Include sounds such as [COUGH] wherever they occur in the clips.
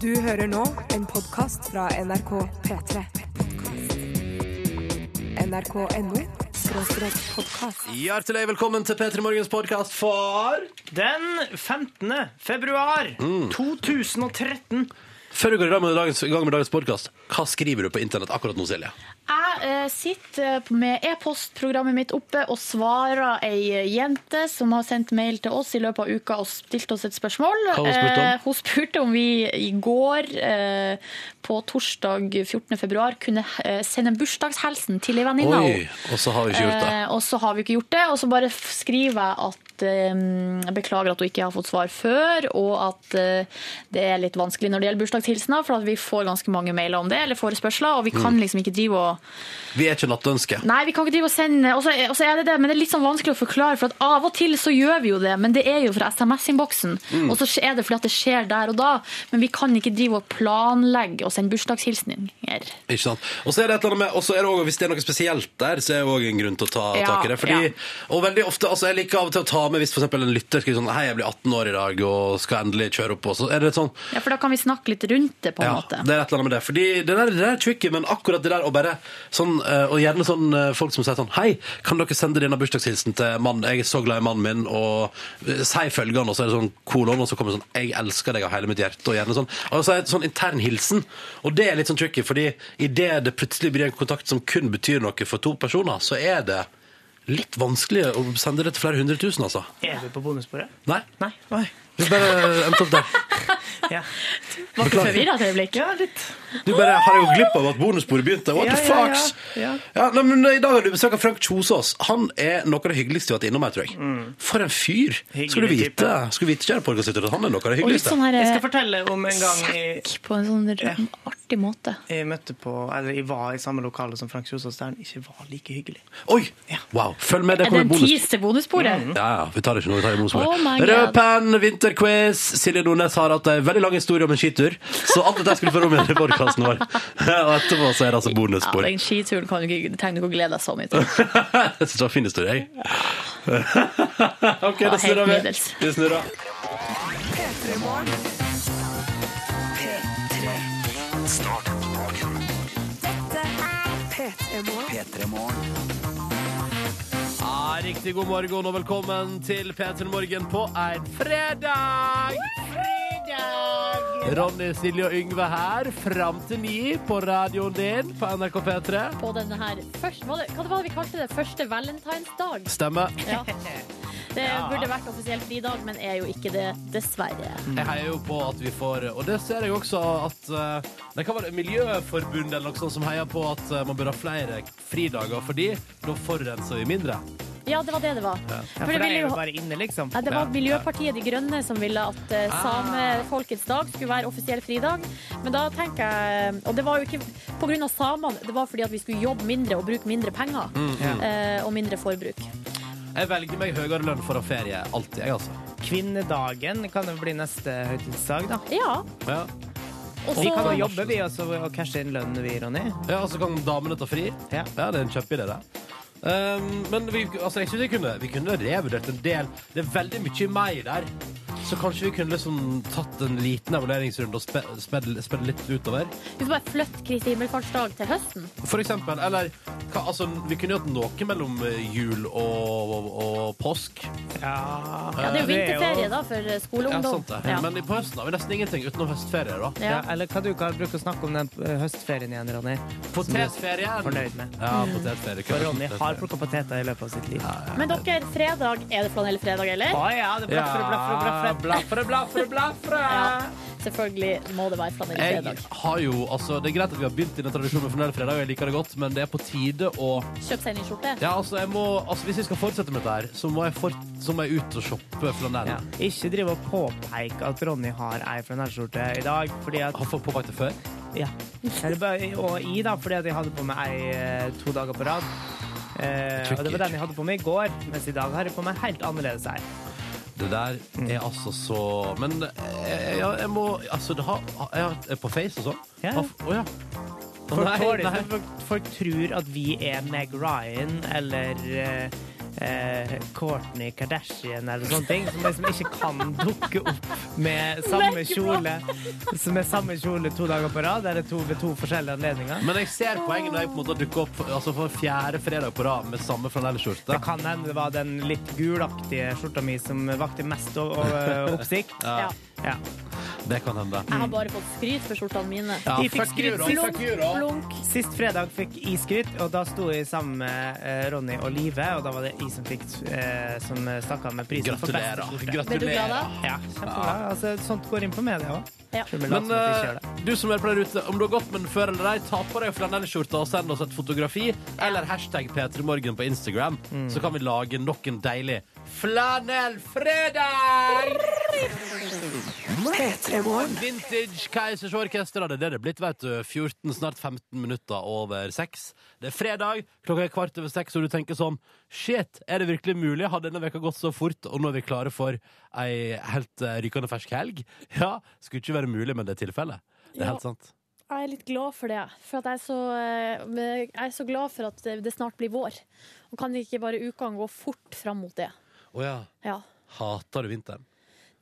Du hører nå en podkast fra NRK P3. NRK.no skråstrek podkast. Hjertelig velkommen til P3 Morgens podkast for Den 15. februar 2013. Før du går i gang med dagens, i gang med dagens podkast, hva skriver du på internett akkurat nå, Silje? Jeg eh, sitter med e-postprogrammet mitt oppe og svarer ei jente som har sendt mail til oss i løpet av uka og stilt oss et spørsmål. har hun spurt om? Eh, hun spurte om vi i går, eh, på torsdag 14. februar, kunne eh, sende en bursdagshelsen til ei venninne. av Oi, henne. og så har vi ikke gjort det. Eh, og så har vi ikke gjort det, og så bare f- skriver jeg at eh, jeg beklager at hun ikke har fått svar før, og at eh, det er litt vanskelig når det gjelder bursdagshilsener, for at vi får ganske mange mailer om det, eller forespørsler, og Mm. vi kan liksom ikke drive og Vi er ikke nattønske. Nei, vi kan ikke drive og sende og så er- og så er det det, men det er litt sånn vanskelig å forklare, for at av og til så gjør vi jo det, men det er jo fra SMS-innboksen, Mm. og så er det fordi at det skjer der og da, men vi kan ikke drive og planlegge og sende bursdagshilsninger. Ikke sant? Og så er det et eller annet med, og så er det også, hvis det er noe spesielt der, så er det òg en grunn til å ta Ja, tak i det. Fordi, ja. Og veldig ofte, altså jeg liker av og til å ta med hvis for eksempel en lytter skriver sånn Hei, jeg blir 18 år i dag og skal endelig kjøre opp, og så er det sånn Ja, for da kan vi snakke litt rundt det på en Ja, måte. det er et eller annet med det. Fordi det der, det der er tricky, men akkurat det der å bare sånn, eh, Og gjerne sånn eh, folk som sier sånn Hei, kan dere sende denne bursdagshilsen til mannen? Jeg er så glad i mannen min, og eh, si følgende, og så er det sånn kolon, og så kommer det sånn Jeg elsker deg av hele mitt hjerte, og gjerne sånn. Og så er det sånn intern hilsen. Og det er litt sånn tricky, fordi idet det plutselig blir en kontakt som kun betyr noe for to personer, så er det litt vanskelig å sende det til flere hundre tusen, altså. Er vi på bonussporet? Nei. Nei. [LAUGHS] Oi. Vi bare endte opp der. Ja. Var [LAUGHS] ikke Beklager. forvirret et øyeblikk. ja, litt. Du bare har jo glipp av at bonusbordet begynte. What Ja, the ja, ja, fucks? ja. Ja, nei, men I dag har du besøk av Frank Kjosås. Han er noe av det hyggeligste vi har hatt innom her, tror jeg. For en fyr! Hyggelig Skulle du type. vite, skulle vite kjære podkastlytter, at han er noe av det Og litt hyggeligste. sånn her Jeg eh, skal fortelle om en gang jeg, sekk på en sånn Ja. rund, artig måte. jeg møtte på Eller jeg var i samme lokale som Frank Kjosås, der han ikke var like hyggelig. Oi! Ja. Wow. Følg med, det Er det kommer en bonus. Mm. tease til bonussporet? Ja, ja, vi tar det ikke nå. vi tar det i bonusbordet. Oh my God. Rød penn, vinterquiz. Silje Nordnes har hatt en veldig lang historie om en skitur. Så alt dette skulle vi få rom igjen i podkasten vår. Og etterpå så er det altså Ja, bonusspor. den skituren kan du ikke, trenger du ikke å glede deg så mye [LAUGHS] til. Jeg synes det var en fin historie, jeg. [LAUGHS] OK, Ja, da helt snurrer vi. middels. Vi snurrer. Dette er P3 Morgen. Ja, riktig god morgen og velkommen til P3 Morgen på en fredag! Fredag! Ronny, Silje og Yngve her, fram til ni på radioen din på NRK P3. På denne her først, hva, det, hva var det vi kalte det? Første valentinsdag? Stemmer. Ja. Det burde vært offisiell fridag, men er jo ikke det, dessverre. Jeg heier jo på at vi får Og det ser jeg også at eh, Det kan være Miljøforbundet eller noe sånt som heier på at eh, man bør ha flere fridager, fordi da forurenser vi mindre. Ja, det var det det var. For For da det, ville er jo, vi bare inne, liksom. ja, det var Miljøpartiet De Grønne som ville at eh, samefolkets dag skulle være offisiell fridag. Men da tenker jeg Og det var jo ikke pga. samene, det var fordi at vi skulle jobbe mindre og bruke mindre penger. eh, Og mindre forbruk. Jeg velger meg høyere lønn for å ha ferie. Alltid, jeg, altså. Kvinnedagen kan jo bli neste høytidsdag, da. Ja. Ja. Og Vi kan så jo jobbe, vi, også, og cashe inn lønnen, vi, Ronny. Ja, og så kan damene ta fri. Ja. det er en kjempeidé, det. Um, men vi, altså, jeg synes vi kunne, vi kunne revurdert en del. Det er veldig mye meg der. Så kanskje vi kunne liksom tatt en liten evalueringsrunde og spe- spedd spedd litt utover. Vi får bare flytte Kristi himmelfartsdag til høsten. For eksempel. Eller hva, altså, vi kunne gjort noe mellom eh, jul og, og, og påsk. Ja, Ja, det er jo vinterferie da for eh, Ja, skoleungdom. sant det. Ja. Men på høsten har vi nesten ingenting utenom høstferie. da Ja, Ja. eller hva du kan bruke å snakke om den eh, høstferien igjen, Ronny. Potetferien! Fornøyd med. Ja, potetferie. For Ronny har plukka poteter i løpet av sitt liv. Å Men dere, fredag er det flanellfredag, eller? ja, det Ja, blafrer, blafrer, blafrer. blafre, blafre, blafre! Selvfølgelig må det være flanellfredag. Jeg har jo, altså Det er greit at vi har begynt i den tradisjonen med Fornøyd-fredag, og jeg liker det godt, men det er på tide å Kjøp seg en ny skjorte. Ja, altså, jeg må, altså Hvis jeg skal fortsette med dette, her, så må jeg, for, så må jeg ut og shoppe flanell. Ja. Ikke drive og påpeke at Ronny har ei flanellskjorte i dag, fordi at Har fått påpekt det før? ja. Eller bare- Og i, da, fordi at jeg hadde på meg ei eh, to dager på rad. Eh, og det var den jeg hadde på meg i går, mens i dag har jeg på meg helt annerledes ei. Det der Mm. er altså så Men jeg, jeg, jeg må Altså, det har jeg har, er På Face og sånn? Ja. Har- Å ja. Å, Folk, nei, tåler nei. ikke- folk, folk tror at vi er Meg Ryan eller eh, eh, Kourtney Kardashian eller sånne ting, som liksom ikke kan dukke opp med samme kjole, som er samme kjole to dager på rad, eller to, ved to forskjellige anledninger. Men jeg ser poenget når jeg på en måte dukker opp altså for fjerde fredag på rad med samme flanellskjorte. Det kan hende det var den litt gulaktige skjorta mi som vakte mest o- o- oppsikt. Ja. Ja. Det kan hende. Jeg har bare fått skryt for skjortene mine. Ja, De fikk fuck you, da. skryt- Fuck you, da. Blunk. Sist fredag fikk jeg skryt, og da sto jeg sammen med eh, Ronny og Live, og da var det jeg som fikk eh, som stakk av med prisen for beste Gratulerer. skjorte. Ble du glad da? Gratulerer. Ja, kjempebra. Altså, sånt går inn på media òg. Ja. Men eh, du som er på der ute, om du har gått med den før eller ei, ta på deg flanellskjorta og send oss et fotografi, eller hashtag P3morgen på Instagram, så kan vi lage nok en deilig flanellfredag! P3 Morgen. Vintage Keisers Orkester, det er det det er blitt, vet du. 14, snart 15 minutter over 6. Det er fredag, klokka er kvart over 6, og du tenker sånn Shit, er det virkelig mulig? Har denne veka gått så fort, og nå er vi klare for ei helt eh, rykende fersk helg? Ja, skulle ikke være mulig med det tilfellet. Det er Ja. helt sant. Jeg er litt glad for det. For at jeg, er så, eh, jeg er så glad for at det snart blir vår. Og kan ikke bare ukene gå fort fram mot det? Å ja. Ja. Hater du vinteren?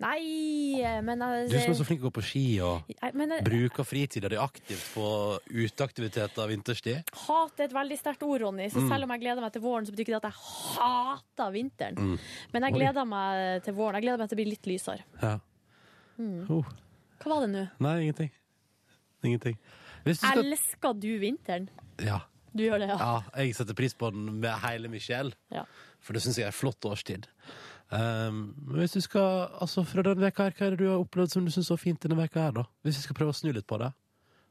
Nei, eh, men jeg, Du som er så flink til å gå på ski og jeg, men eh, jeg bruker fritida di aktivt på uteaktiviteter vinterstid. Hat er et veldig sterkt ord, Ronny. Så Mm. selv om jeg gleder meg til våren, så betyr ikke det at jeg hater vinteren. Men jeg Mm. Oi. gleder meg til våren. Jeg gleder meg til det blir litt lysere. Ja. Mm. Oh, Hva var det nå? nei, ingenting. Ingenting. Hvis du skal Elsker du vinteren? Ja. Du gjør det, ja. Ja, jeg setter pris på den med hele min sjel, ja. for det syns jeg er en flott årstid. Um, men hvis du skal, altså fra denne veka her, hva er det du har opplevd som du syns var fint denne veka her, da? Hvis vi skal prøve å snu litt på det?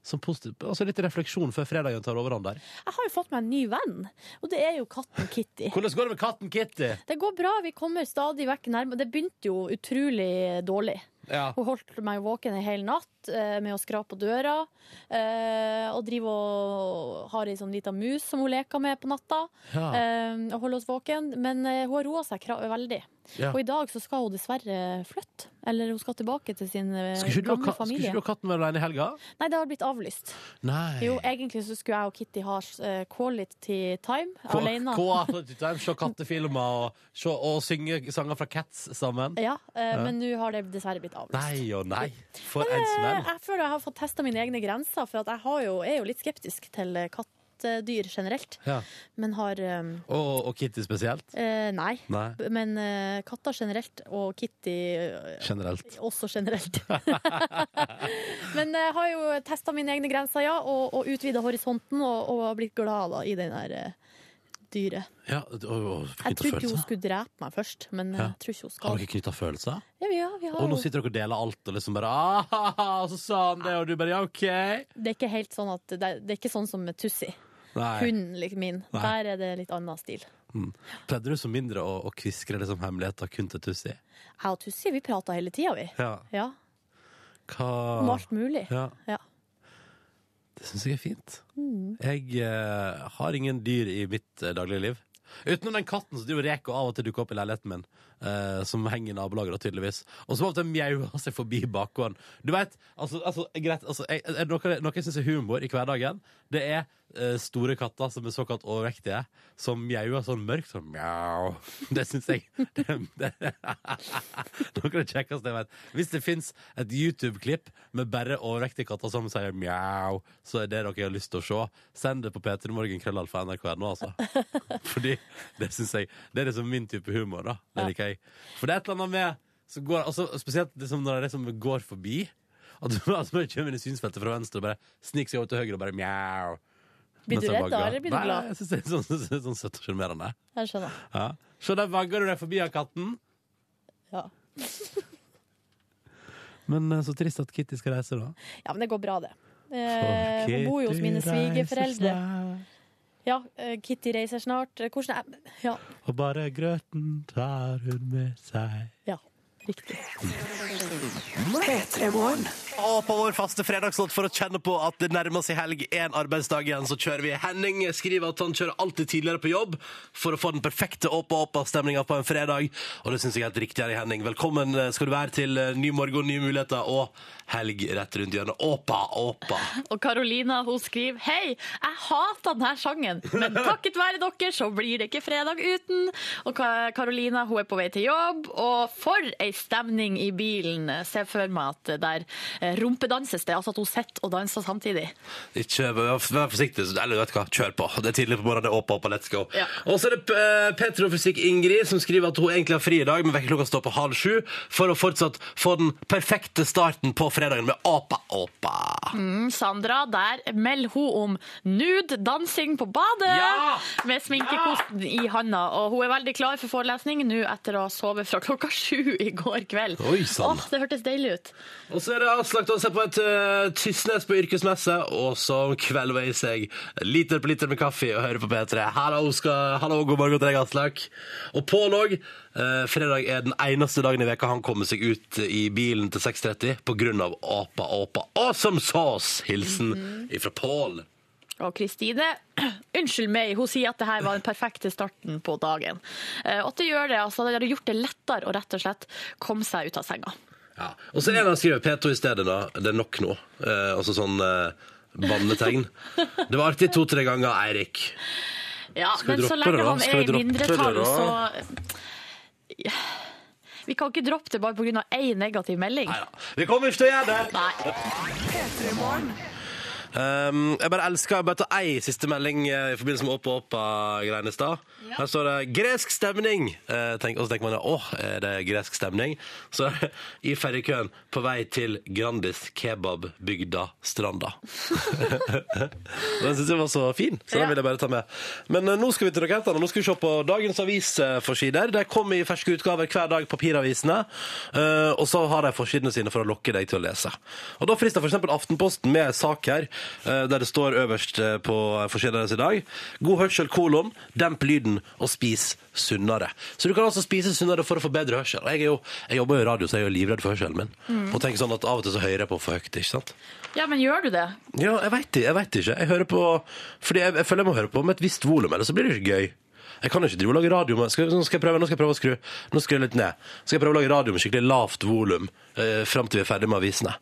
Som positivt, altså litt refleksjon før fredagen tar overhånd der. Jeg har jo fått meg en ny venn, og det er jo katten Kitty. Hvordan går det med katten Kitty? Det går bra, vi kommer stadig vekk nærmere. Det begynte jo utrolig dårlig. Ja. Hun holdt meg våken en hel natt eh, med å skrape på døra. eh, og driver og har ei sånn lita mus som hun leker med på natta. Ja. eh, og holder oss våken. Men eh, hun har roa seg kra veldig. Ja. Og i dag så skal hun dessverre flytte. Eller hun skal tilbake til sin eh, Skulle ikke du ha gamle ka- skulle familie. ikke du ha katten med alene i helga? Nei, det har blitt avlyst. Nei. Jo, egentlig så skulle jeg og Kitty ha eh, quality time K- alene. K- time, Se kattefilmer og, se, og synge sanger fra Cats sammen. Ja, eh, men nå har det dessverre blitt avlyst. Nei og nei. For en Eh, smell. Jeg føler jeg har fått testa mine egne grenser, for at jeg har jo, er jo litt skeptisk til eh, kattedyr generelt. Ja. Men har eh, Og, og Kitty spesielt. eh, Nei. Nei, B- Men eh, katter generelt, og Kitty eh, generelt. også [LAUGHS] generelt. Men jeg har jo testa mine egne grenser, ja, og, og utvida horisonten, og, og har blitt glad da, i den der eh, dyret. Ja, og, og Jeg knytta trodde jo hun følelser. skulle drepe meg først, men eh, Ja. jeg tror ikke hun Har skal. dere knytta følelser? Ja, vi- ja, vi har Og nå jo. sitter dere og deler alt, og liksom bare «Ah, Og så sa han det, og du bare ja, OK. Det er ikke helt sånn at Det er, det er ikke sånn som med Tussi, Nei. hunden liksom min. Nei. Der er det litt annen stil. Pleide du som mindre å, å kviskre liksom hemmeligheter kun til Tussi? Jeg og Tussi vi prata hele tida, vi. Ja. Ja, Om Hva alt mulig. ja, Ja. Det syns jeg er fint. Jeg eh, har ingen dyr i mitt eh, daglige liv. Utenom den katten som driver og reker og av og til dukker opp i leiligheten min. eh, som henger i nabolaget, da, tydeligvis. Og som av og til mjauer seg forbi bakgården. Du vet, altså, altså, greit, altså jeg, jeg, Noe, noe jeg syns er humor i hverdagen, det er eh, store katter som er såkalt overvektige, som mjauer sånn mørkt. Sånn mjau. [LAUGHS] Det syns jeg det, det, Noe [LAUGHS] av det kjekkeste jeg vet. Hvis det fins et YouTube-klipp med bare overvektige katter som sier mjau, så er det noe jeg har lyst til å se. Send det på p3morgenkrøllalfa.nrk.no, [LAUGHS] altså. Fordi det synes jeg Det er liksom min type humor, da. Det liker jeg. For det er et eller annet med som går, altså, Spesielt liksom når det er det som går forbi. At [LAUGHS] du altså, når du kommer inn i synsfeltet fra venstre og bare sniker seg over til høyre og bare mjau. Blir du Mens jeg redd da, vagger. eller blir du Nei, glad? jeg synes det er sånn, [LAUGHS] sånn, sånn søtt og sjarmerende. Jeg skjønner. Ja. Så der vagger du deg forbi av katten. Ja. Men eh, så trist at Kitty skal reise, da. ja, men det går bra, det. Eh, hun bor jo hos mine svigerforeldre. Ja, eh, Kitty reiser snart. Eh, Hvordan er Ja, Og bare grøten tar hun med seg. ja riktig. P3 Morgen. Og på vår faste fredagslåt for å kjenne på at det nærmer seg helg én arbeidsdag igjen, så kjører vi Henning skriver at han kjører alltid tidligere på jobb for å få den perfekte åpa-åpa-stemninga på en fredag. Og det syns jeg er helt riktig her, Henning. Velkommen skal du være til eh, ny morgen, nye muligheter og helg rett rundt hjørnet. Åpa, åpa. Og Carolina hun skriver Hei, jeg hater denne sangen, [LAUGHS] men takket være dere så blir det ikke fredag uten. Og Ka- Carolina hun er på vei til jobb, og for ei stemning i bilen. Se for meg at det der eh, rumpedanses det, altså at hun sitter og danser samtidig. Ikke, vær, vær forsiktig. Eller vet du hva, kjør på. Det er tidlig på morgenen, det er åpa, åpa, let's go. Ja. Og så er det eh, petrofysikk Ingrid som skriver at hun egentlig har fri i dag, men vekkerklokka står på halv sju for å fortsatt få den perfekte starten på fredagen med åpa, åpa. Mm, Sandra, der melder hun om nude dansing på badet Ja! med sminkekosten i handa. Og hun er veldig klar for forelesning nå etter å ha sovet fra klokka sju i går kveld. Oi, sann. Åh, det hørtes deilig ut. Og så er det Aslak som ser på et eh, Tysnes på yrkesmesse, og som kvelver i seg liter på liter med kaffe og hører på P3. Hallo, skal, hallo god morgen til deg, Aslak. Og Pål òg. fredag er den eneste dagen i veka han kommer seg ut i bilen til 6.30 pga. apa, apa. Awesome sauce! Hilsen ifra Pål. Og Kristine, [CLEARS THROAT] unnskyld meg, hun sier at det her var den perfekte starten på dagen. Eh, Og at det gjør det, altså, det har gjort det lettere å rett og slett komme seg ut av senga. Ja. Og så er det han skriver P2 i stedet, da. Det er nok nå. Eh, altså sånn eh, bannetegn. Det var artig to-tre ganger, Eirik. Ja, vi men så droppe det, lenge da? han Skal er vi i droppe mindretall, det, da? så Ja. Vi kan ikke droppe det bare pga. én negativ melding. Nei da. Vi kommer ikke til å gjøre det! Nei. Um, jeg bare elsker jeg bare tar ei siste melding eh, i forbindelse med Åpa Åpa-greiene i stad. Her står det 'gresk stemning'. Eh, tenk, og så tenker man åh, er det gresk stemning? Så [LAUGHS] i ferjekøen på vei til Grandis kebabbygda Stranda. [LAUGHS] den syns jeg var så fin, så den Ja. vil jeg bare ta med. Men eh, nå skal vi til noe helt annet. Nå skal vi se på dagens avisforsider. De kommer i ferske utgaver hver dag, papiravisene. Eh, og så har de forsidene sine for å lokke deg til å lese. Og da frister f.eks. Aftenposten med en sak her, eh, der det står øverst eh, på forsiden deres i dag God hørsel, kolon, demp lyden og spis sunnere. Så du kan altså spise sunnere for å få bedre hørsel. Og Jeg, er jo, jeg jobber jo i radio, så jeg er jo livredd for hørselen min. Og tenker sånn at av og til så hører jeg på for høyt, ikke sant? Ja, men gjør du det? Ja, jeg veit det. Jeg vet ikke. Jeg hører på Fordi jeg, jeg føler jeg må høre på med et visst volum, ellers så blir det ikke gøy. Jeg kan jo ikke drive og lage radio med skal, nå, skal jeg prøve, nå skal jeg prøve å skru Nå skrur jeg litt ned. Så skal jeg prøve å lage radio med skikkelig lavt volum eh, fram til vi er ferdig med avisene.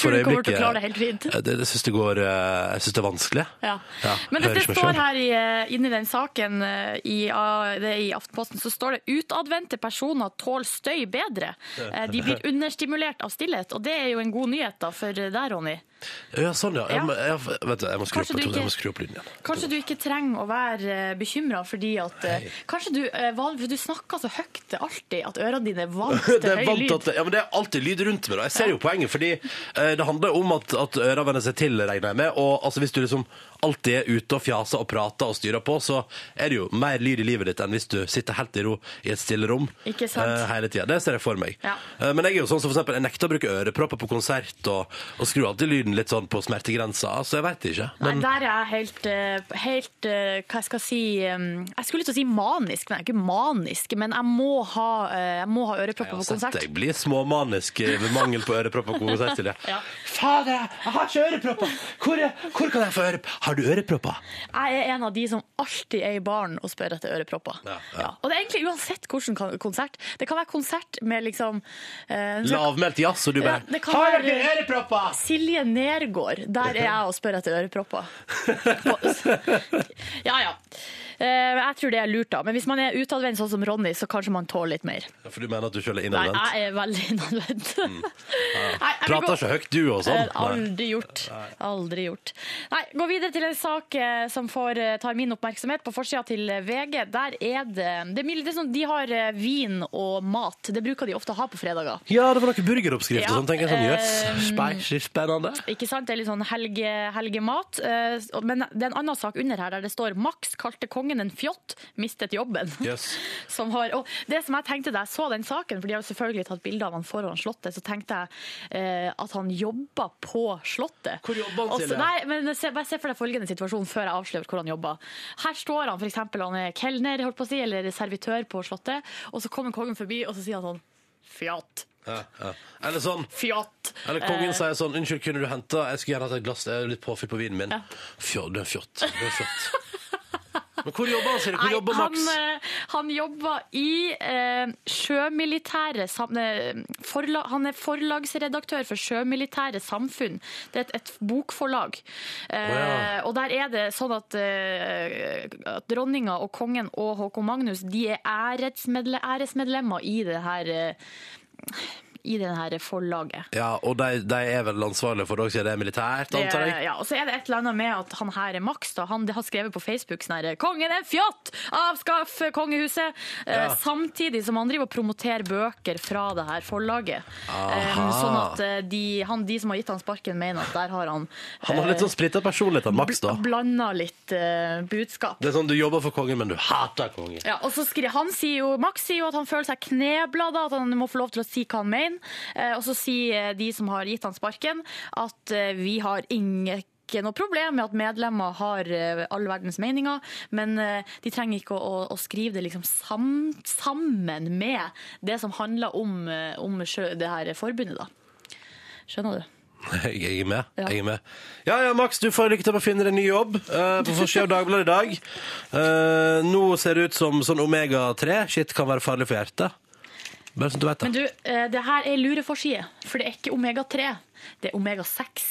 Tror du kommer til å klare det helt fint? Eh, Det, det syns det går eh, Jeg syns det er vanskelig. Ja. Ja, Men hører det, det ikke meg står selv. her i, eh, inni den saken eh, i, A- det, er i Aftenposten, så står det utadvendte personer tåler støy bedre. Eh, De blir understimulert av stillhet, og det er jo en god nyhet da for deg, Ronny. Ja, sånn, ja. Ja. Jeg, må- jeg, vent, jeg må skru Kanskje opp, du jeg må ikke- skru opp lyden igjen. Kanskje du ikke trenger å være bekymra fordi at eh, Kanskje du, eh, van- for du snakker så høyt alltid at ørene [LAUGHS] dine er vant Det til er, høy vant lyd. at, ja, men det er alltid lyd rundt meg. Da. Jeg ser jo poenget, fordi eh, det handler jo om at, at øra venner seg til, regner jeg med. Og altså, hvis du liksom alltid er ute og fjaser og prater og styrer på, så er det jo mer lyd i livet ditt enn hvis du sitter helt i ro i et stille rom Ikke sant? eh, hele tida. Det ser jeg for meg. Ja. Eh, men jeg er jo sånn som for eksempel, jeg nekter å bruke ørepropper på konsert og, og skrur alltid lyden litt sånn på smertegrensa, så jeg veit ikke. Men Nei, der er jeg helt, eh, helt eh, Hva jeg skal si eh, Jeg skulle lyst til å si manisk, men jeg er ikke manisk. Men jeg må ha, eh, jeg må ha jeg ørepropper har på sett konsert. deg bli småmanisk eh, ved mangel på ørepropper på konsert. Silje. [LAUGHS] Ja. Fader, jeg har ikke ørepropper! Hvor, er- hvor kan jeg få ørepropper? Har du ørepropper? Jeg er en av de som alltid er i baren og spør etter ørepropper. Ja, ja. Og det er egentlig uansett hvilken kon- konsert. Det kan være konsert med liksom eh, Lavmælt jazz, og du bare Ja, det kan Har være- dere ørepropper?! Silje Nergård. Der er jeg og spør etter [LAUGHS] ørepropper. ja, ja. Eh, jeg tror det er lurt, da. Men hvis man er utadvendt sånn som Ronny, så kanskje man tåler litt mer. Ja, For du mener at du sjøl er Nei, innadvendt? jeg er veldig [LAUGHS] innadvendt. Nei, jeg vil gå- Mm. Ah. Eh, Prater så høyt, du og Det sånn? har Aldri gjort. Aldri gjort. Nei, gå videre til en sak eh, som får, eh, tar min oppmerksomhet. På forsida til eh, VG, der er det, det, er mye- det er sånn, De har eh, vin og mat. Det bruker de ofte å ha på fredager. Ja, det var noen burgeroppskrifter Ja, og sånn. Tenker jeg sånn, jøss, eh, spicy, spennende. Ikke sant? Det er litt sånn helge, helgemat. eh, og- Men det er en annen sak under her der det står 'Max kalte kongen en fjott, mistet jobben'. Jøss. [LAUGHS] Som har, og det som jeg tenkte da jeg så den saken, for de har jo selvfølgelig tatt bilder av han foran Slottet, så tenkte jeg eh, at han jobba på Slottet. Hvor jobber han, Og så- Silje? Nei, men se, bare se for deg følgende situasjon før jeg avslører hvor han jobber. Her står han f.eks. han er kelner, holdt på å si, eller servitør på Slottet, og så kommer kongen forbi, og så sier han sånn Fjat. Ja, ja. Eller sånn Fjatt. Eller kongen Eh, sier sånn Unnskyld, kunne du hente Jeg skulle gjerne hatt et glass Jeg er litt påfyll på vinen min. Ja. Fjå, du er fjott. Du er fjott. Men hvor jobber han, sier du? Nei, Hvor jobber han, Max? eh, han jobber i eh, Sjømilitæret sam, eh, forla, Han er forlagsredaktør for Sjømilitære samfunn. Det er et, et bokforlag. Eh, Å, Og der er det sånn at, eh, at dronninga og kongen og Håkon Magnus de er æresmedle, æresmedlemmer i det her eh, i det her forlaget. Ja, og de, de er vel ansvarlige for det også, siden det er militært, Det, antar jeg? ja, og så er det et eller annet med at han her er Max. Da, han har skrevet på Facebook sånn her 'Kongen er fjott! Avskaff kongehuset!' Ja. Eh, samtidig som han driver og promoterer bøker fra det her forlaget. Eh, Aha. sånn at eh, de, han, de som har gitt han sparken, mener at der har han, Han har litt sånn spritta personlighet, han Max, da. blanda litt eh, budskap. Det er sånn, Du jobber for kongen, men du hater kongen. [LAUGHS] Ja, og så skri, han sier jo, Max sier jo at han føler seg knebla, da, at han må få lov til å si hva han mener. Eh, og så sier eh, de som har gitt han sparken, at eh, vi har ingen ikke noe problem med at medlemmer har eh, all verdens meninger, men eh, de trenger ikke å, å, å skrive det liksom sam, sammen med det som handler om, eh, om sjø, det her forbundet. Da. Skjønner du? Jeg, jeg er med. Ja. jeg er med. Ja ja, Max, du får lykke til med å finne deg en ny jobb eh, på forsida av Dagbladet i dag. Eh, nå ser det ut som sånn omega-3. Shit kan være farlig for hjertet. Bare sånn du vet det. Men du, eh, det her er lureforside, for det er ikke omega-3, det er omega-6.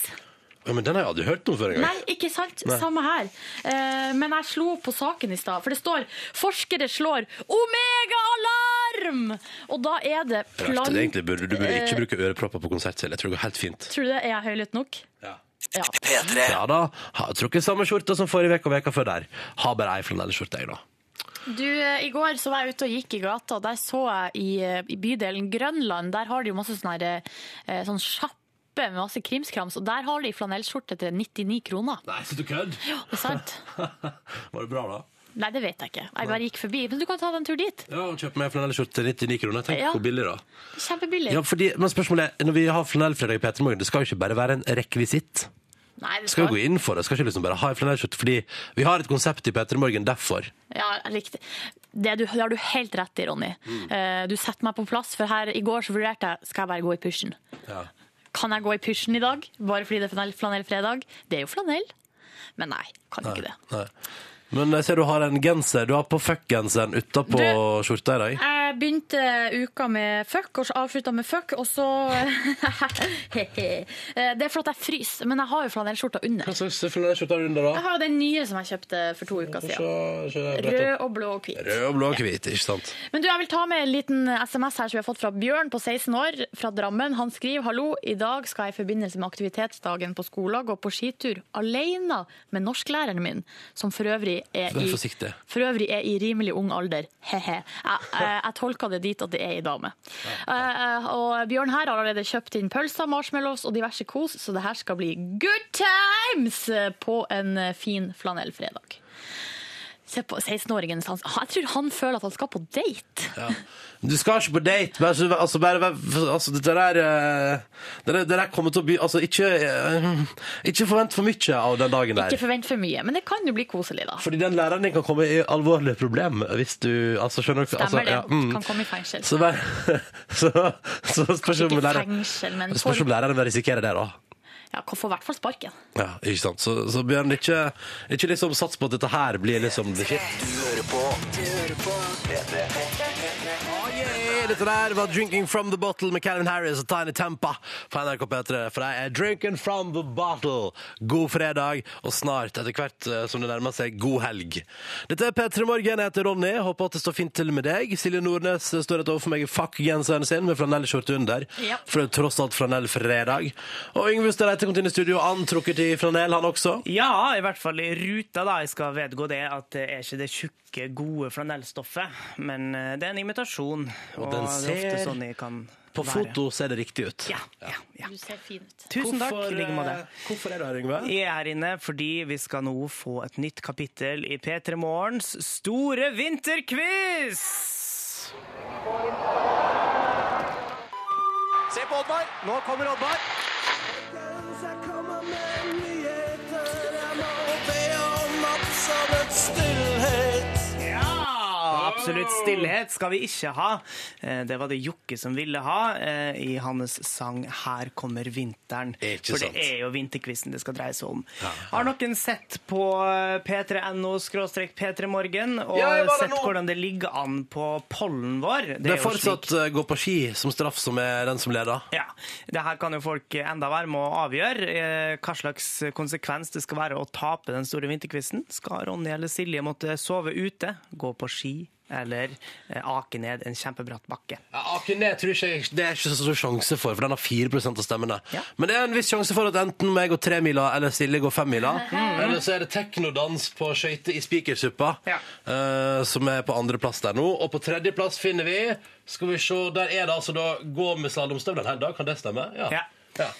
Ja, men den har jeg aldri hørt om før engang. Nei, ikke sant? Samme her. Eh, men jeg slo på saken i stad, for det står 'forskere slår omega-alarm'! Og da er det Rart, plan... det er egentlig burde, du burde ikke Eh, bruke ørepropper på konsert selv. Jeg tror det går helt fint. Tror du det? Er jeg høylytt nok? Ja. Ja. Ja da. Har trukket samme skjorte som forrige uke og veka før der. Har bare ei flanellskjorte, jeg, da. Du, eh, I går så var jeg ute og gikk i gata, og der så jeg i, eh, i bydelen Grønland Der har de jo masse sånne, her, eh, sånn sjappe med masse krimskrams, og der har de flanellskjorte til 99 kroner. Nei, så du kødd? Det er [LAUGHS] sant? Var det bra, da? Nei, det vet jeg ikke. Jeg bare gikk forbi. Men du kan ta deg en tur dit. Ja, og kjøp meg flanellskjorte til 99 kroner. Tenk Ja. hvor billig, da. Kjempebillig. Ja, fordi, men spørsmålet er, når vi har flanellfredag i P3 Morgen, det skal jo ikke bare være en rekvisitt. Nei, det Skal vi gå inn for det? Skal ikke liksom bare ha en flanellskjorte fordi vi har et konsept i P3 Morgen derfor? Ja, riktig. Det, du, det har du helt rett i, Ronny. Eh, du setter meg på plass, for her i går så vurderte jeg skal jeg bare gå i pysjen. Ja. Kan jeg gå i pysjen i dag, bare fordi det er flanell, flanellfredag? Det er jo flanell. Men nei, kan jo ikke det. Nei. Men jeg ser du har en genser. Du har på fuck-genseren utapå Du- skjorta i dag. Jeg begynte uka med fuck og så avslutta med fuck, og så [LAUGHS] Eh, Det er fordi jeg fryser, men jeg har jo flanellskjorta [LAUGHS] under. Hva slags flanellskjorte har du under, da? Jeg har jo den nye som jeg kjøpte for to uker siden. Rød og blå og hvit. Rød og blå og hvit, ikke sant? Men du, jeg vil ta med en liten SMS her som vi har fått fra Bjørn på 16 år fra Drammen. Han skriver «Hallo, i dag skal jeg i forbindelse med aktivitetsdagen på skolen gå på skitur alene med norsklæreren min, som for øvrig er Vær i, forsiktig. for øvrig er i rimelig ung alder. Hehe. Jeg, jeg, jeg tolker det dit at det er i dame. Eh, Og Bjørn her har allerede kjøpt inn pølser, marshmallows og diverse kos, så det her skal bli good times på en fin flanellfredag. Se på 16-åringen. hans. Jeg tror han føler at han skal på date. Du skal ikke på date. Bare, så- altså, bare, bare altså, Det der eh, det der, det der kommer til å bli Altså, ikke, eh, ikke forvent for mye av den dagen der. Ikke forvent for mye, men det kan jo bli koselig, da. Fordi den læreren din kan komme i alvorlige problem hvis du altså, skjønner du, altså, Stemmer det. ja, mm. Kan komme i fengsel. Så, vær, [LAUGHS] så, så spørs om Ikke læreren fengsel, men Spørs om for, læreren vil risikere det, da. ja, får i hvert fall sparken. Ja, ikke sant? Så, så Bjørn, ikke, ikke liksom sats på at dette her blir liksom the shit. Oh, yeah. Dette der var 'Drinking from the Bottle' med Calvin Harris og Tiny Tempa på NRK P3. For de er 'Drinking from the Bottle'. God fredag, og snart, etter hvert eh, som det nærmer seg, god helg. Dette er P3 Morgen. Jeg heter Ronny. Håper at det står fint til med deg. Silje Nordnes eh, står rett overfor meg i fuck-genseren sin med flanellskjorte under. Ja. For det er tross alt flanellfredag. Og Yngve Stereite kom inn i studio antrukket i flanell, han også. Ja, i hvert fall i ruta, da. Jeg skal vedgå det at det er ikke det tjukke, gode flanellstoffet, men eh, det er en imitasjon. Og, den det er ser ofte sånn jeg kan På være. foto ser det riktig ut. Ja, ja, ja. Du ser fin ut. Tusen takk. Hvorfor, I like måte. eh, Hvorfor er du her, Yngve? Jeg er her inne fordi vi skal nå få et nytt kapittel i P3 Morgens store vinterquiz! Se på Oddvar. Nå kommer Oddvar. Ja! absolutt stillhet skal vi ikke ha. Eh, Det var det Jokke som ville ha eh, i hans sang 'Her kommer vinteren'. Ikke For sant. det er jo vinterquizen det skal dreie seg om. Har noen sett på eh, p3.no p3morgen og Ja, jeg var der sett nå. hvordan det ligger an på pollen vår? Det jo er slik- fortsatt eh, gå på ski som straff som er den som leder. ja, det her kan jo folk enda være med å avgjøre. eh, Hva slags konsekvens det skal være å tape den store vinterquizen. Skal Ronny eller Silje måtte sove ute, gå på ski eller eh, ake ned en kjempebratt bakke? Ja, Aker ned tror jeg ikke, det er ikke så stor sjanse for, for den har 4 av stemmene. Ja. Men det er en viss sjanse for at enten meg går tremila, eller Silje går femmila. [LAUGHS] Eller så er det teknodans på skøyter i Spikersuppa, Mm. Ja. eh, som er på andreplass der nå. Og på tredjeplass finner vi Skal vi se, der er det altså da gå med slalåmstøvlene. Her, Da kan det stemme? Ja. Ja. Ja.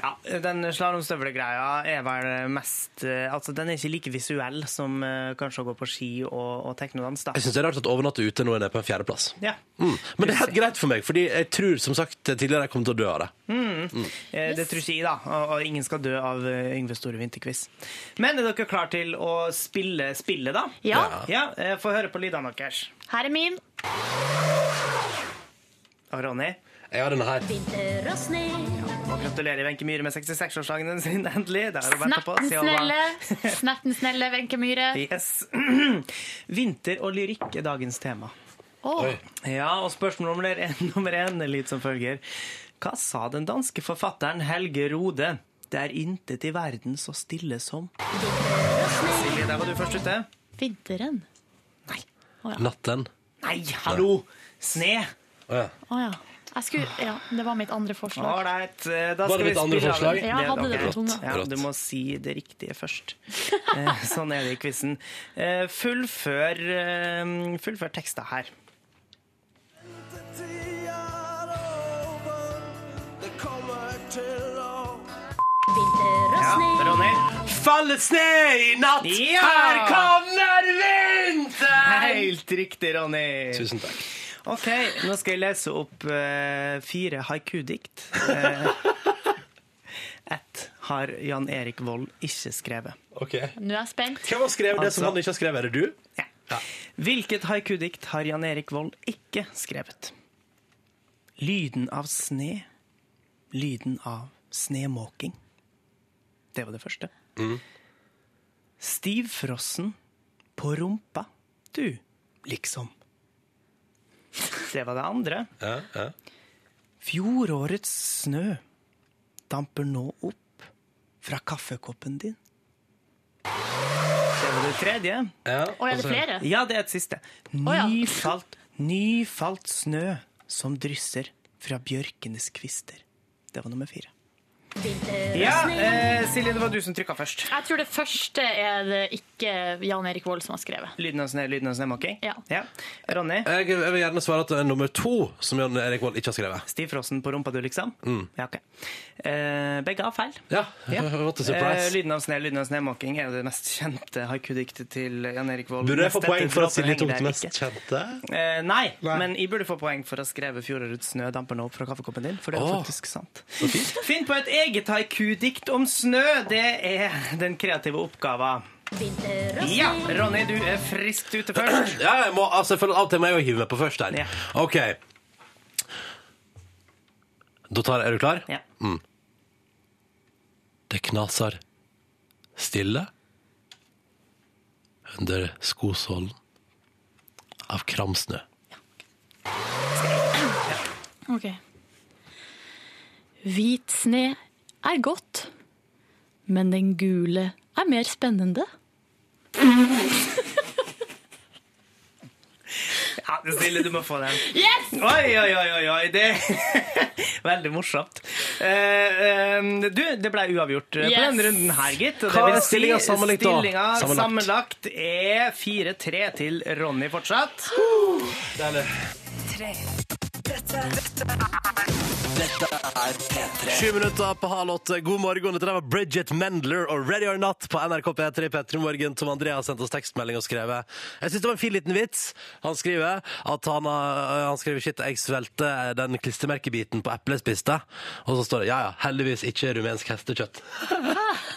Ja, Den slalåmstøvlegreia er vel mest eh, Altså, den er ikke like visuell som eh, kanskje å gå på ski og, og teknodans, da. Jeg syns det er rart at overnatte ute nå er nede på en fjerdeplass. Ja. Mm. Men det er helt greit for meg, Fordi jeg tror som sagt tidligere jeg kommer til å dø av det. Eh, Det tror ikke jeg, da. Og, og ingen skal dø av eh, Yngve Store vinterquiz. Men er dere klare til å spille spillet, da? Ja, Ja, eh, Få høre på lydene deres. her er min. Og Ronny, Jeg har denne her. Vinter og snø. og gratulerer Wenche Myhre med 66-årsdagen sin, endelig. Det har hun ventet på Snerten siden hun var- snelle. Snerten snelle Wenche Myhre. Yes. [CLEARS THROAT] Vinter og lyrikk er dagens tema. Åh, Oi. Ja, og spørsmål nummer én- [LAUGHS] nummer én er litt som følger. Hva sa den danske forfatteren Helge Rode? Det er intet i verden så stille som Silje, der var du først ute. vinteren. Natten. Nei, hallo! Sne! Å, ja. Å ja. Jeg skulle, ja. Det var mitt andre forslag. Ålreit. eh, Da Var det skal vi mitt andre spille av forslag? den. Ja, jeg hadde det på rått. tunga. Ja, du må si det riktige først. Eh, Sånn er det i quizen. Eh, Fullfør, eh, fullfør teksta her. Vinter og snø. Ronny? Faller sne i natt, Ja! her kommer vinter! Helt riktig, Ronny. Tusen takk. Ok, nå skal jeg lese opp eh, fire haiku-dikt. Eh, [LAUGHS] ett har Jan Erik Vold ikke skrevet. Ok. Nå er jeg spent. Hvem har skrevet det Altså- som han ikke har skrevet? Er det du? Ja. Hvilket haiku-dikt har Jan Erik Vold ikke skrevet? Lyden av sne. Lyden av snemåking. Det var det første. Mm. Stivfrossen på rumpa. Du, liksom. Det var det andre. Ja, ja. Fjorårets snø damper nå opp fra kaffekoppen din. Det var det tredje. Å, Altså- er det flere? Ja, det er et siste. ja. Nyfalt, nyfalt snø som drysser fra bjørkenes kvister. Det var nummer fire. Ja, eh, Silje, det var du som trykka først. Jeg tror det første er det ikke Jan Erik Vold som har skrevet. Lyden av snø, lyden av snø, måking? Ja. Ronny? Jeg, jeg vil gjerne svare at det er nummer to som Jan Erik Vold ikke har skrevet. Stiv frossen på rumpa du, liksom? Mm. Ja, ok. Eh, begge har [LAUGHS] feil. Ja, Ja. What a Eh, surprise. lyden av snø, lyden av snømåking er jo det mest kjente haiku-diktet til Jan Erik Vold. Burde jeg få Mest poeng etter for at dråpen Silje henger tok der det mest ikke. kjente? [CLEARS THROAT] Eh, nei, Nei. men jeg burde få poeng for å ha skrevet fjorårets snø damper nå opp fra kaffekoppen din, for det er Åh. faktisk sant. fint. Finn på et eget haiku-dikt om snø. Det er den kreative oppgava. Vinter og snø. Ja, Ronny, du er friskt ute først. Ja, jeg må, altså, jeg føler alltid må jeg jo hive meg på først der. Ja. Ok. Da tar jeg, er du klar? Ja. Det knaser stille under skosålen av kramsnø. Ok. Hvit sne er godt, men den gule er mer spennende. ja Silje, du må få den. [LAUGHS] Yes! Oi, oi, oi, oi, oi. det [LAUGHS] Veldig morsomt. Eh, eh, du, det ble uavgjort eh, på Yes. denne runden her, gitt. Og Hva det er vil si stillingen sammenlagt da? stillingen Sammenlagt. sammenlagt er 4-3 til Ronny fortsatt. [LAUGHS] Sju minutter på halv åtte. God morgen. Dette der var Bridget Mendler og Ready or Not på NRK P3 P3 Morgen, som Andrea har sendt oss tekstmelding og skrevet. Jeg syns det var en fin liten vits. Han skriver at han, har- øh, han skriver shit, jeg svelgte den klistremerkebiten på eplet jeg spiste. Og så står det ja ja, heldigvis ikke rumensk hestekjøtt.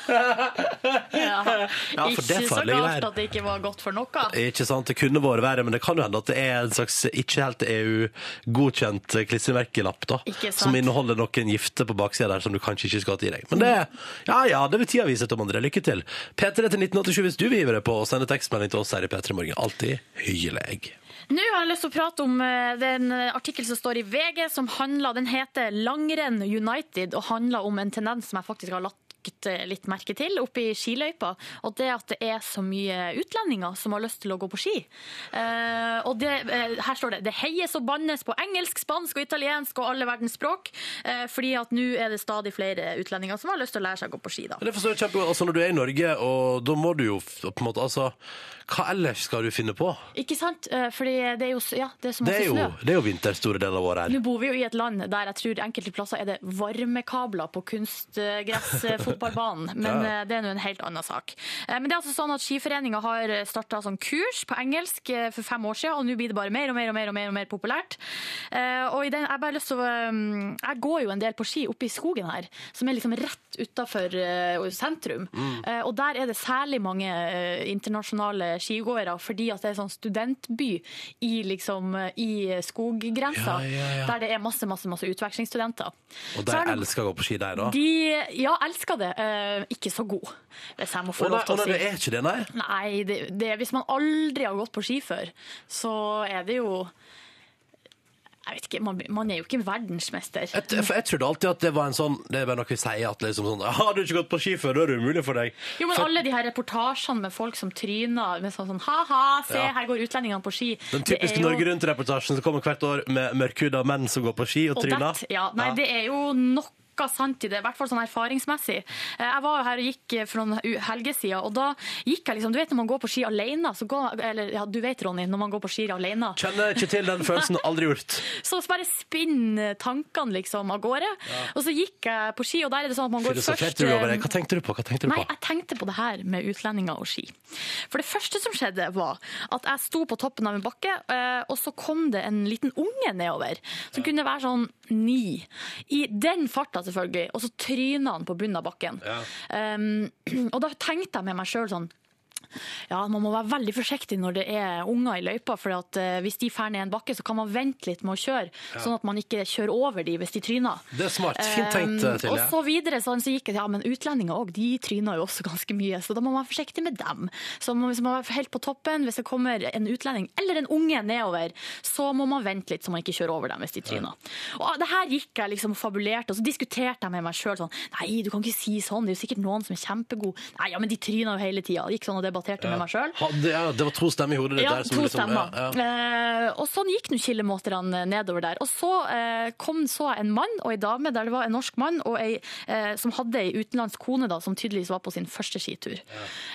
Ja, for det er ikke så farlige galt greier. at det ikke var godt for noe. Ikke sant, Det kunne vært verre, men det kan jo hende at det er en slags ikke helt EU-godkjent klistremerkelapp da, Ikke sant. som inneholder noen gifter på baksida der som du kanskje ikke skal ha hatt i deg. Men det, ja, ja, det vil tida vise, Tom André. Lykke til. P3 til 1987 hvis du vil gi deg på å sende tekstmelding til oss her i P3 Morgen. Alltid hyggelig. Nå har jeg lyst til å prate om eh, den artikkel som står i VG, som handler, den heter 'Langrenn United' og handler om en tendens som jeg faktisk har lagt eh, litt merke til oppe i skiløypa, og det at det er så mye utlendinger som har lyst til å gå på ski. Eh, og det, eh, her står det 'det heies og bannes på engelsk, spansk og italiensk og alle verdens språk', eh, fordi at nå er det stadig flere utlendinger som har lyst til å lære seg å gå på ski. da. Men det forstår jeg kjempegodt. Altså, når du er i Norge, og da må du jo f- på en måte Altså, hva ellers skal du finne på? Ikke sant? Eh, Fordi det er jo, s- ja, det er så Det masse er jo, snø. det er jo vinter store deler av året her. Nå bor vi jo i et land der jeg tror enkelte plasser er det varmekabler på kunstgressfotballbanen, men eh, det er nå en helt annen sak. Eh, Men det er altså sånn at Skiforeninga har starta sånn kurs på engelsk eh, for fem år siden, og nå blir det bare mer og mer og mer og mer, og mer populært. Eh, Og i den, jeg, bare har lyst til å, eh, jeg går jo en del på ski oppe i skogen her, som er liksom rett utafor sentrum. Eh, Og der er det særlig mange eh, internasjonale skigåere, fordi at det er sånn studentby i, liksom, eh, i skoggrensa, Ja, ja, ja. der det er masse, masse, masse utvekslingsstudenter. Og Så de er det- elsker å gå på ski, de, da. De ja, elsker det. eh, ikke så god, hvis jeg må få Å nei, lov til å å nei, det si. er ikke det, nei? Nei, det, det, hvis man aldri har gått på ski før, så er det jo Jeg vet ikke, man, man er jo ikke verdensmester. Jeg, for jeg trodde alltid at det var en sånn Det er bare noe vi sier at liksom sånn «Ah, Har du ikke gått på ski før, da er det umulig for deg. Jo, men for, alle de her reportasjene med folk som tryner med sånn, sånn ha-ha, se, Ja. her går utlendingene på ski. den Det er typiske jo- Norge Rundt-reportasjen som kommer hvert år med mørkhuda menn som går på ski og Og tryner. that, ja. Nei, Ja. det er jo noe sant i det, i hvert fall sånn erfaringsmessig. Eh, Jeg var jo her og gikk eh, for noen u- helger siden, og da gikk jeg liksom, du vet når man går på ski alene, så går, eller ja, du vet Ronny, når man går på ski alene, Kjenner ikke til den [LAUGHS] følelsen, aldri gjort. så bare spinner tankene liksom av gårde. Og så gikk jeg på ski, og der er det sånn at man går Filosoferte først... du over det? eh, Hva tenkte du på? Hva tenkte du Nei, på? jeg tenkte på det her med utlendinger og ski. For det første som skjedde var at jeg sto på toppen av en bakke, eh, og så kom det en liten unge nedover, som kunne være sånn ni. I den farta selvfølgelig, og så tryna han på bunnen av bakken. Um, [CLEARS THROAT] og da tenkte jeg med meg sjøl sånn ja, Man må være veldig forsiktig når det er unger i løypa. For at, eh, hvis de drar ned en bakke, så kan man vente litt med å kjøre. Sånn at man ikke kjører over de hvis de tryner. Det er smart. Fint tenkt, eh, Um, Og Silje. så videre, sånn, så gikk jeg, ja, men utlendinger også, de tryner jo også ganske mye, så da må man være forsiktig med dem. Så man, hvis man er helt på toppen, hvis det kommer en utlending eller en unge nedover, så må man vente litt så man ikke kjører over dem hvis de tryner. Og ah, det her gikk jeg liksom og fabulerte, og så diskuterte jeg med meg selv sånn, nei, du kan ikke si sånn, det er jo sikkert noen som er kjempegod. Nei, ja, men de tryner jo hele tiden. Jeg Gikk sånn og debatterte med meg selv. Ha, det, ja, det var to stemmer i hodet ditt Ja, der. som to liksom- stemmer. ja, ja. Eh, og sånn gikk nå kilometerne nedover der. Og så eh, kom så jeg en mann og ei dame, der det var en norsk mann og ei eh, som hadde ei utenlandsk kone da, som tydeligvis var på sin første skitur.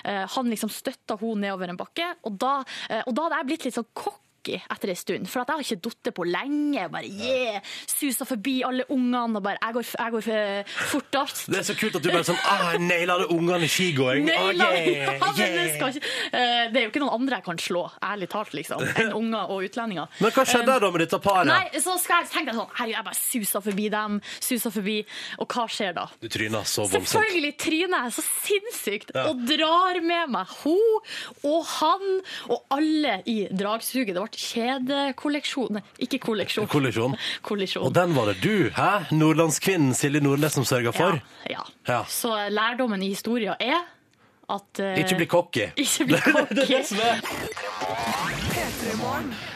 Eh, han liksom støtta hun nedover en bakke, og da, eh, og da hadde jeg blitt litt sånn kokk etter en stund, for at jeg har ikke dottet på lenge jeg bare, yeah, suset forbi alle ungene og bare, jeg går, jeg går eh, fortast [LAUGHS] Det er så kult at du bare sånn ah, jeg Naila det ungene i skigåing! Ah, Naila det! yeah, Ja, men det, yeah. skal ikke, Eh, det er jo ikke noen andre jeg kan slå, ærlig talt, liksom, [LAUGHS] enn unger og utlendinger. Men hva skjedde da med dette paret? Ehm, Nei, så skal jeg tenke sånn Herregud, jeg bare susa forbi dem, susa forbi. Og hva skjer da? Du tryna så voldsomt. Selvfølgelig tryner jeg så sinnssykt Ja. og drar med meg hun og han og alle i dragsuget. Det ble kjedekolleksjon. Nei, ikke kolleksjon. Kollisjon. Kollisjon. Og den var det du, hæ? Nordlandskvinnen Silje Nordnes som sørga for? Ja, ja. Ja. Så lærdommen i historien er at eh, Ikke bli cocky. [LAUGHS] ikke [LAUGHS] bli cocky.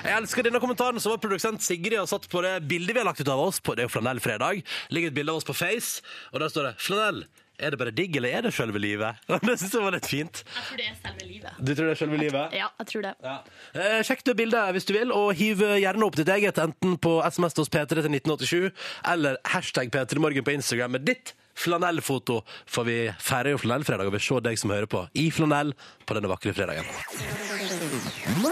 Jeg elsker denne kommentaren som var produsent Sigrid har satt på det bildet vi har lagt ut av oss. På, det er jo Flanell fredag. ligger et bilde av oss på Face, og der står det 'Flanell, er det bare digg, eller er det sjølve livet?' [LAUGHS] Det syns jeg var litt fint. Jeg tror det er selve livet. Du tror det er sjølve livet? Ja, jeg tror det. Ja. Eh, sjekk det bildet hvis du vil, og hiv gjerne opp ditt eget, enten på SMS hos P3 til 1987, eller hashtag P3morgen på Instagram med ditt flanellfoto, for vi feirer jo flanellfredag og vil se deg som hører på i flanell på denne vakre fredagen.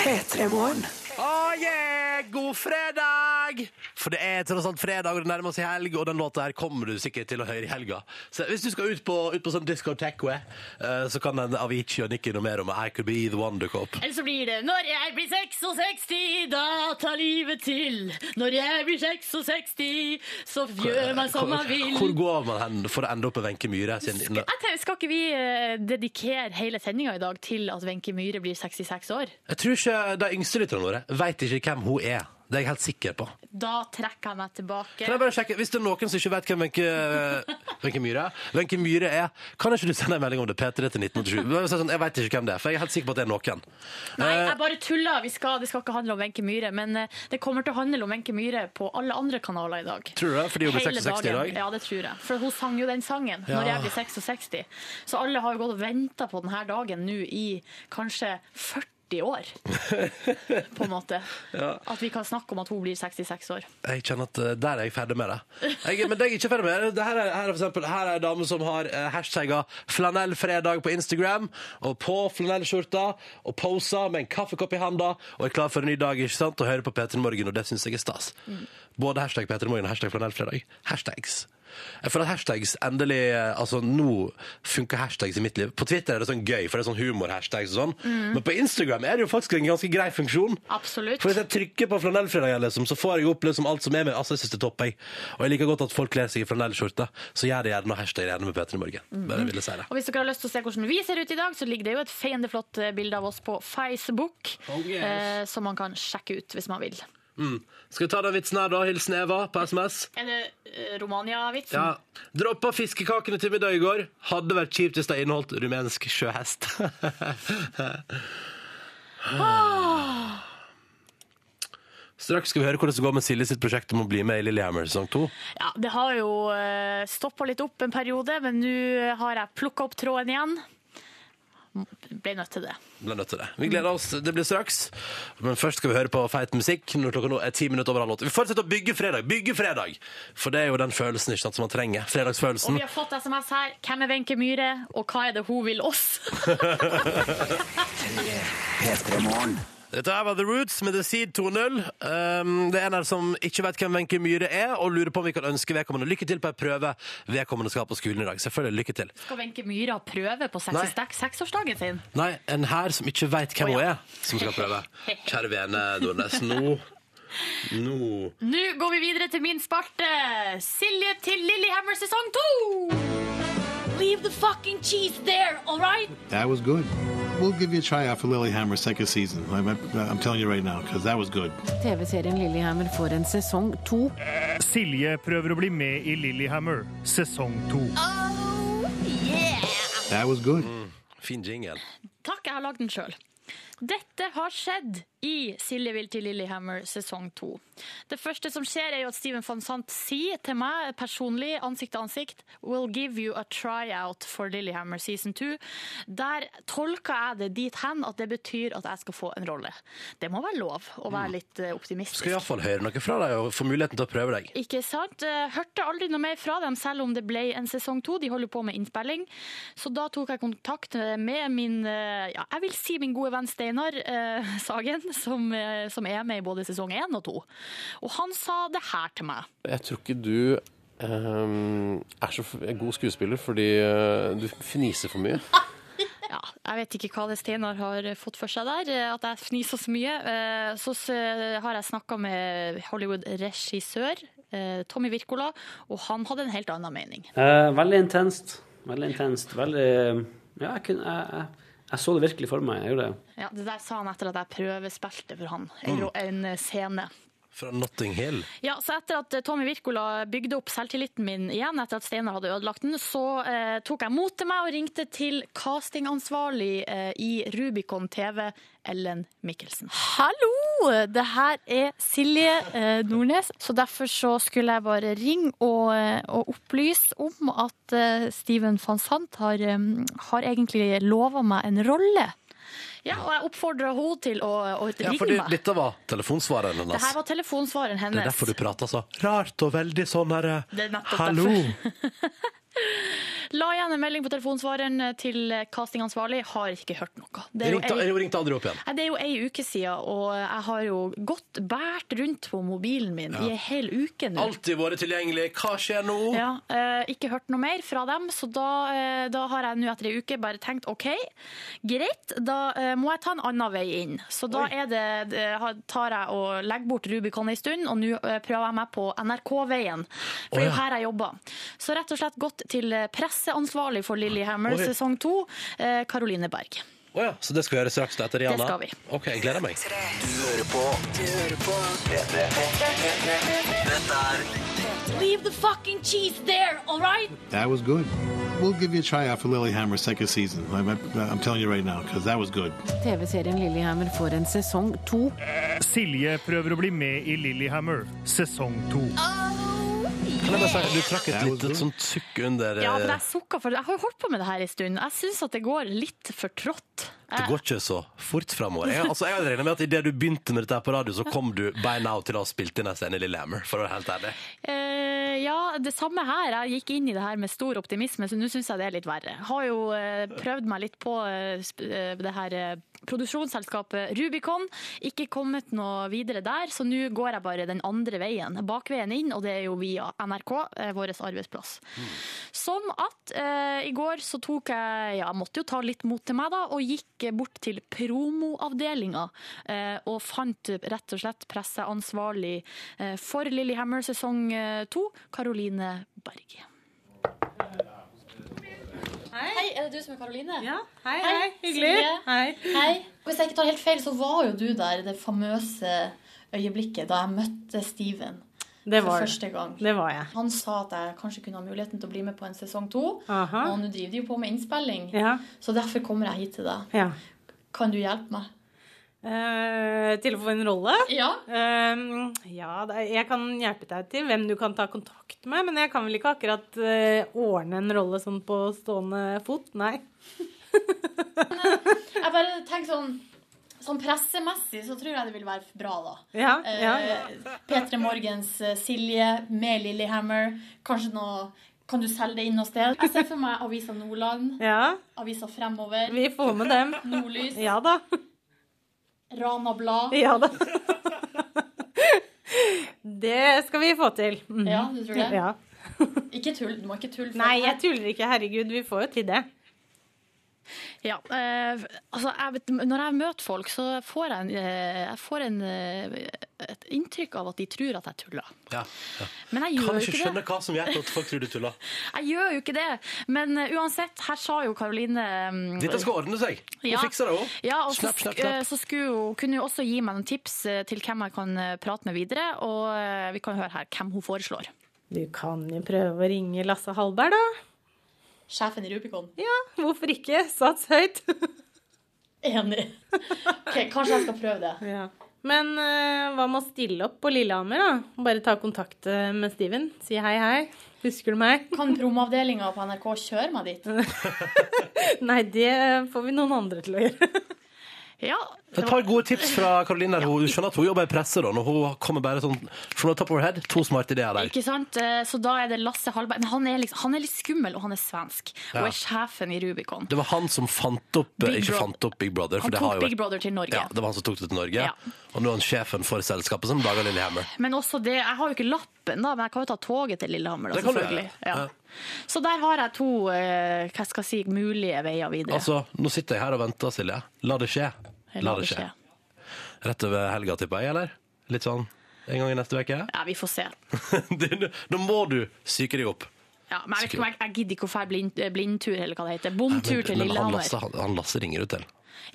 P3 Morgen. Å yeah! God fredag! fredag! For det er tross alt fredag, og det nærmer seg helg, og den låta her kommer du sikkert til å høre i helga. Så hvis du skal ut på, ut på sånn discoteque, eh, så kan den Avicii og Nikki noe mer om I Could Be The One dukke opp. Eller så blir det Når jeg blir 66, da tar livet til. Når jeg blir 66, så gjør man som man vil. Hvor går man hen for å ende opp med Wenche Myhre sin Jeg tenker, Skal ikke vi eh, dedikere hele sendinga i dag til at Wenche Myhre blir 66 år? Jeg tror ikke de yngste lytterne våre veit ikke hvem hun er. Det er jeg helt sikker på. Da trekker jeg meg tilbake. Kan jeg bare sjekke, Hvis det er noen som ikke vet hvem Wenche, eh, Wenche Myhre er, Wenche Myhre er, kan ikke du sende en melding om det P3 til 1987? Bare si Sånn, jeg veit ikke hvem det er, for jeg er helt sikker på at det er noen. Nei, Eh, jeg bare tuller. Vi skal, det skal ikke handle om Wenche Myhre. Men eh, det kommer til å handle om Wenche Myhre på alle andre kanaler i dag. Tror du det? Fordi hun blir Hele 66 i dagen. dag? Ja, det tror jeg. For hun sang jo den sangen Ja. når jeg blir 66. Så alle har jo gått og venta på denne dagen nå i kanskje 40 [LAUGHS] år, på en måte. At vi kan snakke om at hun blir 66 år. Jeg kjenner at eh, der er jeg ferdig med det. Jeg, men det er jeg ikke ferdig med. Det her, er, her, er for eksempel, her er en dame som har eh, hashtagga 'flanellfredag' på Instagram, og på flanellskjorta, og posa med en kaffekopp i handa, og er klar for en ny dag, ikke sant? Og hører på P3 Morgen, og det syns jeg er stas. Både hashtag P3 Morgen og hashtag flanellfredag. Hashtags. Jeg føler at hashtags endelig eh, Altså, nå funker hashtags i mitt liv. På Twitter er det sånn gøy, for det er sånn humor-hashtags og sånn. Men på Instagram er det jo faktisk en ganske grei funksjon. Absolutt. For hvis jeg trykker på flanellfredag, liksom, så får jeg opp liksom, alt som er med. Altså, jeg synes det er topp, jeg. Og jeg liker godt at folk kler seg i flanellskjorte, så gjør det gjerne og hashtag gjerne med Petter i morgen. Bare ville si det. Og hvis dere har lyst til å se hvordan vi ser ut i dag, så ligger det jo et feiende flott eh, bilde av oss på Facebook, Oh, eh, som man kan sjekke ut hvis man vil. Skal vi ta den vitsen her, da? Hilsen Eva på SMS. Er det eh, Romania-vitsen? Ja. Droppa fiskekakene til middag i går. Hadde vært kjipt hvis det inneholdt rumensk [LAUGHS] sjøhest. Straks skal vi høre hvordan det går med Silje sitt prosjekt om å bli med i Lillehammer sesong to. Ja, det har jo stoppa litt opp en periode, men nå eh, har jeg plukka opp tråden igjen. Ble nødt til det. Ble nødt til det. Vi gleder oss. Det blir straks. Men først skal vi høre på feit musikk når klokka nå er ti minutter over halv åtte. Vi fortsetter å bygge fredag. Bygge fredag! For det er jo den følelsen ikke sant, som man trenger. Og Fredagsfølelsen. vi har fått SMS her. Hvem er Wenche Myhre, og hva er det hun vil oss? Dette her var The Roots med The Seed 2.0. Um, det er en her som ikke vet hvem Wenche Myhre er, og lurer på om vi kan ønske vedkommende lykke til på en prøve vedkommende skal ha på skolen i dag. Selvfølgelig lykke til. [LAUGHS] Skal Wenche Myhre ha prøve på Nei. 66 seksårsdagen sin? Nei, en her som ikke veit hvem Å, hun ja. er, som skal prøve. Kjære vene Nordnes, nå Nå Nå går vi videre til min spalte. Silje til Lillehammer sesong to! Leave the fucking cheese there, all right? That was good. We'll give you a tryout for Lilyhammer second season. I'm, I'm telling you right now, because that was good. TV-serien Lillehammer får en sesong to. Silje prøver å bli med i Lillehammer, sesong to. That was good. Fin jingle. Takk, jeg har lagd den sjøl. Dette har skjedd i Silje vil til Lillehammer sesong to. Det første som skjer, er jo at Steven van Sant sier til meg personlig, ansikt til ansikt, will give you a tryout for Lillehammer season two. Der tolker jeg det dit hen at det betyr at jeg skal få en rolle. Det må være lov å være litt eh, optimistisk. Skal iallfall høre noe fra deg og få muligheten til å prøve deg. Ikke sant? Eh, Hørte aldri noe mer fra dem, selv om det ble en sesong to. De holder på med innspilling. Så da tok jeg kontakt med min, eh, ja, jeg vil si min gode venn Steinar eh, [LAUGHS] Sagen, som, eh, som er med i både sesong én og to. Og han sa det her til meg. Jeg tror ikke du ehm, er så f- god skuespiller fordi eh, du fniser for mye. Ja, jeg vet ikke hva det Steinar har fått for seg der, eh, at jeg fniser så mye. Eh, Så s- har jeg snakka med Hollywood-regissør eh, Tommy Wirkola, og han hadde en helt annen mening. Eh, veldig intenst. Veldig intenst. Veldig eh, Ja, jeg, kunne, jeg, jeg, jeg så det virkelig for meg. Jeg gjorde det. Ja, det der sa han etter at jeg prøvespilte for han, en, ro- en scene. Fra Notting Hill. Ja, så etter at eh, Tommy Wirkola bygde opp selvtilliten min igjen, etter at Steinar hadde ødelagt den, så eh, tok jeg mot til meg og ringte til castingansvarlig eh, i Rubicon TV, Ellen Mikkelsen. Hallo! Det her er Silje eh, Nordnes. Så derfor så skulle jeg bare ringe og, eh, og opplyse om at eh, Steven van Sant har, eh, har egentlig lova meg en rolle. Ja, og jeg oppfordra henne til å, å Ja, ringe for det- meg. dette var telefonsvareren hennes. Det her var telefonsvaren hennes. Det er eh, derfor du prater så rart og veldig sånn her [LAUGHS] Det er nettopp Hallo! La igjen en melding på telefonsvareren til castingansvarlig. Har ikke hørt noe. Det jo ringte, ei- ringte aldri opp igjen. Nei, Det er jo ei uke siden, og jeg har jo gått bært rundt på mobilen min Ja. i ei hel uke nå. Alltid vært tilgjengelig. Hva skjer nå? Ja, eh, ikke hørt noe mer fra dem, så da, eh, da har jeg nå etter ei uke bare tenkt OK, greit, da eh, må jeg ta en annen vei inn. Så da er det, det har- tar jeg og legger bort Rubicon ei stund, og nå eh, prøver jeg meg på NRK-veien. For det er Å, jo ja. her jeg jobber. Så rett og slett gått til eh, presseansvarlig for Lillehammer Oi. sesong to, eh, Karoline Berg. Å ja, så det skal vi gjøre straks da, etter Rihanna? Det skal vi. Ok, jeg gleder meg. Du hører på. Du hører på. Dette Dette er Leave the fucking cheese there, all right? That was good. We'll give you a tryout for Lilyhammer second season. I'm, I'm telling you right now, because that was good. TV-serien Lillehammer får en sesong to. Silje prøver å bli med i Lillehammer sesong to. Kan jeg bare si, du trakk et lite sånt sukk under Ja, men eh, jeg sukker for det. Jeg har jo holdt på med det her en stund. Jeg syns at det går litt for trått. Det går ikke så fort framover. Jeg, altså, jeg hadde regnet med at idet du begynte med dette her på radio, så kom du by now til å ha spilt inn en scene i Lillehammer, for å være helt ærlig. Eh, ja, det samme her. Jeg gikk inn i det her med stor optimisme, så nå syns jeg det er litt verre. Har jo eh, prøvd meg litt på eh, sp- eh, det her eh, produksjonsselskapet Rubicon. Ikke kommet noe videre der, så nå går jeg bare den andre veien. Bakveien inn, og det er jo via NRK, eh, vår arbeidsplass. Sånn at eh, i går så tok jeg Ja, jeg måtte jo ta litt mot til meg, da, og gikk bort til promoavdelinga eh, og fant rett og slett presseansvarlig eh, for Lillehammer sesong eh, to, Karoline Berg. Hei. er det du som er Karoline? Ja, hei, hei, hyggelig. Hei. Hvis jeg ikke tar helt feil, så var jo du der i det famøse øyeblikket da jeg møtte Steven. Det var for det. første gang. Det var jeg. Han sa at jeg kanskje kunne ha muligheten til å bli med på en sesong to. Aha. Og nå driver de jo på med innspilling, Ja. så derfor kommer jeg hit til deg. Ja. Kan du hjelpe meg? Eh, til å få en rolle? Ja. Ehm, ja, det er- jeg kan hjelpe deg til hvem du kan ta kontakt med, men jeg kan vel ikke akkurat eh, ordne en rolle sånn på stående fot, nei. Jeg bare tenker sånn Sånn pressemessig så tror jeg det vil være bra, da. Eh, Ja, ja, Eh. ja. P3 Morgens eh, Silje med Lillehammer. Kanskje noe Kan du selge det inn noe sted? Jeg ser for meg Avisa Nordland. Ja. Avisa Fremover. Vi får med dem. Nordlys. Ja da. Rana Blad. Ja da. [LAUGHS] Det skal vi få til. Mhm. Ja, du tror det? Ja. Ikke tull. Du må ikke tulle. Nei, jeg tuller ikke. Herregud, vi får jo til det. Ja, eh, altså jeg, vet- Når jeg møter folk, så får jeg, en, eh, jeg får en, eh, et inntrykk av at de tror at jeg tuller. Ja. ja. Men jeg gjør kan jo ikke ikke det. skjønne hva som gjør at folk tror du [LAUGHS] tuller. Jeg gjør jo ikke det, men eh, uansett, her sa jo Karoline eh, Dette skal ordne seg. Hun fikser det òg. Ja, og Snapp, så, snapp, sk- eh, snapp. så skulle hun, kunne hun også gi meg noen tips eh, til hvem jeg kan eh, prate med videre, og eh, vi kan høre her hvem hun foreslår. Du kan jo prøve å ringe Lasse [LAUGHS] Hallberg, da. Sjefen i Rubicon. Ja, hvorfor ikke? Sats høyt. [LAUGHS] Enig. Ok, Kanskje jeg skal prøve det. Ja. Men eh, hva med å stille opp på Lillehammer, da? Bare ta kontakt eh, med Steven. Si hei, hei. Husker du meg? Kan promoavdelinga på NRK kjøre meg dit? Nei, det får vi noen andre til å gjøre. Ja. Et par gode tips fra Karoline. der. Hun skjønner at hun jobber i presse, da, når hun kommer bare sånn from the top of her head. To smarte ideer der. Ikke sant? Eh, Så da er det Lasse Hallberg. Men han er, liksom, han er litt skummel, og han er svensk. Ja. Og er sjefen i Rubicon. Det var han som fant opp Big Ikke Brother. fant opp Big Brother. for Han det har tok jo Big vært- Brother til Norge. Ja, det var han som tok det til Norge. Og nå er han sjefen for selskapet som lager Lillehammer. Men også det, jeg har jo ikke lappen, da, men jeg kan jo ta toget til Lillehammer. Da, Det kan du selvfølgelig. gjøre. Ja. Så der har jeg to eh, hva skal jeg si, mulige veier videre. Altså, nå sitter jeg her og venter, Silje. La det skje. La det skje. Rett over helga, tipper jeg, eller? Litt sånn en gang i neste uke? [LAUGHS] Ja, vi får se. Du- Da må du psyke deg opp. Ja, men jeg, vet ikke, om jeg, jeg gidder ikke å dra blind, eh, blindtur, eller hva det heter. Bomtur Men, til men han, Lillehammer. Lasse, han, han Lasse ringer ut til.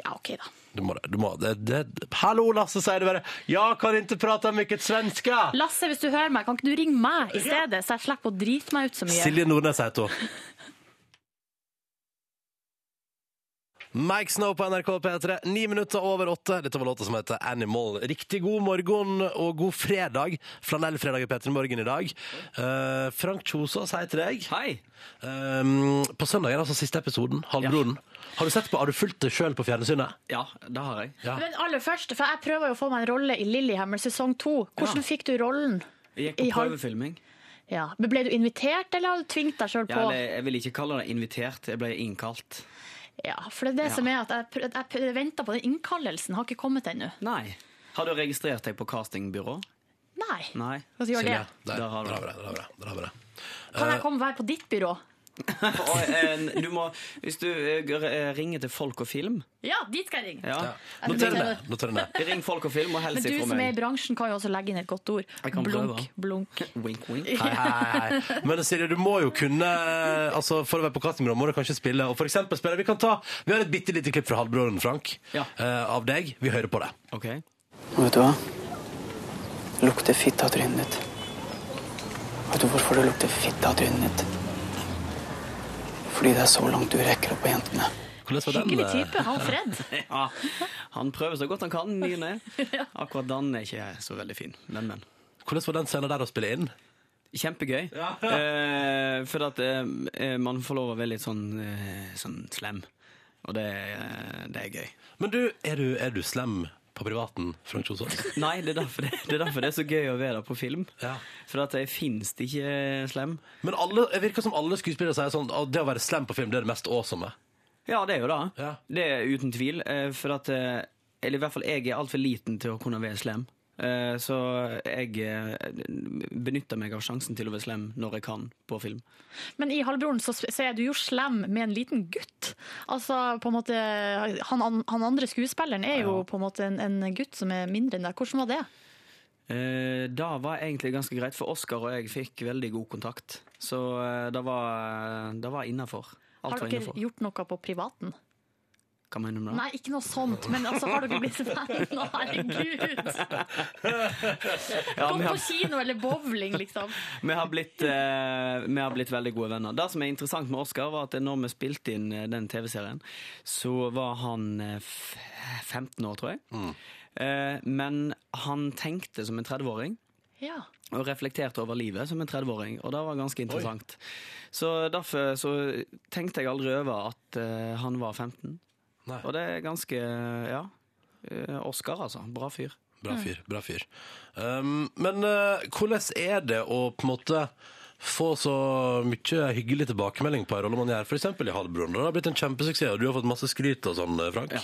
Ja, OK, da. Du må, du må, det, det, Hallo, Lasse, sier du bare. Jeg kan ikke prate mycket svenska. Lasse, hvis du hører meg, kan ikke du ringe meg i stedet, så jeg slipper å drite meg ut så mye? Silje Nordnes heter hun. Mike Snow på NRK P3, ni minutter over åtte. Dette var låta som heter Animal. Riktig god morgen og god fredag. Flanellfredag i P3 Morgen i dag. Eh, Frank Kjosås, hei til deg. Hei. på søndag er det altså siste episoden, Halvbroren. Har du sett på, har du fulgt det sjøl på fjernsynet? Ja, det har jeg. Men aller først, for jeg prøver jo å få meg en rolle i Lillehammer sesong to. Hvordan fikk du rollen? Jeg I gikk på halv- prøvefilming. Ja. Men ble du invitert, eller har du tvingt deg sjøl Ja, på? eller, jeg vil ikke kalle det invitert, jeg ble innkalt. Ja, for det er det Ja. som er at jeg, pr- jeg pr- venter på den innkallelsen, har ikke kommet ennå. Nei. Har du registrert deg på castingbyrå? Nei. [LAUGHS] Nei. Hva gjør det? Der, har du det. Kan eh, jeg komme og være på ditt byrå? Oi, eh, du må, hvis du eh, gr- eh, ringer til Folk og Film Ja, dit skal jeg ringe. ja. Ja. Noter det ned, Ring Folk og Film og Men hils du ifra som er i meg. bransjen kan jo også legge inn et godt ord. Jeg kan prøve. Blunk, blunk. [LAUGHS] Wink, wink. Hei, hei, hei. Men Silje, du må jo kunne Altså, For å være på castingbyrå må du kanskje spille. Og for eksempel spille Vi kan ta Vi har et bitte lite klipp fra halvbroren Frank eh, av deg. Vi hører på det. Vet du hva? Det lukter fitte av trynet ditt. Vet du hvorfor det lukter fitte av trynet ditt? Fordi det er så langt du rekker opp på jentene. Hvordan var den, Hyggelig eh? type, han Fred. ja, han prøver så godt han kan. ny og ne. Akkurat den er ikke så veldig fin. Men, men. Hvordan var den scenen der å spille inn? Kjempegøy. Eh, for at eh, eh, man får lov å være litt sånn, eh, sånn slem. Og det, eh, det er gøy. Men du, er du, er du slem på privaten, Frank Kjosås? Nei, det er, derfor det, det er derfor det er så gøy å være der på film. For at jeg finnes det ikke slem. Men alle, det virker som alle skuespillere sier sånn at det å være slem på film, det er det mest awesome. Ja, det er jo det. Det er uten tvil. eh, For at eh, Eller i hvert fall jeg er altfor liten til å kunne være slem. Eh, Så jeg eh, benytter meg av sjansen til å være slem når jeg kan på film. Men i Halvbroren så s- så er du jo slem med en liten gutt. Altså på en måte Han, an- han andre skuespilleren er jo på en måte en, en gutt som er mindre enn deg. Hvordan var det? Eh, Det var egentlig ganske greit, for Oskar og jeg fikk veldig god kontakt. Så eh, det var, det var innafor. Har Alt var dere innafor. gjort noe på privaten? Hva mener du med det? Nei, ikke noe sånt, men altså, har dere blitt [LAUGHS] venner? Å, [LAUGHS] Herregud! Ja, Gått vi på har- kino eller bowling, liksom. Vi har, blitt, eh, vi har blitt veldig gode venner. Det som er interessant med Oskar, var at når vi spilte inn eh, den TV-serien, så var han eh, f- 15 år, tror jeg. Eh, men han tenkte som en 30-åring. Ja. Og reflekterte over livet som en 30-åring, og det var ganske interessant. Så derfor så tenkte jeg aldri over at eh, han var 15. Og det er ganske Ja. eh, Oskar, altså. Bra fyr. Bra fyr. bra fyr. Um, men eh, hvordan er det å på en måte få så mye hyggelig tilbakemelding på en rolle man gjør, f.eks. i Halvbroren? da? Det har blitt en kjempesuksess, og du har fått masse skryt og sånn, eh, Frank.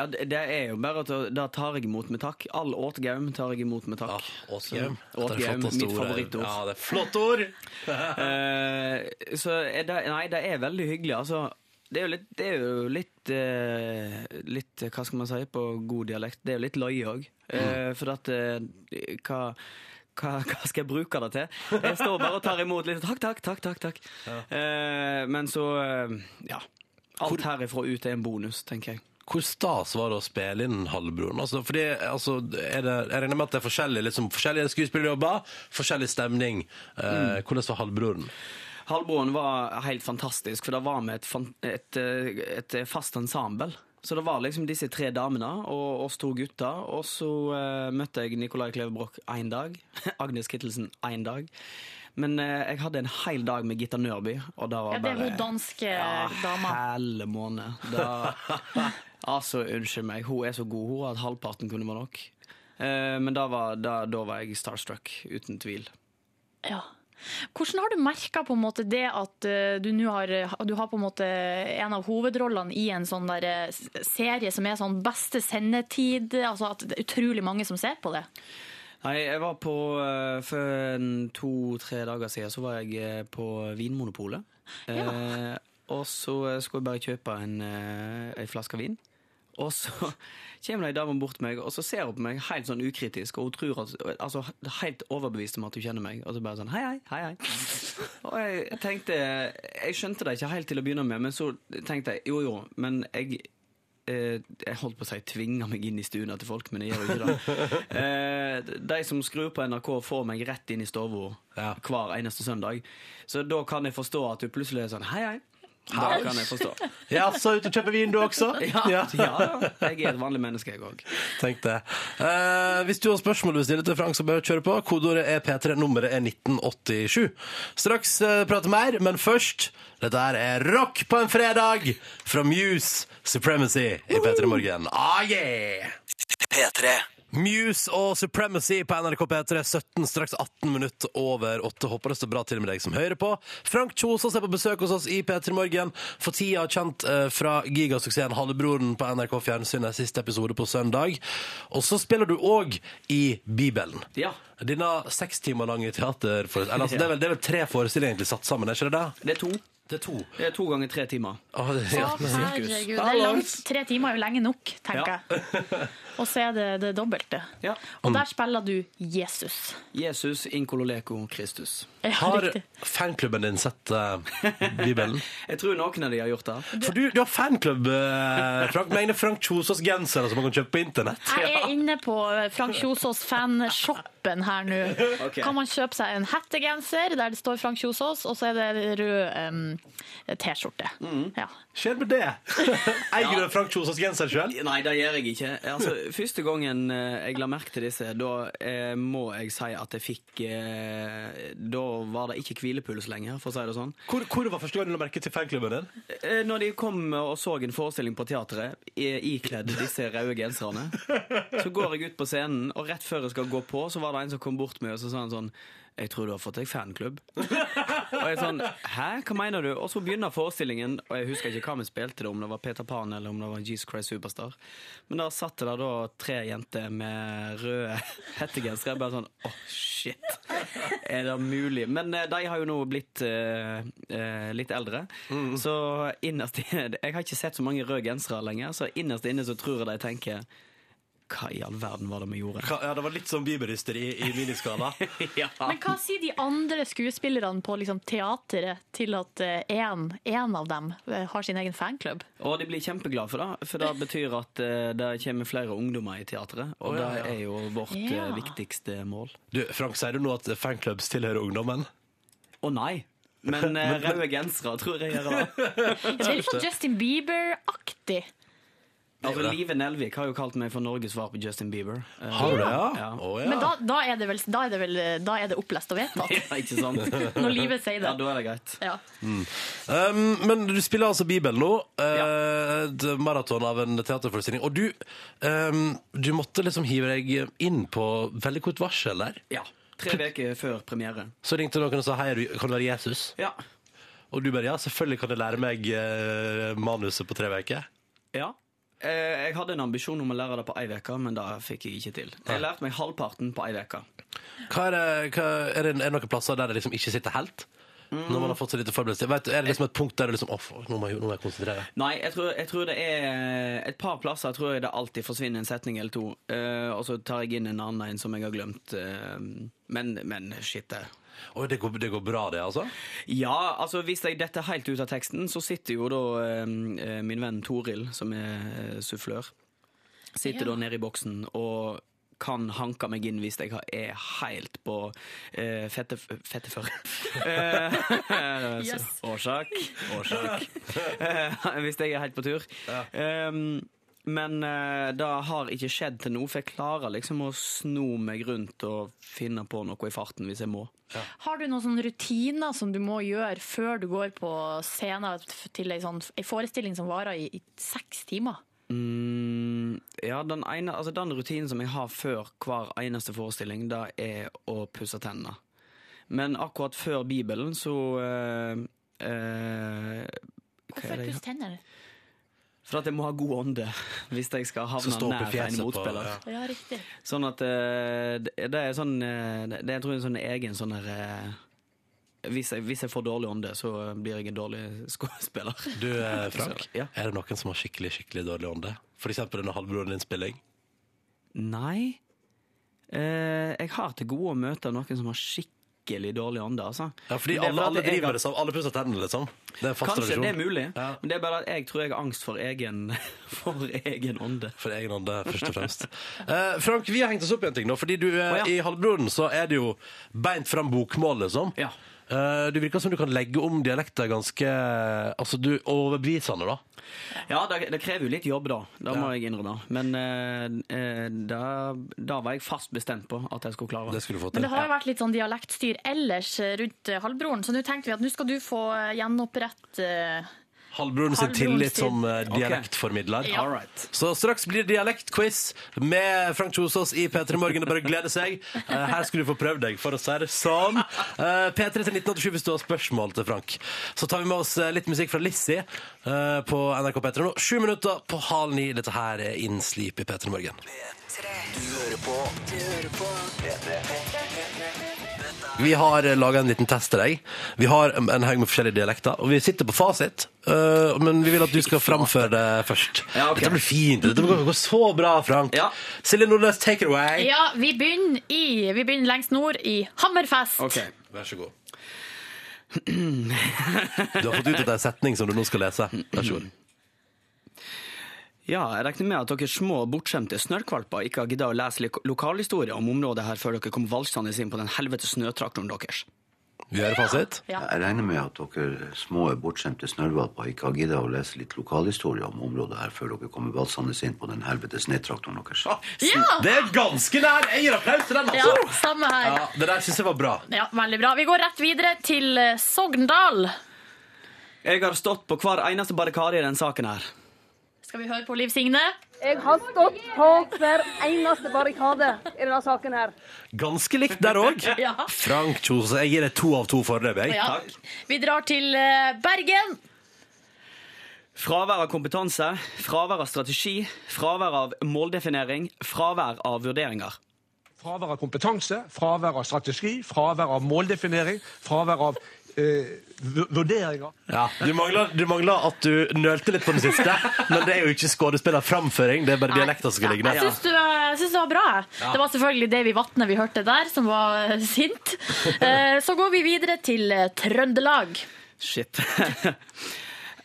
Ja, det det er jo bare at Da tar jeg imot med takk. All Åtgaum tar jeg imot med takk. Ja, Åtgaum. Det Ah, er Åtgaum, flotteste mitt ordet. favorittord. Ja, det er flott ord! Eh, så er det, nei, det er veldig hyggelig, altså. Det er jo litt, det er jo litt, eh, litt Hva skal man si på god dialekt? Det er jo litt løye òg. for at eh, hva, hva, hva skal jeg bruke det til? Jeg står bare og tar imot litt takk, takk, takk. takk, takk. Eh, men så, eh, ja. Alt herifra ut er en bonus, tenker jeg. Hvor stas var det å spille inn Halvbroren? Altså, fordi, altså, er det, jeg regner med at det er forskjellig, liksom, forskjellige skuespillerjobber, forskjellig stemning. Eh, Mm. Hvordan var Halvbroren? Halvbroen var helt fantastisk, for da var vi et, fan- et, eh, et fast ensemble. Så det var liksom disse tre damene og oss to gutter. Og så eh, møtte jeg Nicolai Kleve Broch én dag. [LAUGHS] Agnes Kittelsen én dag. Men eh, jeg hadde en hel dag med Gitta Nørby, og det var Ja, det er bare Ah, hun danske dama. Hele måned. Da, [LAUGHS] altså, unnskyld meg, hun er så god hun at halvparten kunne være nok. Eh, men da var, da, da var jeg starstruck, uten tvil. Ja. Hvordan har du merka på en måte det at eh, du nå har, du har på en måte en av hovedrollene i en sånn der eh, s- serie som er sånn beste sendetid, altså at det er utrolig mange som ser på det? Nei, jeg var på eh, For en to-tre dager siden så var jeg eh, på Vinmonopolet. Eh, og så eh, skulle jeg bare kjøpe en, eh, en flaske vin. Og så [LAUGHS] kommer det ei dame bort til meg, og så ser hun på meg helt sånn ukritisk. Og hun tror at, altså, helt overbevist om at hun kjenner meg. Og så bare sånn hei, hei, hei, hei. [LAUGHS] Og jeg tenkte Jeg skjønte det ikke helt til å begynne med, men så tenkte jeg jo, jo, men jeg eh, jeg holdt på å si tvinga meg inn i stuen til folk, men jeg gjør jo ikke det. Eh, de som skrur på NRK, får meg rett inn i stua hver eneste søndag. Så da kan jeg forstå at du plutselig er sånn hei, hei. Da Hei. kan jeg forstå. Ja, så ut og kjøpe vin du også? [LAUGHS] Ja, ja. da. jeg er et vanlig menneske, jeg òg. Tenk det. Eh, hvis du har spørsmål du vil stille til Frank, så bare kjør på. Kodeordet er P3, nummeret er 1987. Straks eh, prate mer, men først Dette her er rock på en fredag fra Muse Supremacy i P3 Morgen. Ah, yeah! P3. Muse og Supremacy på NRK P3 17, straks 18 minutter over 8. Håper det står bra til med deg som hører på. Frank Kjosås er på besøk hos oss i P3 Morgen. For tida kjent eh, fra gigasuksessen Halvbroren på NRK Fjernsynet, siste episode på søndag. Og så spiller du òg i Bibelen. Ja. Denne seks timer lange teater... Eller, altså, det, er vel, det er vel tre forestillinger egentlig satt sammen, er ikke det det? Det er to. Det er to. Det er to ganger tre timer. Å, det- ja. Å, Herregud, det er langt. Tre timer er jo lenge nok, tenker Ja. jeg. Og så er det det dobbelte. Og der spiller du Jesus. Jesus inkololeko Kristus. Ja, Har [LAUGHS] riktig. fanklubben din sett eh, Bibelen? Jeg tror noen av de har gjort det. For du, du har fanklubb, eh, Frank. Med egne Frank Kjosås-gensere som man kan kjøpe på internett. Jeg er inne på eh, Frank Kjosås fanshoppen her nå. Ok. Kan man kjøpe seg en hettegenser der det står Frank Kjosås, og så er det rød em, T-skjorte. Ja. Skjer med det? [LAUGHS] Eier du en Frank Kjosås-genser sjøl? Nei, det gjør jeg ikke. Altså, første gangen eh, jeg la merke til disse, da eh, må jeg si at jeg fikk eh, Da var det ikke hvilepuls lenger, for å si det sånn. Hvor, hvor var første gang du la merke til fanklubben din? Eh, Når de kom og så en forestilling på teatret i- ikledd disse røde genserne, så går jeg ut på scenen, og rett før jeg skal gå på, så var det en som kom bort meg og så sa han sånn jeg tror du har fått deg fanklubb. Og jeg er sånn, hæ, hva mener du? Og så begynner forestillingen, og jeg husker ikke hva vi spilte det, om det var Peter Pan eller om det var Jesus Christ Superstar. Men der satt det da tre jenter med røde [LAUGHS] hettegensere. Jeg Bare sånn, åh, shit. Er det mulig? Men eh, de har jo nå blitt eh, eh, litt eldre. Så innerst inne Jeg har ikke sett så mange røde gensere lenger, så innerst inne så tror jeg de tenker Hva i all verden var det [LAUGHS] vi gjorde? Ja, det var litt sånn biberysteri i [LAUGHS] miniskala. ja. Men hva sier de andre skuespillerne på liksom, teateret til at én av dem eh, har sin egen fanklubb? Og de blir kjempeglade for det, [LAUGHS] for det betyr at eh, det kommer flere ungdommer i teatret. Å, Og ja, ja. det er jo vårt eh, Ja. viktigste mål. Du, Frank, sier du nå at fanklubbs tilhører ungdommen? Å [LAUGHS] nei. Men eh, Men- røde gensere tror [LAUGHS] jeg gjør det. Ja, det er litt sånn Justin Bieber-aktig. Altså, Live Nelvik har jo kalt meg for Norges svar på Justin Bieber. Eh, Har du det, ja? Å, Men da, da, er det vel, da, er det vel, eh, da er det opplest og [LAUGHS] vedtatt. [LAUGHS] Ja, ikke [LAUGHS] sant? Når livet sier det. Ja, da er det greit. Ja. Mm. Um, men du spiller altså Bibelen nå. eh, Et maraton av en teaterforestilling. Og du, um, du måtte liksom hive deg inn på veldig kort varsel der. Ja. Tre uker før premiere. Så ringte noen og sa hei, er du- kan du være Jesus? Ja. Og du bare ja, selvfølgelig kan jeg lære meg eh, manuset på tre uker. Ja. Eh, Jeg hadde en ambisjon om å lære det på ei uke, men det fikk jeg ikke til. Jeg lærte meg halvparten på ei uke. Hva er, det, hva, er, det, er det noen plasser der det liksom ikke sitter helt? Når man har fått så lite forberedelse? Vet du, Er det liksom et punkt der du liksom Å, faen, nå, må jeg- nå må jeg konsentrere. Nei, jeg tror, jeg tror det er eh, et par plasser tror jeg det alltid forsvinner en setning eller to. eh, og så tar jeg inn en annen en som jeg har glemt. eh, men, men shit, det. Oi, det går, det går bra, det, altså? Ja, altså hvis jeg detter helt ut av teksten, så sitter jo da eh, min venn Toril, som er eh, sufflør, sitter Ja. da nede i boksen og kan hanke meg inn hvis jeg har- er helt på eh, fette, fette før. [LAUGHS] Eh, så- Yes. Årsak. Årsak. Eh, hvis jeg er helt på tur. Um, men eh, det har ikke skjedd til nå, for jeg klarer liksom å sno meg rundt og finne på noe i farten hvis jeg må. Har du noen sånne rutiner som du må gjøre før du går på scenen til ei, sånn, ei forestilling som varer i, i seks timer? Mm, ja, den, ene, altså den rutinen som jeg har før hver eneste forestilling, det er å pusse tennene. Men akkurat før Bibelen, så eh, eh, hva er Hvorfor det jeg- pusse tennene? For at jeg må ha god ånde [LAUGHS] hvis jeg skal Så havne stå opp i Sånn nær en fjeset på- motspiller. Ja, riktig. Sånn at eh, det det er sånn eh, Det det er jeg tror en sånn egen sånn der eh, hvis, jeg- hvis jeg får dårlig ånde, så blir jeg en dårlig skuespiller. Du, eh, Frank, Ja. er det noen som har skikkelig skikkelig dårlig ånde? For eksempel denne halvbroren din spilling? Nei. Eh, jeg har til gode å møte noen som har skikkelig dårlig ånde. Altså. Ja, fordi Men det er alle, for at alle jeg driver har- det sånn. Alle pusser tennene, liksom. Det er fast Kanskje tradisjon. det er mulig, men det er bare at jeg tror jeg har angst for egen, [LAUGHS] for egen ånde. For egen ånde, først og fremst. [LAUGHS] Eh, Frank, vi har hengt oss opp i en ting nå, fordi du eh, Å, ja. i Halvbroren så er det jo beint fram bokmål, liksom. Eh, du virker som du kan legge om dialekter ganske Altså, du er overbevisende, da. Ja, det, det krever jo litt jobb, da. Det må jeg innrømme. Men eh, eh, da, da var jeg fast bestemt på at jeg skulle klare det. Men det har jo vært litt sånn dialektstyr ellers rundt eh, halvbroren, så nå tenkte vi at nå skal du få eh, gjenopprette eh, Halvbroren sin Halvbroren tillit sin. som eh, Ok. dialektformidler. Ja. All right. Så straks blir det dialektquiz med Frank Kjosås i P3 Morgen. Det er bare å glede seg. Eh, Her skulle du få prøvd deg, for å si det sånn. Eh, P3 til 1987 hvis du har spørsmål til Frank. Så tar vi med oss eh, litt musikk fra Lissi eh, på NRK P3 nå. Sju minutter på halv ni. Dette her er Innslip i P3 Morgen. Du hører på. Du hører på. Vi har laga en liten test til deg. Vi har um, en haug med forskjellige dialekter, og vi sitter på fasit. øh, men vi vil at du skal framføre det først. Dette blir fint. Dette går, går så bra, Frank. Silje Nordnes, take it away. Ja, vi begynner, i, vi begynner lengst nord, i Hammerfest. Vær så god. Du har fått ut etter en setning som du nå skal lese. Vær så god. Ja, jeg regner med at dere små, bortskjemte snørrkvalper ikke har giddet å lese lok lokalhistorie om området her før dere kom valsende inn på den helvete snøtraktoren deres. Vi hører fasit. Jeg regner med at dere små, bortskjemte snørrvalper ikke har giddet å lese litt lokalhistorie om området her før dere kommer valsende inn på den helvetes snøtraktoren deres. Ja. Det er ganske nær! Jeg gir applaus til den, Ja, altså. samme her. Ja, det der syns jeg var bra. Ja, veldig bra. Vi går rett videre til eh, Sogndal. Jeg har stått på hver eneste barrikade i den saken her. Skal vi høre på Liv Signe? Jeg har stått på hver eneste barrikade i denne saken her. Ganske likt der òg. Ja. Frank Kjos, jeg gir deg to av to foreløpig. Ja. Vi drar til eh, Bergen. Fravær av kompetanse, fravær av strategi, fravær av måldefinering, fravær av vurderinger. Fravær av kompetanse, fravær av strategi, fravær av måldefinering, fravær av eh, vu- vurderinger. Ja, du mangler, du mangler at du nølte litt på den siste, men det er jo ikke skuespillerframføring, det er bare dialekter som skal ligge Jeg der. syns, du, eh, jeg syns det var bra. jeg. Ja. Det var selvfølgelig Davy Vatne vi hørte der, som var eh, sint. Eh, Så går vi videre til eh, Trøndelag. [LAUGHS] Shit. [LAUGHS]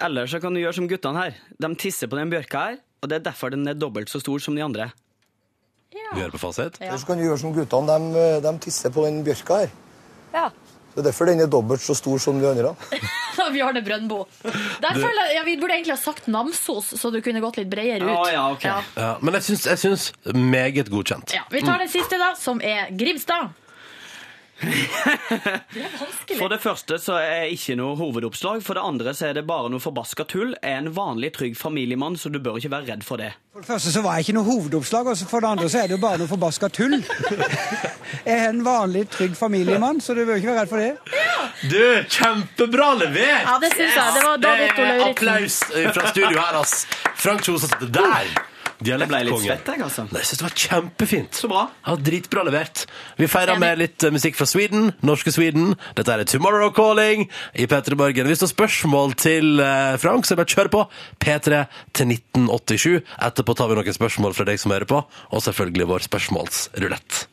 Eller så kan du gjøre som guttene her. De tisser på den bjørka her, og det er derfor den er dobbelt så stor som de andre. Vi hører på fasit. Eller så kan du gjøre som guttene. De, de tisser på den bjørka her. Ja. Det er derfor den er dobbelt så stor som de andre. Da Bjarne Brøndbo. Der Du- føler jeg, ja, vi burde egentlig ha sagt Namsos, så du kunne gått litt bredere ut. Ja. Ja, men jeg syns, jeg syns meget godkjent. Ja, vi tar den siste, da, som er Grimstad. For det første så er ikke noe hovedoppslag, for det andre så er det bare noe forbaska tull. Jeg er en vanlig trygg familiemann, så du bør ikke være redd for det. For det første så var jeg ikke noe hovedoppslag, og så for det andre så er det jo bare noe forbaska tull. [LAUGHS] Jeg er en vanlig, trygg familiemann, så du bør ikke være redd for det. Du, kjempebra levert! Ja, det syns jeg. Det var Dag Otto er Lauritzen. Applaus eh, fra studio her, ass. Frank Kjos har sittet der. Jeg Uh, ble litt Dialektkongen. svett, jeg, altså. Nei, Jeg syns det var kjempefint. Så bra. Ja, Dritbra levert. Vi feirer med litt eh, musikk fra Sweden. Norske Sweden. Dette er Tomorrow Calling i P3 Morgen. Hvis du har spørsmål til eh, Frank, så er det bare å kjøre på. P3 til 1987. Etterpå tar vi noen spørsmål fra deg som hører på, og selvfølgelig vår spørsmålsrulett.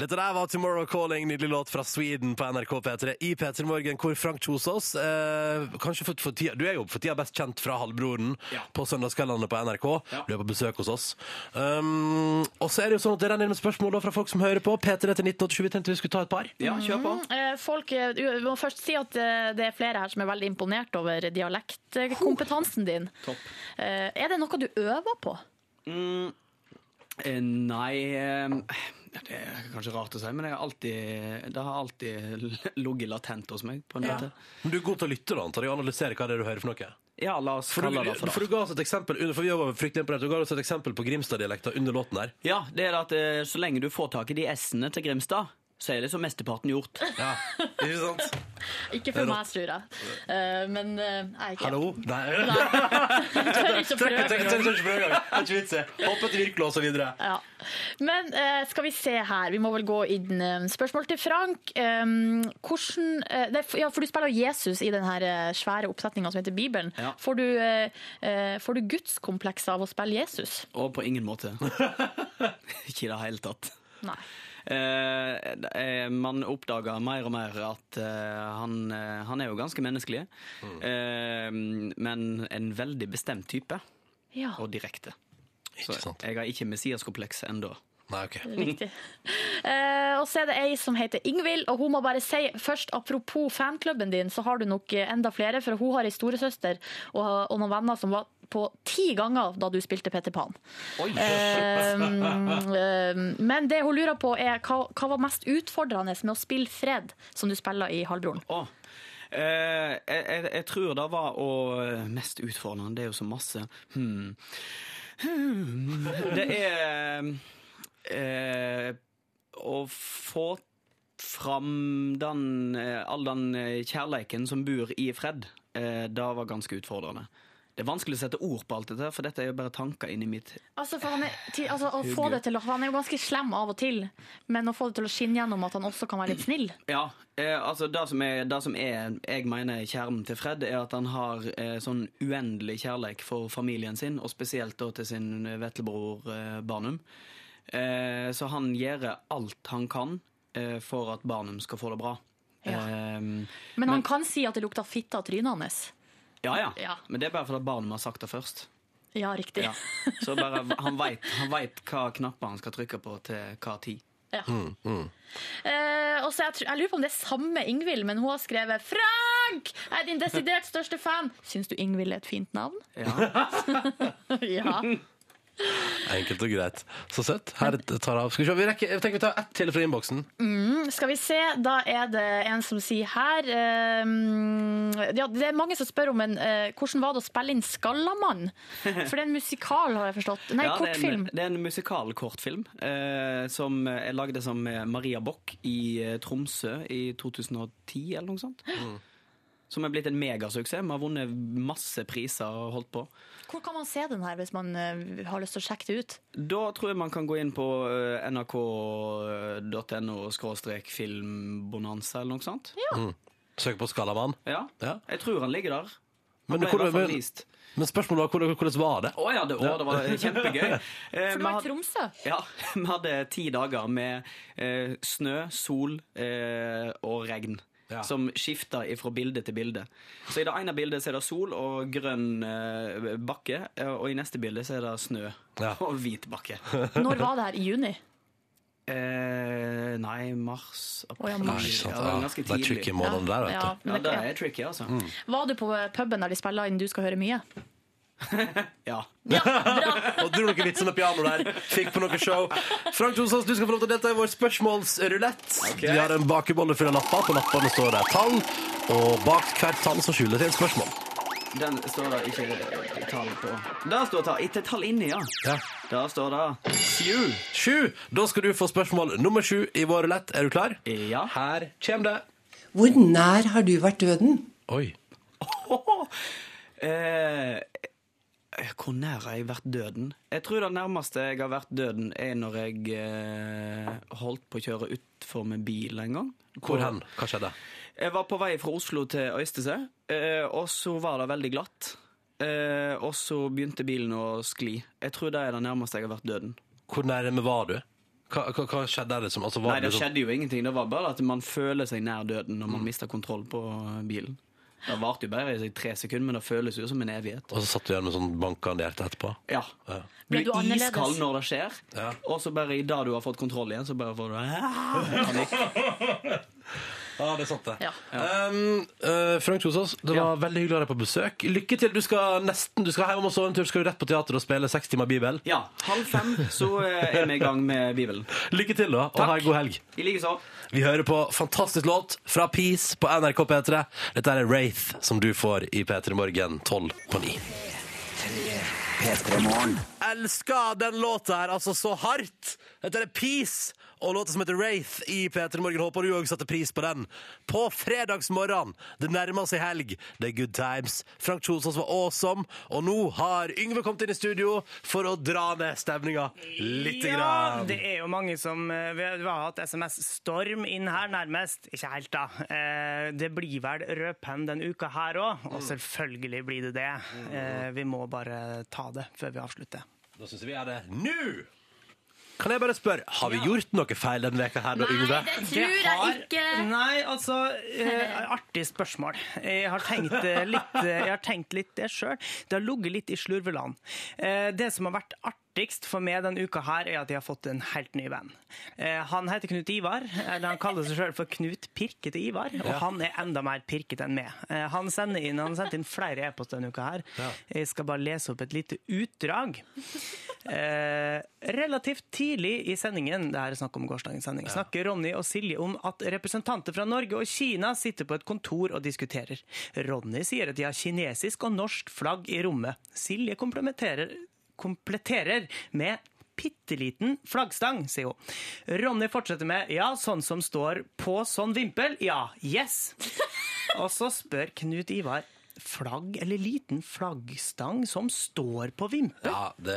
Dette der var Tomorrow Calling, nydelig låt fra Sweden på NRK P3 i P3 Morgen, hvor Frank Kjosås eh, kanskje for, for tida, Du er jo for tida best kjent fra Halvbroren på Søndagskveldene på NRK. Du er på besøk hos oss. Um, og så er det jo sånn at det renner inn med spørsmål da fra folk som hører på. P3 til 1987. Vi tenkte vi skulle ta et par. Mm, eh, Folk, eh, vi må først si at eh, det er flere her som er veldig imponert over dialektkompetansen din. Topp. Eh, Er det noe du øver på? Mm, eh, nei eh, Det er kanskje rart å si, men jeg har alltid, det har alltid ligget latent hos meg. på en Ja. måte. Men du er god til å lytte, da, antar jeg, og analysere hva det er du hører for noe? altså Ja, la oss For du, kalle det for for du ga oss et eksempel under, for vi var fryktelig imponert. Du ga oss et eksempel på Grimstad-dialekta under låten der. Ja, det er at eh, så lenge du får tak i de S-ene til Grimstad, så er det som mesteparten gjort. [LAUGHS] Ja, ikke sant? Det Ikke er for meg, rått. tror jeg. Eh, Men eh, jeg er ikke Hallo? Nei. [LAUGHS] Jeg tør ikke å [LAUGHS] prøve engang. Ja. Men eh, skal vi se her, vi må vel gå inn eh, spørsmål til Frank. Um, hvordan, eh, nei, for, ja, for du spiller jo Jesus i den her eh, svære oppsetninga som heter Bibelen. Ja. Får du, eh, eh, får du gudskomplekser av å spille Jesus? Og på ingen måte. Ikke i det hele tatt. Nei. Eh, det er- man oppdager mer og mer at eh, han, eh, han er jo ganske menneskelig, eh, men en veldig bestemt type, Ja. og direkte. Så jeg har ikke messiaskompleks ennå. Nei, ok. Riktig. Eh, og så er det ei som heter Ingvild, og hun må bare si først apropos fanklubben din, så har du nok eh, enda flere, for hun har ei storesøster og, og noen venner som var på ti ganger da du spilte Peter Pan. Eh, eh, men det hun lurer på er hva, hva var mest utfordrende med å spille Fred, som du spiller i Halvbroren? Eh, jeg, jeg, jeg tror det var å Mest utfordrende, det er jo så masse. Hmm. Hmm. Det er eh, å få fram den, eh, all den eh, kjærleiken som bor i Fred. Eh, det var ganske utfordrende. Det er vanskelig å sette ord på alt dette, for dette er jo bare tanker inni mitt Altså, for han er, til, altså, å få det til, å- han er jo ganske slem av og til, men å få det til å skinne gjennom at han også kan være litt snill Ja, eh, altså det som, er, det som er, jeg mener, kjernen til Fred, er at han har eh, sånn uendelig kjærleik for familien sin, og spesielt da til sin vetlebror eh, Barnum. Eh, så han gjør alt han kan eh, for at Barnum skal få det bra. Ja. Eh, Men han kan si at det lukta fitte av trynet hans. ja, ja, Ja. Men det er bare fordi Barnum har sagt det først. Ja, riktig. Ja. Så bare, han veit han vet hva knapper han skal trykke på til hva tid. Ja. [LAUGHS] Eh, og så jeg, tr- jeg lurer på om det er samme Ingvild, men hun har skrevet 'Frank! Jeg er din desidert største fan'. Syns du Ingvild er et fint navn? [LAUGHS] ja. Enkelt og greit. Så søtt. Her tar jeg av. Skal vi se, vi rekker, jeg tenker vi tar ett til fra innboksen. Mm, skal vi se, da er det en som sier her eh, ja, Det er mange som spør om en, eh, hvordan var det å spille inn 'Skallamann'? For det er en musikal, har jeg forstått. Nei, Ja, Det er en, kortfilm. det er en musikalkortfilm eh, som jeg lagde sammen med Maria Bock i eh, Tromsø i 2010, eller noe sånt. Som er blitt en megasuksess. Vi har vunnet masse priser og holdt på. Hvor kan man se den her hvis man eh, har lyst til å sjekke det ut? Da tror jeg man kan gå inn på eh, nrk.no skråstrek filmbonanza eller noe sånt. Mm. Søk på Skallamann. Ja. Jeg tror han ligger der. Men, ble i hvordan- hvert fall men, vist. men spørsmålet var hvordan, hvordan var det? Å ja, det, å, det [LAUGHS] var kjempegøy. Eh, For du vi var had- i Tromsø? Ja, [LAUGHS] vi hadde ti dager med eh, snø, sol eh, og regn. Ja. Som skifta fra bilde til bilde. Så i det ene bildet så er det sol og grønn eh, bakke, eh, og i neste bilde så er det snø [LAUGHS] og hvit bakke. Når var det her? I juni? Eh, nei, mars april. Å ja, mars. Nei, Ja, sant, det ja. var Ah, Det ganske er tidlig. tricky Mm. måneden der, vet du. Ja, men Ja, det- det er tricky, altså. Var du på puben der de spilla inn 'Du skal høre [LAUGHS] mye'? Ja. og dro noen vitser med piano der. Fikk på noe show. Frank Jonsson, du skal få lov til å delta i vår spørsmålsrulett. Vi har en bakebolle full av lapper. På lappene står det tall, og bak hvert tall så skjuler det et spørsmål. Den står det ikke eh, tall på. Der står tall. Ikke tall inni, ja. Der står det sju. Sju. Da skal du få spørsmål nummer sju i vår rulett. Er du klar? Ja. Her kommer det. Hvor nær har du vært døden? Oi. Eh, hvor nær har jeg vært døden? Jeg tror det nærmeste jeg har vært døden, er når jeg eh, holdt på å kjøre utfor med bil en gang. Hvor hen? Hva skjedde? Jeg var på vei fra Oslo til Øystese, eh, og så var det veldig glatt. Eh, og så begynte bilen å skli. Jeg tror det er det nærmeste jeg har vært døden. Hvor nærme var du? Hva, hva, hva skjedde der? Liksom? Altså, var Nei, det du sånn- skjedde jo ingenting. Det var bare at man føler seg nær døden når man mister kontroll på bilen. Det varte jo bare i tre sekunder, men det føles jo som en evighet. Og så satt du igjen med sånn bankende hjerte etterpå? Ja. Ja. Blir du annerledes? iskald når det skjer, og så bare i det du har fått kontroll igjen, så bare får du Ah! panikk. Ja, det er sant, det. Um, eh, Frank Kjosås, det var veldig hyggelig å ha deg på besøk. Lykke til. Du skal nesten du skal hjem og sove en tur, skal du rett på teater og spille seks timer Bibel. Ja, halv fem så eh, er vi i gang med Bibelen. Lykke til, da, og Takk. ha en god helg. I likeså. Vi hører på fantastisk låt fra Peace på NRK P3. Dette er Wraith, som du får i P3 Morgen 12 på 9. Elsker den låta her, altså så hardt. Dette er Peace og låta som heter Wraith i P3 Morgen. Håper du òg satte pris på den. På fredagsmorgen. Det nærmer seg helg. Det er good times. Frank Kjosås var awesome, og nå har Yngve kommet inn i studio for å dra ned stemninga lite Ja, grann. det er jo mange som eh, Vi har vi har hatt SMS-storm inn her, nærmest. Ikke helt, da. Eh, Det blir vel rødpenn denne uka her òg, Mm. og selvfølgelig blir det det. Eh, Vi må bare ta det før vi avslutter. Da syns jeg vi er det nå! Kan jeg bare spørre, har vi gjort noe feil denne veka her, da, Yngve? Det har- Nei, altså eh, Artig spørsmål. Jeg har tenkt eh, litt, eh, jeg har tenkt litt det sjøl. Det har ligget litt i slurveland. Eh, det som har vært artig artigst for meg denne uka her er at jeg har fått en helt ny venn. Eh, han heter Knut Ivar, eller han kaller seg selv for Knut Pirkete Ivar, og Ja. han er enda mer pirket enn meg. Eh, han sender inn, han sendte inn flere e-post denne uka her. Jeg skal bare lese opp et lite utdrag. Eh, relativt tidlig i sendingen det her er snakk om gårsdagens sending, snakker Ronny og Silje om at representanter fra Norge og Kina sitter på et kontor og diskuterer. Ronny sier at de har kinesisk og norsk flagg i rommet. Silje komplementerer, kompletterer med pitteliten flaggstang, sier hun. Ronny fortsetter med ja, sånn som står på sånn vimpel. Ja, yes. Og så spør Knut Ivar flagg eller liten flaggstang som står på vimpel. Ja, det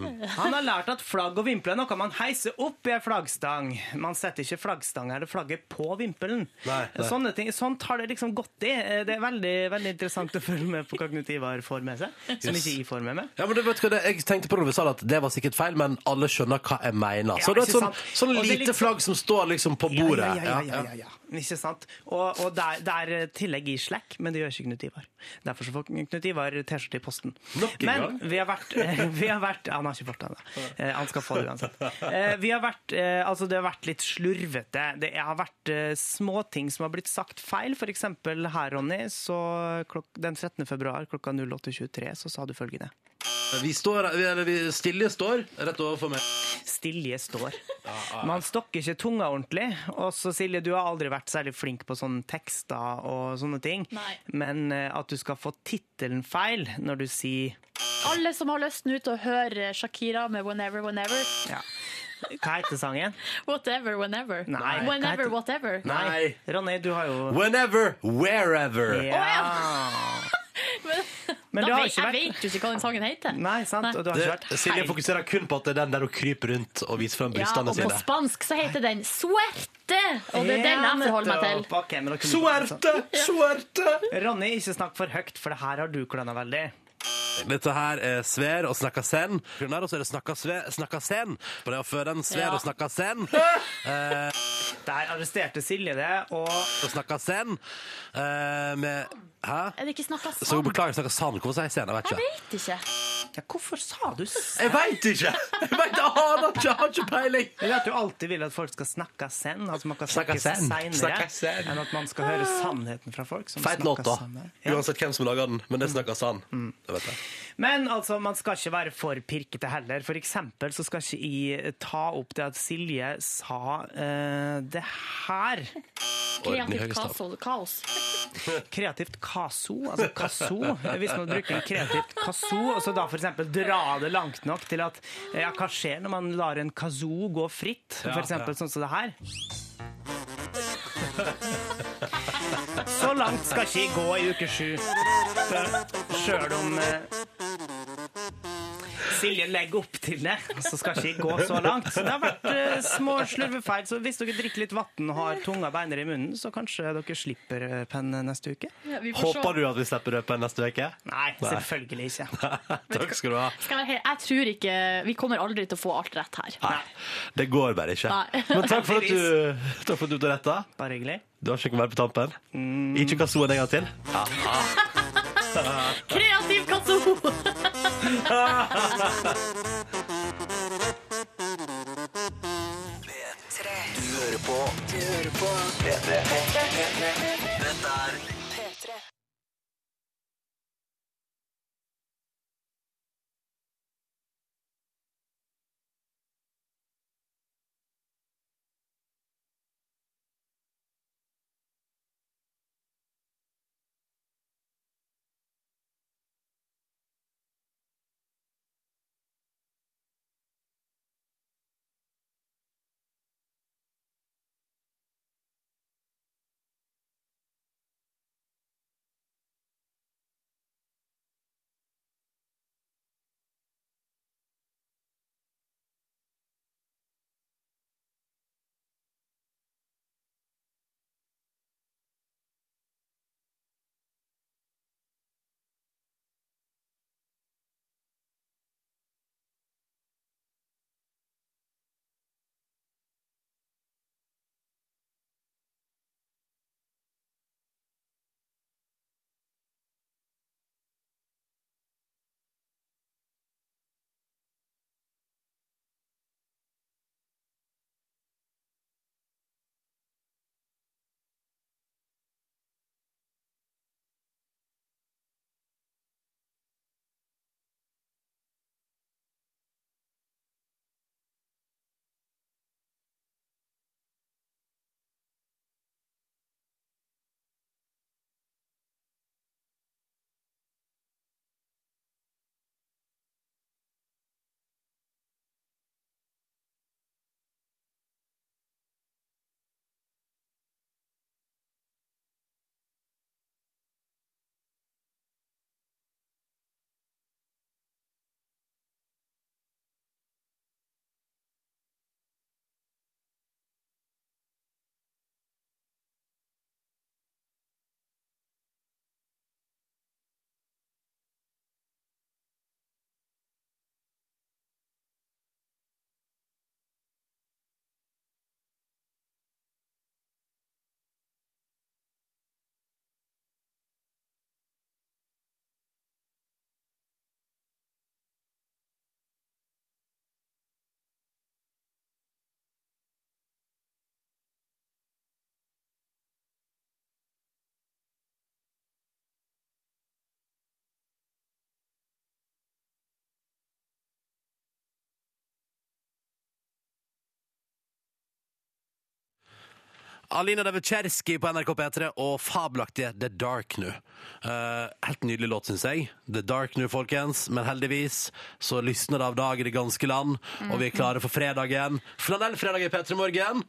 um, Han har lært at flagg og vimpel er noe man heiser opp i en flaggstang. Man setter ikke flaggstanga eller flagget på vimpelen. nei. Mm. Sånne ting, Sånt har det liksom gått i. Eh, Det er veldig, veldig interessant å følge med på hva Knut Ivar får med seg. Som Yes. ikke jeg får med meg. Ja, men du vet hva det, Jeg tenkte på det når vi sa det, at det var sikkert feil, men alle skjønner hva jeg mener. Ja, Så det er ikke et sånn, sant? sånn Og det lite er liksom- flagg som står liksom på bordet. Ja, ja, ja, ja, ja, ja. Ikke sant? Og, og der, der tillegg i slack, men det gjør ikke Knut Ivar. Derfor så får Knut Ivar T-skjorte i posten. en Men gang. vi har vært, [LAUGHS] [LAUGHS] vi har vært Han har ikke fått det ennå. Eh, Han skal få det uansett. Eh, Vi har vært, eh, altså det har vært litt slurvete. Det har vært eh, småting som har blitt sagt feil. For eksempel her, Ronny, så klok den 13. februar klokka 08.23 så sa du følgende. Vi står, vi- eller vi, Silje står rett overfor meg. Stilje står. Man stokker ikke tunga ordentlig. Og så Silje, du har aldri vært særlig flink på sånne tekster og sånne ting. Men eh, at du skal få tittelen feil når du sier Alle som har lyst nå til å høre Shakira med 'Whenever, Whenever'. ja. Hva heter sangen? Whatever, Whenever. Nei. Hva Whenever, heter- Whatever. Nei. Ronny, du har jo Whenever, wherever. Ja. Men Da du har vet- ikke Jeg vært- vet jo ikke hva den sangen heter. Nei, sant? Og du har ikke vært Det, Silje feil. fokuserer kun på at det er den der hun kryper rundt og viser fram Ja, brystene og på sine. spansk så heter den 'Suerte'! Og det er den Ja, jeg forholder meg til. nettopp. Ok, men dere- Suerte! Suerte! Ronny, ikke snakk for høyt, for det her har du kløna veldig. Dette her er Sver og Snakka Sen. Grunnen her, og så er det Snakka, sve, snakka Sen. For det var før den Sver Ja. og Snakka Sen. Der arresterte Silje det, og Og Snakka Sen eh, med Hæ? Er det ikke snakka sant? Så beklager, Snakka Sand. Hvorfor sier jeg Sen? Jeg vet Jeg ikke. vet ikke. hvorfor sa du Jeg veit ikke! Jeg vet, jeg aner ikke, jeg har ikke peiling! Eller at du alltid vil at folk skal snakke sen, altså man kan snakke Snakke sen. Snakke senere, sen. enn at man skal høre sannheten fra folk som Feit låt, da. snakker senere. Uansett hvem som lager den, men det snakker Sand. Mm. Det vet jeg. Men altså, man skal ikke være for pirkete heller. For eksempel så skal ikke jeg ta opp det at Silje sa eh, det her. Kreativt kaos. kaos. Kreativt kaso, altså kaso. Hvis man bruker kreativt kaso, og så da for eksempel dra det langt nok til at eh, ja, hva skjer når man lar en kaso gå fritt? Ja, For eksempel ja. sånn som det her. Så langt skal ikke jeg gå i uke sju. Sjøl om eh, Silje legger opp til det, så skal ikke jeg gå så langt. Så det har vært eh, små slurvefeil, så hvis dere drikker litt vann og har tunga beinere i munnen, så kanskje dere slipper rødpenn neste uke. Ja, vi får se. Håper du at vi slipper røpen neste uke? Nei, selvfølgelig ikke. [LAUGHS] Takk skal du ha. Skal jeg, være helt- jeg tror ikke Vi kommer aldri til å få alt rett her. Nei. Det går bare ikke. Nei. Men takk for at du, takk for at du tar retta. Bare hyggelig. Du har ikke noe mer på tampen? Ikke kassoen en gang til? Ja. Kreativ katteho! Du hører på Du hører på P3. Dette er P3. Alina Devecherski på NRK P3 og fabelaktige The Dark nå. Eh, helt nydelig låt, syns jeg. The Dark nå, folkens. Men heldigvis så lysner det av dag i det ganske land, og vi er klare for fredagen. Flanellfredag i P3 Morgen.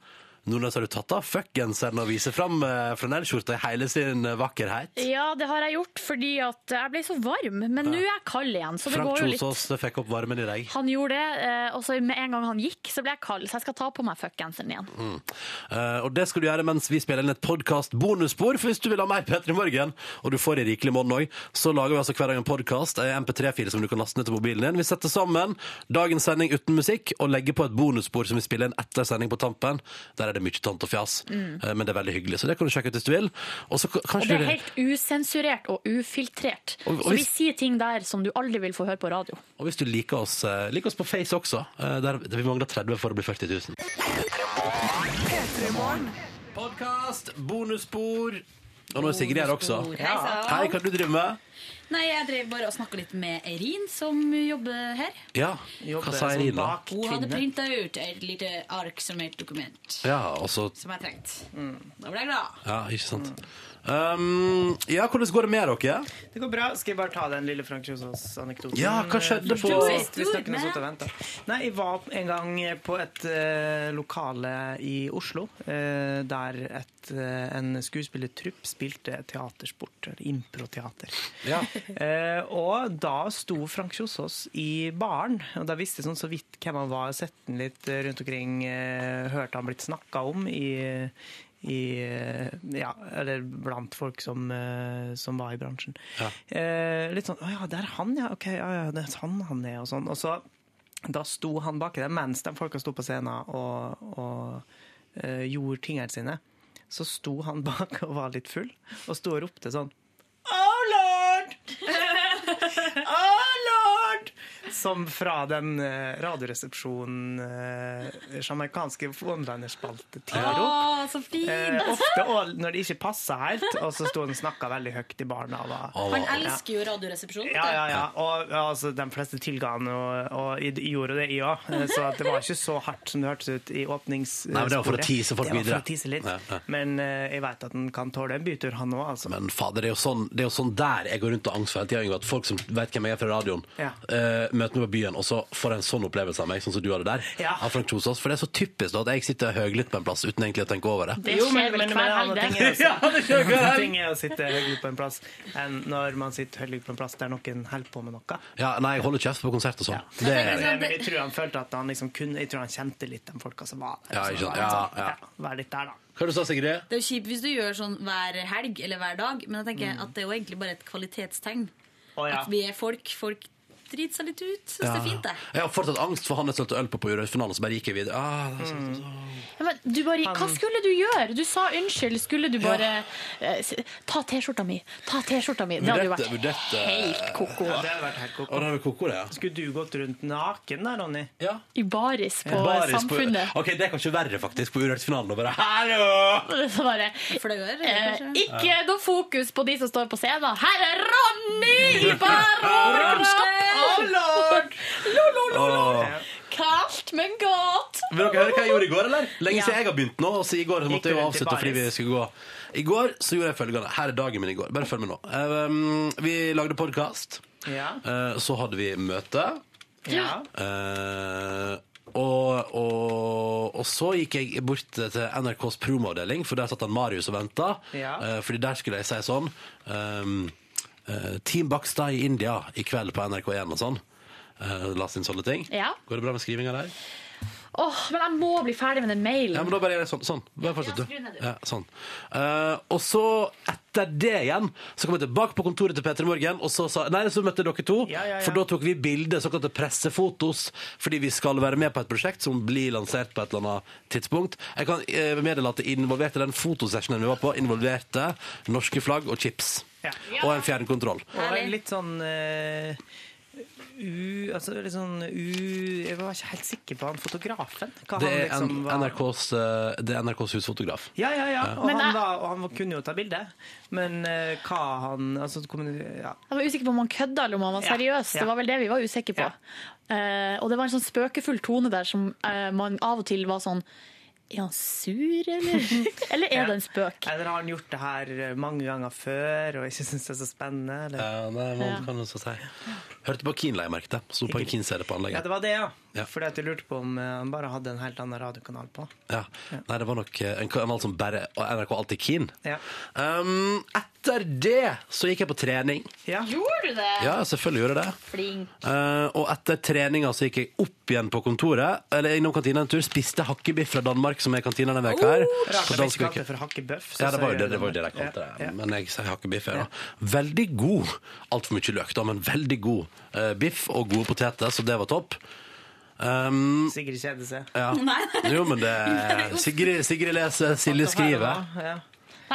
Nordnes, har du tatt av fuckgenseren og viser fram eh, flanellskjorta i hele sin eh, vakkerhet? Ja, det har jeg gjort fordi at jeg ble så varm, men nå er jeg kald igjen. Så det Frank går jo litt. Kjosås fikk opp varmen i deg. Han gjorde det, eh, og så med en gang han gikk, så ble jeg kald, så jeg skal ta på meg fuckgenseren igjen. Mm. Eh, og det skal du gjøre mens vi spiller inn et podkast-bonusspor. For hvis du vil ha mer P3 Morgen, og du får i rikelig monn òg, så lager vi altså hver dag en podkast, ei MP3-fil som du kan laste ned til mobilen din. Vi setter sammen dagens sending uten musikk og legger på et bonusspor som vi spiller inn etter sending på tampen. Der er det mye tant og fjas, Mm. Eh, men det er veldig hyggelig, så det kan du sjekke ut hvis du vil. Og så k- Og kanskje det er du- helt usensurert og ufiltrert. Og- og Så vi hvis- sier ting der som du aldri vil få høre på radio. Og hvis du liker oss, eh, lik oss på Face også. eh, Der der vi mangler 30 for å bli 40 000. Podkast, bonusspor. Og nå er Sigrid her også. Hei, sann. Hei, hva du driver med? Nei, jeg drev bare og snakka litt med Eirin, som jobber her. Ja, hva sa Eirin da? Hun hadde printa ut et lite ark som et dokument Ja, og så som jeg trengte. Da ble jeg glad. Ja, ikke sant. Um, ja, hvordan går det med dere? Det går bra. Skal jeg bare ta den lille Frank Kjosås-anekdoten? Ja, hva skjedde Først på- og sist, hvis Stor, dere har men- sittet og ventet. Nei, jeg var en gang på et eh, lokale i Oslo eh, der et, eh, en skuespillertrupp spilte teatersport, eller improteater. Eh, og da sto Frank Kjosås i baren, og da visste jeg sånn så vidt hvem han var, sett den litt eh, rundt omkring, eh, hørte han blitt snakka om i i, eh, ja, eller blant folk som, eh, som var i bransjen. Eh, litt sånn 'Å ja, det er han, ja. Ok, ja, ja, det er han han er', og sånn. Og så da sto han baki der, mens de folka sto på scenen og, og eh, gjorde tingene sine. Så sto han bak og var litt full, og sto og ropte sånn Oh lord! oh lord! Som fra den eh, radioresepsjonen eh, Jamaikanske Wonderlander-spalte Tiro. Å, så fin! Eh, ofte og når det ikke passer helt, og så sto han og snakka veldig høyt i barna. Og var, Han elsker jo Radioresepsjonen. ja, ja, ja. Og ja, altså, de fleste tilga han, og, og jeg gjorde det, jeg òg. Så at det var ikke så hardt som det hørtes ut i åpningssporet. Nei, men det var for å tease folk Det var for videre. å tease litt. Ja, ja. Men eh, jeg veit at han kan tåle en bytur, han òg, altså. Men fader, det er jo sånn, det er jo sånn der jeg går rundt og har angst for hele tida, Yngve. At folk som vet hvem jeg er fra radioen, Ja. eh, møter meg på byen, og så får jeg en sånn opplevelse av meg, sånn som du hadde der. Ja. Av Frank Kjosås. For det er så typisk da, at jeg sitter høylytt på en plass uten egentlig å tenke over det. Det skjer vel hver helg, det. Ja, det skjer hver Um, helg. ting er å sitte høylytt på en plass enn når man sitter høylytt på en plass der noen holder på med noe. Ja, nei, jeg holder kjeft på konsert og sånn. Det, Det er jeg, tror han følte at han liksom kunne Jeg tror han kjente litt de folka som var der. Ja, så ikke sant. det var litt Ja, ja. sånn, Vær litt der, da. Hva er det du sa Sigrid? Det er jo kjipt hvis du gjør sånn hver helg eller hver dag, men jeg tenker at det er jo egentlig bare et kvalitetstegn. Å, ja. At vi er folk. Folk driter seg litt ut. Syns det er fint, det. Jeg har fortsatt angst for han jeg sølte øl på på Urøy-finalen, så bare gikk jeg videre. Ah, det er sånn. Mm, Ja, men du bare, hva skulle du gjøre? Du sa unnskyld. Skulle du bare eh, si- Ta T-skjorta mi! Ta T-skjorta mi! Det hadde jo Vurderte- vært vurderte- helt koko. Ja, det hadde vært helt Å, koko. det hadde vært koko, det, ja. Skulle du gått rundt naken da, Ronny? Ja. I baris på Baris på- Samfunnet. Ok, det er kanskje verre, faktisk, på Urørt-finalen. Og bare Hallo! [LAUGHS] Så bare, eh, kanskje? ikke noe fokus på de som står på scenen. Her er Ronny i baronkropp! Åh. Kaldt, men godt. Vil dere høre hva jeg gjorde i går, eller? Lenge Ja. siden jeg har begynt nå. og så I går så måtte jeg Gikk du jo rundt i avslutte fordi vi baris? skulle gå. I går så gjorde jeg følgende. Her er dagen min i går. Bare følg med nå. Um, vi lagde podkast. Ja. Så hadde vi møte. ja. Eh, og, og, og så gikk jeg bort til NRKs promoavdeling, for der satt han Marius og venta. Ja. Eh, fordi der skulle jeg si sånn ehm, eh, Team Bakstad i India i kveld på NRK1 og sånn. Eh, la oss inn sånne ting. Ja. Går det bra med skrivinga der? Åh, men jeg må bli ferdig med den mailen. Ja, men da bare gjør jeg sånn. sånn. Bare fortsett, skru ned, du. du. Ja, sånn. Eh, og så, etter det igjen, så kom jeg tilbake på kontoret til Peter Morgen, og så, sa, nei, så møtte jeg dere to. Ja, ja, ja. For da tok vi bilde, såkalte pressefotos, fordi vi skal være med på et prosjekt som blir lansert på et eller annet tidspunkt. Jeg kan eh, meddele at det involverte den fotosessionen vi var på, involverte norske flagg og chips. Ja. Og en fjernkontroll. Og en litt sånn eh, u, altså litt sånn u, Jeg var ikke helt sikker på han fotografen. Hva Det han er, en, liksom var. NRKs, eh, det er NRKs husfotograf. Ja, ja, ja. Og Men han, jeg- var, og han kunne jo ta bilde, men eh, hva han altså, kommuni- ja. Jeg var usikker på om han kødda eller om han var Ja, seriøs. ja. Det var vel det vi var usikre på. Eh, og det var en sånn spøkefull tone der som eh, man av og til var sånn Er han sur, [LAUGHS] eller? eller er det en spøk? Eller har han gjort det her mange ganger før og ikke syntes det er så spennende? Eller? Ja, nei, man kan også si. Hørte på Keenley, jeg merket det. Sto på en Keen-serie på Ja, anlegget. det var det, ja. Ja. Fordi at jeg lurte på om eh, han bare hadde en helt annen radiokanal på. Ja. Nei, det var nok eh, en kanal som bare og NRK alltid keen. Um, etter det så gikk jeg på trening. Gjorde du det? Ja, selvfølgelig gjorde jeg det. Flink. Eh, og etter treninga så gikk jeg opp igjen på kontoret, eller innom kantina en tur, spiste hakkebiff fra Danmark, som er kantina denne veka her. Oh, på Rart at vi ikke danskeuke. kalte det for hakkebøff. så Ja, det var jo sier det, det, var jo jeg det de kalte Ja. det. Men jeg sier hakkebiff. Ja. Veldig god. Altfor mye løk, da, men veldig god eh, biff og gode poteter, så det var topp. Um, Sigrid kjeder seg. Ja. Nei. Jo, men det [LAUGHS] Sigrid, Sigrid leser, Silje skriver. Nei,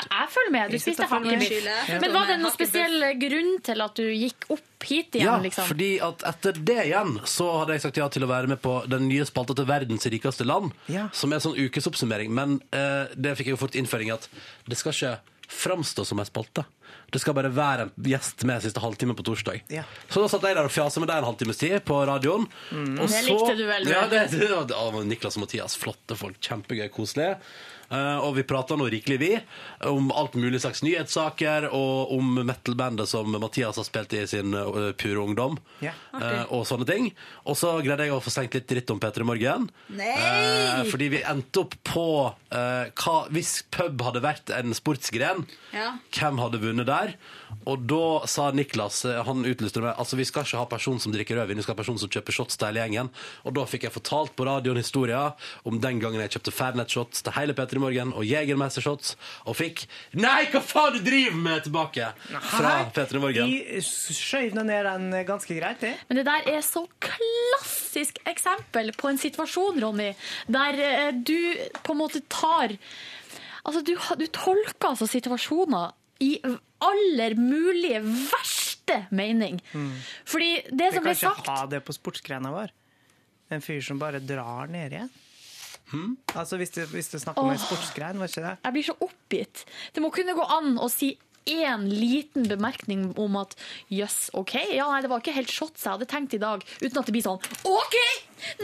jeg følger med. Du spiste hakkebiff. Ja. Men var det noen spesiell grunn til at du gikk opp hit igjen, Ja, liksom? fordi at etter det igjen så hadde jeg sagt ja til å være med på den nye spalta til verdens rikeste land, som er en sånn ukesoppsummering. Men eh, det fikk jeg jo fort innføring i at det skal ikke framstå som ei spalte. Det skal bare være en gjest med siste halvtime på torsdag. Ja. Så da satt jeg der og fjasa med deg en halvtimes tid på radioen. Mm. og Det så- likte du veldig. Ja, det, [LAUGHS] det, var- av Niklas og Mathias. Flotte folk. Kjempegøy, koselig. Eh, og vi prata nå rikelig, vi, om alt mulig slags nyhetssaker, og om metal-bandet som Mathias har spilt i sin eh, pure ungdom, Ja. eh, og sånne ting. Og så greide jeg å få slengt litt dritt om P3 Morgen. Eh, fordi vi endte opp på eh, hva, Hvis pub hadde vært en sportsgren, Ja. hvem hadde vunnet der? Og da sa Niklas, eh, han utlyste meg, altså vi skal ikke ha person som drikker rødvin, vi skal ha person som kjøper shots til hele gjengen. Og da fikk jeg fortalt på radioen historien om den gangen jeg kjøpte Fernet-shots til hele Peter i Morgen, og Jegermeister-shots, og fikk Nei, hva faen du driver med tilbake! Fra Peter i Morgen. De skjøv nå ned den ganske greit, det. Men det der er så klassisk eksempel på en situasjon, Ronny, der eh, du på en måte tar Altså, du, ha- du tolker altså situasjoner i aller mulige verste mening. Fordi det Mm. Vi som kan ble ikke sagt ha det på sportsgrena vår. En fyr som bare drar ned igjen. Altså Hvis det, hvis det snakker om en Åh. sportsgren, var ikke det? Jeg blir så oppgitt. Det må kunne gå an å si én liten bemerkning om at jøss, OK, ja, nei, det var ikke helt shots jeg hadde tenkt i dag, uten at det blir sånn OK!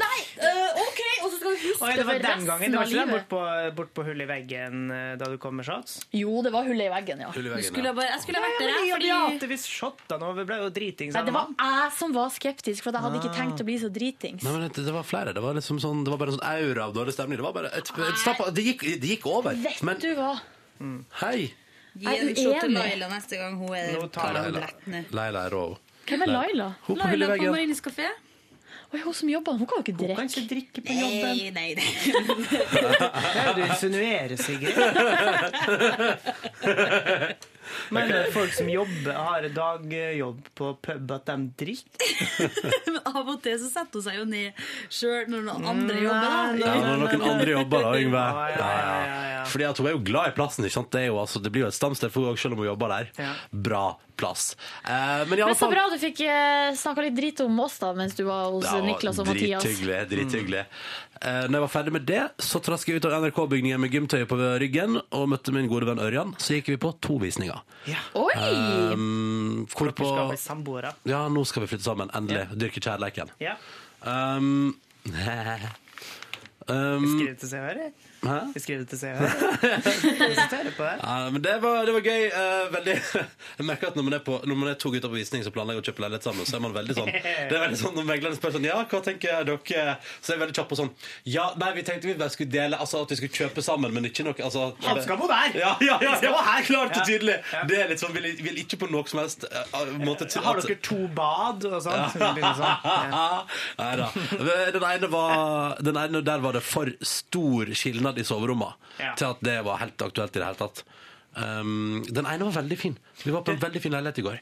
Nei! øh, OK! Og så skal du huske Oi, det var det for den resten gangen. Det var av ikke den livet. bort på, bort på hullet i veggen eh, da du kom med shots? Jo, det var hullet i veggen, ja. Hull i veggen, Du ja. skulle bare- jeg skulle ha vært Ja, der, men jeg, jeg fordi- hadde alltid visst shotta nå. Vi ble jo dritings. Nei, det var alle mann. jeg som var skeptisk, for jeg hadde ikke Ah. tenkt å bli så dritings. Nei, men det, det var flere. Det var, liksom sånn, det var bare en sånn aura av dårlig stemning. Det, var bare et, et stapp, det, gikk, det gikk over. Vet Men du hva? hei! Gi Jeg er en shot til uenig. Laila neste gang hun er Nå tar hun Laila. bretten ned. Leila er rå. Hvem er Nei. Laila? Hun på Laila på Hulleveggen. Marines kafé? Oi, hun som jobber, hun kan jo ikke drikke. Hun kan ikke drikke Nei, nei, nei. [LAUGHS] Det er jo det du insinuerer, Sigrid. [LAUGHS] Men eh, folk som jobber, har dagjobb på pub, at de drikker? Men av og til så setter hun seg jo ned sjøl når noen andre jobber. da. Ja, når noen andre jobber da, Yngve. Ja, ja, Ja, ja. Fordi at hun er jo glad i plassen, ikke sant? Det, er jo, altså, det blir jo et stamsted for henne også, selv om hun jobber der. Bra plass. Eh, men i alle Men så fall... bra du fikk eh, snakka litt drit om oss da, mens du var hos Ja, Niklas og Mathias. Drithyggelig. drithyggelig. Eh, når jeg var ferdig med det, så trask jeg ut av NRK-bygningen med gymtøyet på ryggen og møtte min gode venn Ørjan. Så gikk vi på to visninger. Oi! Um, hvorpå Dere skal bli samboere. Ja, nå skal vi flytte sammen. Endelig. Dyrke kjærleiken. Ja. [LAUGHS] Um, um, Skriv det til Se og Hør. jeg. Hæ? Jeg skriver det til Se og Hør. Ja, men det var, det var gøy. eh, veldig. [LAUGHS] Jeg merker at når man, er på, når man er to gutter på visning som planlegger å kjøpe leilighet sammen, så er man veldig [LAUGHS] sånn Det er veldig sånn Når megleren spør sånn Ja, hva tenker dere? Så er jeg veldig kjapp på sånn Ja, nei, vi tenkte vi bare skulle dele Altså at vi skulle kjøpe sammen, men ikke noe altså, Han skal bo der! Ja, ja, ja, Han ja, skal bo her! [LAUGHS] Klart og Ja, tydelig! Det er litt sånn Vil, vil ikke på noe som helst eh, måte til- Har at- dere to bad og [LAUGHS] sånt? Liksom sånn? Ja. [LAUGHS] Nei da. Den ene var den ene, Der var det for stor skilnad i soverommene Ja. til at det var helt aktuelt i det hele tatt. Um, den ene var veldig fin. Vi var på en veldig fin leilighet i går.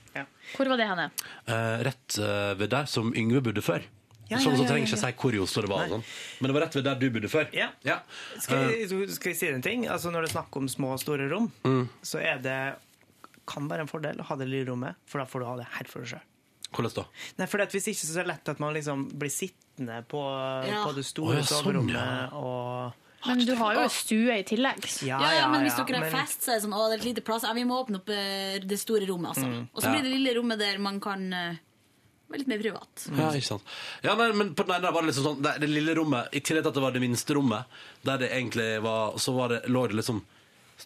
Hvor var det henne? Eh, rett eh, ved der som Yngve bodde før. Ja, sånn, ja, så ja, trenger ja, ikke ja. si hvor i Oslo det var. og Sånn. Men det var rett ved der du bodde før. Ja. Ja. Eh, Skal, jeg- skal jeg si en ting? Altså, når det er snakk om små og store rom, Mm. så er det kan være en fordel å ha det lille rommet, for da får du ha det her for deg sjøl. Hvordan da? Nei, for at hvis ikke så er det lett at man liksom blir sittende på, Ja. på det Å, store ja, sånn, soverommet og Men du har jo stue i tillegg. Ja, Ja, ja, men hvis ja, dere har men- fest, så er det sånn Å, det er et lite plass. Ja, vi må åpne opp eh, det store rommet, altså. Mm. Og så Ja. blir det lille rommet der man kan eh, var litt mer privat. Ja, ikke sant. Ja, nei, men på den ene var det liksom sånn Det, det lille rommet, i tillegg til at det var det minste rommet, der det egentlig var Så var det, lå det liksom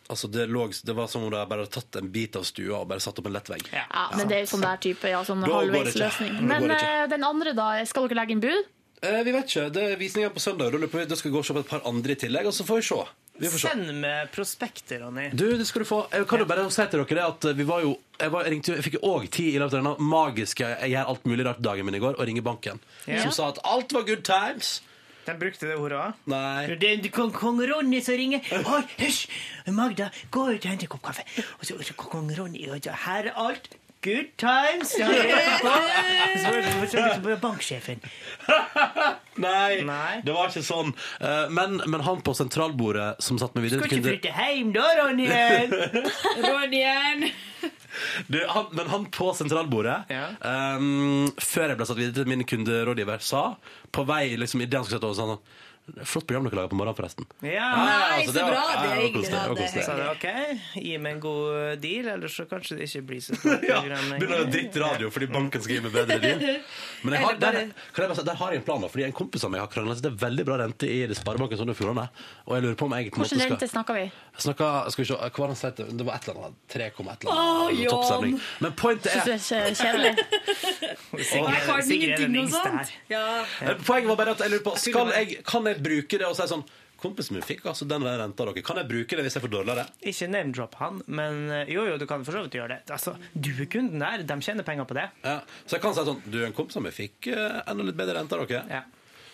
Altså, det, lå, det var som om de bare hadde tatt en bit av stua og bare satt opp en lett vegg. Ja, men det er jo sånn der type, ja, sånn Da går det ikke. halvveisløsning. Da går Men det ikke. eh, den andre, da? Skal dere legge inn bud? Eh, vi vet ikke. Det er visninger på søndag. Da lurer jeg på- Da skal vi gå og se på et par andre i tillegg, og så får vi se. Vi får se. Send med prospekter, Ronny. Du, det skal du få. Jeg kan jo bare si til dere det at eh, vi var jo Jeg, var, jeg, ringte, jo- jeg fikk jo òg tid i løpet av denne magiske jeg gjør alt mulig rart-dagen min i går, og ringer banken, Ja. som sa at alt var good times. De brukte det ordet òg. Nei. Det er kong, kong Ronny som ringer. Oi, hysj! Magda, gå ut og hent en kopp kaffe. Og så, og så kong Ronny og så, Her er alt. Good times! Ja, det er bra. Så var det- så var det Banksjefen. Nei, det var ikke sånn. Eh, Men, men han på sentralbordet som satt meg videre Skal ikke kunne- flytte hjem da, [LAUGHS] Ronnyen? Ronnyen! du, han, Men han på sentralbordet, ehm, før jeg ble satt videre til min kunderådgiver, sa på vei liksom, i det han skulle sette over sånn sånn, Flott program dere lager på morgenen, forresten. Ja. Nei, så det var- ja, det var koselig, det var koselig. [LAUGHS] Så det var ok, gi meg en god deal, ellers så kanskje det ikke blir så bra. program lenger. Begynner å dritte radio fordi banken skal gi meg bedre deal. Men jeg har, Eller der, bare- kan jeg bare si, der har jeg en plan, da, fordi en kompis av meg har krangla seg til veldig bra rente i Sparebanken Sogn og Fjordane. Og jeg lurer på om jeg på en Hvilken måte rente skal snakker vi? snakka, Skal vi se, hva var det han sa? Det var et eller annet 3, et eller annet. Å, eller noe Jan. toppstemning. Men pointet er Syns du det er kjedelig? Jeg kan ingenting noe sånt. Ja. Eh, Poenget var bare at jeg lurer på skal jeg, Kan jeg bruke det og si sånn Kompisen min fikk altså den der renta dere. Kan jeg bruke det hvis jeg får dårligere? Ikke name-drop han, men eh, jo, jo, du kan for så vidt gjøre det. Altså, du er kunden der, de tjener penger på det. Ja. Så jeg kan si sånn Du, en kompis av meg fikk eh, enda litt bedre rente av dere.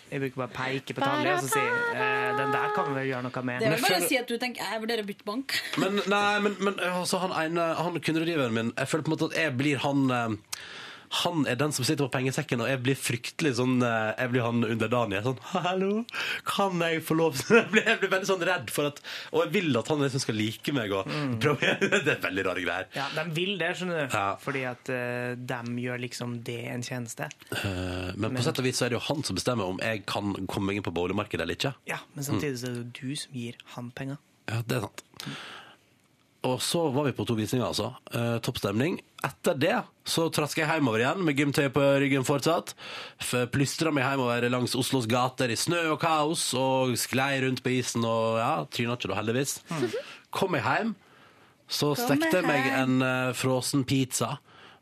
Jeg bruker bare peke på tallet og så si eh, den der kan vi gjøre noe med. Det er vel bare å si at du tenker jeg vurderer å bytte bank. [LAUGHS] Men, nei, men, men altså, han ene Han kunderådgiveren min Jeg føler på en måte at jeg blir han eh, han er den som sitter på pengesekken, og jeg blir fryktelig sånn eh, Jeg blir han underdanige. Sånn [LAUGHS] 'Hallo, kan jeg få lov?' [LAUGHS] Jeg blir, jeg blir veldig sånn redd for at Og jeg vil at han liksom skal like meg og [LAUGHS] prøve Det er veldig rare greier. Ja, de vil det, skjønner du. Fordi at eh, de gjør liksom det en tjeneste. Eh, men på sett og vis så er det jo han som bestemmer om jeg kan komme meg inn på boligmarkedet eller ikke. Ja, Men samtidig så er det jo du som gir han penger. Ja, det er sant. Og så var vi på to visninger, altså. Eh, topp stemning. Etter det så traska jeg hjemover igjen med gymtøy på ryggen fortsatt. Plystra meg hjemover langs Oslos gater i snø og kaos og sklei rundt på isen og ja, tryna ikke da, heldigvis. Kom jeg hjem, så Mm. Kom stekte jeg meg hjem. en eh, frossen pizza.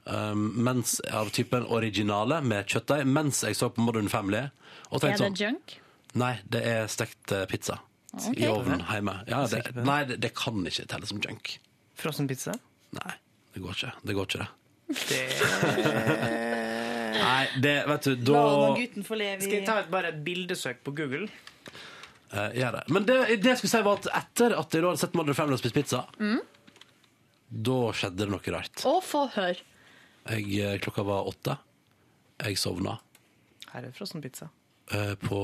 Um, mens, av typen originale med kjøttdeig mens jeg så på Modern Family. Og Er tenkte det sånn junk? Nei, det er stekt eh, pizza. Ah, Ok. I ovnen hjemme. Ja, det, nei, det, det kan ikke telle som junk. Frossen pizza? Nei, det går ikke. Det går ikke, det. Det [LAUGHS] Nei, det vet du, da Skal jeg ta et, bare et bildesøk på Google? Eh, Gjør det. Men det, det jeg skulle si, var at etter at jeg da hadde sett Modern Family og spist pizza, Mm. da skjedde det noe rart. Å, få høre. Jeg, eh, klokka var åtte. Jeg sovna. Her er frossen pizza. eh, På,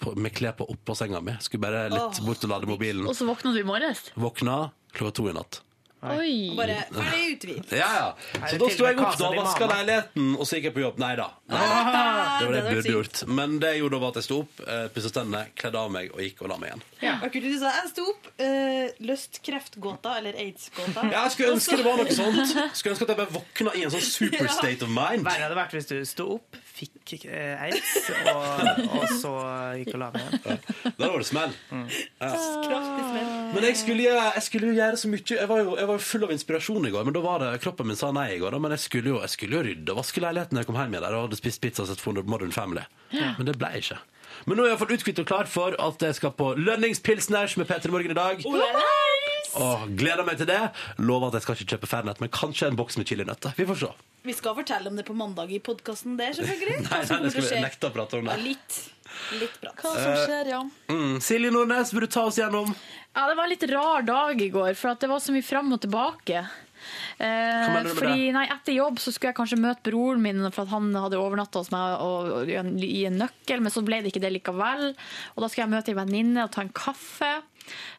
på, med klær på oppå senga mi. Skulle bare litt Åh. bort og lade mobilen. Og så våkna du i morges? Våkna klokka to i natt. Oi. Bare ferdig uthvilt. Ja, ja. Så Er det da til sto jeg med opp da Casa og di vaska Mama? leiligheten, og så gikk jeg på jobb. Nei da. Nei, da. Ah! Det var det jeg burde gjort. Men det jeg gjorde, var at jeg sto opp, eh, pusset tennene, kledde av meg og gikk og la meg igjen. Og Kurt, du sa jeg sto opp. eh, løst kreftgåta, eller aids-gåta. Ja, jeg skulle ønske det var noe sånt. Skulle ønske at jeg bare våkna i en sånn [LAUGHS] super state of mind. Verre hadde vært hvis du sto opp, fikk eh, aids, og, og så gikk og la meg igjen. Der var det smell. Ja. Kraftig smell. Men jeg skulle, gjøre- jeg skulle jo gjøre så mye. Jeg var jo, jeg var jo full av inspirasjon i går, men da var det, kroppen min sa nei i går. Da. Men jeg skulle, jo, jeg skulle jo rydde og vaske leiligheten da jeg kom hjem igjen der og hadde spist pizza og sett på Modern Family. Men det ble jeg ikke. Men nå er jeg iallfall utkvitt og klar for at jeg skal på lønningspilsnæsj med Peter Morgen i dag. Åh, gleder meg til det. Lover at jeg skal ikke kjøpe Fernet, men kanskje en boks med chilinøtter. Vi får se. Vi skal fortelle om det på mandag i podkasten, det, selvfølgelig. [LAUGHS] Nei, nei, det skal vi nekte å prate om det. Litt, litt prat. Hva Eh, som skjer, ja. Mm. Silje Nordnes, vil du ta oss gjennom? Ja, det var en litt rar dag i går, for at det var så mye fram og tilbake. Eh, mener du med fordi, det? nei, etter jobb så skulle jeg kanskje møte broren min, for at han hadde overnatta hos meg og, og, i en- i en nøkkel, men så ble det ikke det likevel. Og da skulle jeg møte ei venninne og ta en kaffe.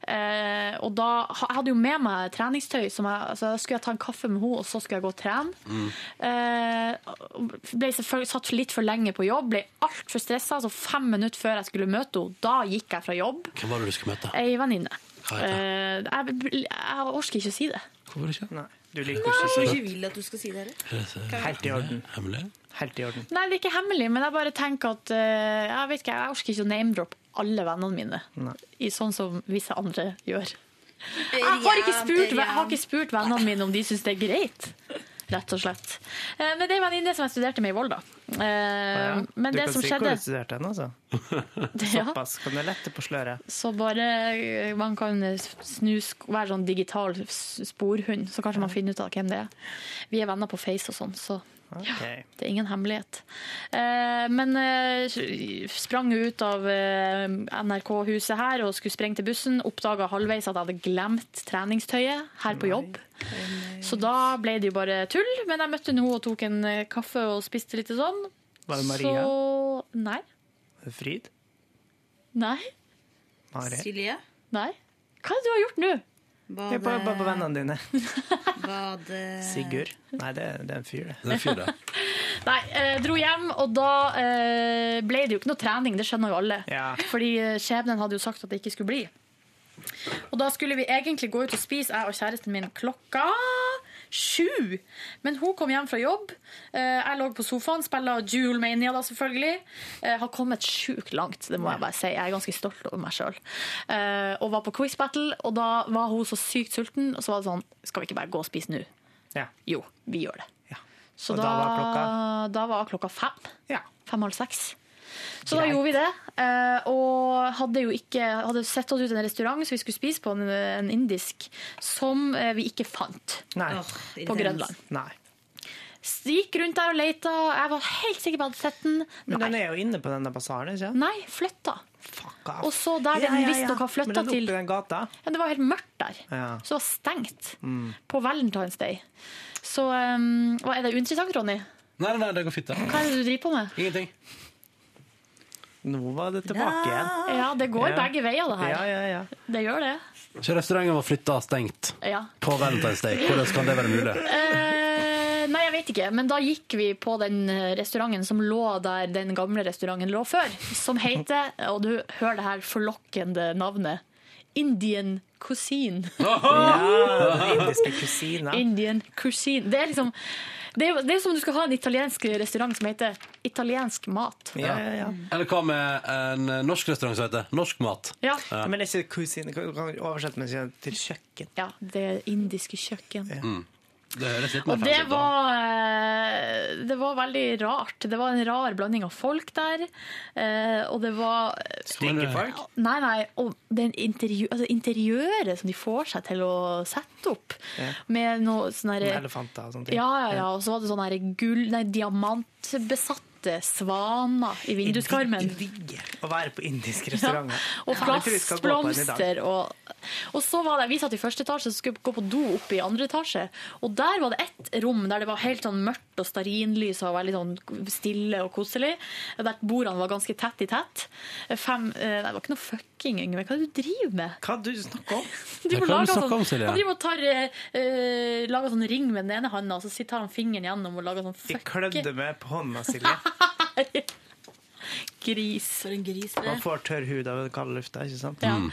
Eh, og da ha- jeg hadde jo med meg treningstøy, som jeg, altså, da skulle jeg ta en kaffe med henne, og så skulle jeg gå og trene. Eh, ble selvfølgelig satt litt for lenge på jobb, ble altfor stressa. Altså fem minutter før jeg skulle møte henne, da gikk jeg fra jobb. Hvem var det du skulle møte? Ei venninne. Hva heter Eh, jeg, jeg orker ikke å si det. Hvorfor ikke? Nei, du Nei, liker ikke jeg søt. ikke vil at du skal si det heller. Helt i orden. Helt i orden. Nei, det er ikke hemmelig, men jeg bare tenker at eh, Jeg vet ikke, jeg orker ikke å name-droppe alle vennene mine. I sånn som visse andre gjør. Jeg har ikke spurt, jeg har ikke spurt vennene mine om de syns det er greit. Rett og slett. Eh, Men det er en venninne som jeg studerte med i Volda. Eh, Men det som Du skjedde kan si hvor du studerte hen, [LAUGHS] altså. Såpass kan det lette på sløret. så bare eh, man kan snu, sk- være sånn digital s- sporhund, så kanskje man finner ut av hvem det er. Vi er venner på Face og sånn, så ja, Ok. det er ingen hemmelighet. Eh, men eh, sprang ut av eh, NRK-huset her og skulle sprenge til bussen. Oppdaga halvveis at jeg hadde glemt treningstøyet her på jobb. Så da ble det jo bare tull, men jeg møtte henne og tok en eh, kaffe og spiste litt sånn. Var det Maria? Så nei. Frid? Nei. Mari? Silje? Nei. Hva er det du har gjort nå? Det er bare, bare på vennene [LAUGHS] dine. Sigurd? Nei, det, er- det er en fyr, det. Det er en fyr, det. Nei, eh, dro hjem, og da eh, ble det jo ikke noe trening, det skjønner jo alle. Fordi eh, skjebnen hadde jo sagt at det ikke skulle bli. Og da skulle vi egentlig gå ut og spise, jeg og kjæresten min, klokka sju. Men hun kom hjem fra jobb. Eh, Jeg lå på sofaen, spilla Jule Mania da, selvfølgelig. Eh, Har kommet sjukt langt, det må jeg bare si. Jeg er ganske stolt over meg sjøl. Og var på quiz battle, og da var hun så sykt sulten, og så var det sånn Skal vi ikke bare gå og spise nå? Ja. Jo, vi gjør det. Så Og da, da var klokka? da var klokka fem. Fem-halv seks. Så da Greit. gjorde vi det, eh, og hadde jo ikke Hadde sett oss ut en restaurant som vi skulle spise på, en, en indisk, som eh, vi ikke fant Nei. på Grønland. Nei. Så Gikk rundt der og leita, jeg var helt sikker på at jeg hadde sett den. Men den Nei, er jo inne på denne basaren, ikke sant? Nei flytta. off. Og så der den Ja, ja, ja. visstnok har Men flytta den oppe i til den gata? Ja, Det var helt mørkt der, Ja. så det var stengt Mm. på Valentine's Day. Så um, hva er det uinteressant, Ronny? Nei, nei, nei, det går fint, det. Hva er det du driver på med? Ingenting. Nå var det tilbake igjen. Ja, det går Ja. begge veier, det her. Ja, ja, ja. Det gjør det. Så restauranten var flytta og stengt Ja. på Valentine's Day. Hvordan kan det være mulig? Eh, nei, jeg vet ikke, men da gikk vi på den restauranten som lå der den gamle restauranten lå før, som heter, og du hører det her forlokkende navnet, Indian Cuisine. Uh. Ja, Ah, den indiske kusina. Indian Cuisine. Det er liksom det er, det er som om du skal ha en italiensk restaurant som heter italiensk mat. Eller hva med en norsk restaurant som heter Norsk mat? Ja. Men er ikke kusine kan kan oversette meg til kjøkken? Ja, det indiske kjøkken. Mm. Det høres litt Og mer det fancy ut. da. var, eh, det var veldig rart. Det var en rar blanding av folk der. eh, Og det var Stygge folk? Nei, nei. Og det interiør, altså interiøret som de får seg til å sette opp. Ja. Med noe sånn Med herre elefanter og sånne ting. Ja, ja, ja. Og så var det sånn herre gull Nei, diamantbesatte svaner i vinduskarmen. Å være på indisk restaurant. Og Jeg tror vi skal gå på den i dag. plastblomster. Og, og så var det, vi satt i første etasje, så skulle vi gå på do oppe i andre etasje. Og der var det ett rom der det var helt sånn mørkt og stearinlys og veldig sånn stille og koselig. Der bordene var ganske tett i tett. Fem, eh, nei, det var ikke noe fucking, Yngve. Hva er det du driver med? Hva du snakker om? Hva er Du det må du lage snakker om, sånn, Silje? han driver og tar, eh, eh, lager sånn ring med den ene handa, og så sitter- tar han fingeren gjennom og lager sånn Jeg fuck klødde meg på hånda, Silje. [LAUGHS] gris. For en gris det Man får tørr hud av den kalde lufta, ikke sant? Ja. Mm.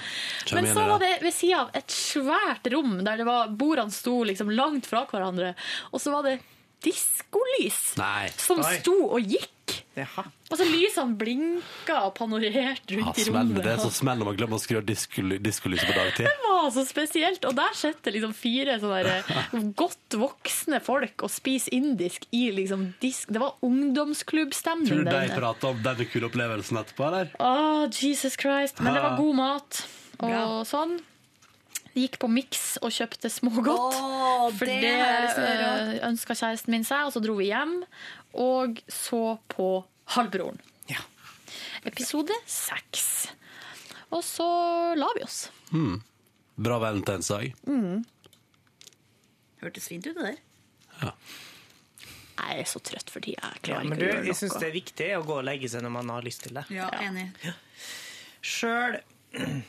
Men så var det ved sida av et svært rom der det var, bordene sto liksom langt fra hverandre. Og så var det diskolys Nei. som Oi. sto og gikk. Jaha. Altså Lysene blinka og panorerte Ja, rundt i smell, rommet. det er sånn smell når man glemmer å skru av diskoly- diskolyset på dagtid. Det var så spesielt. Og der sitter liksom fire sånne [LAUGHS] der, godt voksne folk og spiser indisk i liksom disk. Det var ungdomsklubbstemning Tror du der de inne. prater om denne kule opplevelsen etterpå, eller? Å, Jesus Christ. Men det var god mat og sånn. Gikk på Mix og kjøpte smågodt. Å, for det det, høres så rart. ønska kjæresten min seg, og så dro vi hjem og så på Halvbroren. Episode seks. Og så la vi oss. Hmm. Bra valentinsdag. Mm, Hørtes fint ut, det der. Jeg er så trøtt for tida. Jeg Ja, klarer men du, ikke å gjøre jeg noe. syns det er viktig å gå og legge seg når man har lyst til det. Ja, enig. Sjøl [CLEARS THROAT]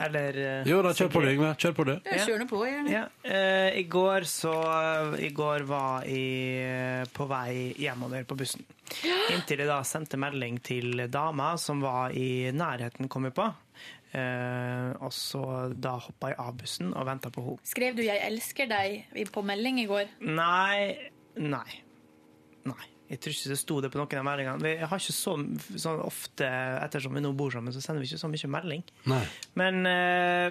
Eller eh, Jo da, kjør på du, sikkert- Yngve. Kjør på du. Jeg kjører nå på, gjerne. Ja, eh, I går så I går var jeg på vei hjemover på bussen. Inntil jeg da sendte melding til dama som var i nærheten, kom jeg på. eh, Eh, og så da hoppa jeg av bussen og venta på henne. Skrev du 'jeg elsker deg' i- på melding i går? Nei. Nei. Nei. Jeg tror ikke det sto det på noen av meldingene. Vi har ikke så, så ofte, ettersom vi nå bor sammen, så sender vi ikke så mye melding. Nei. Men eh,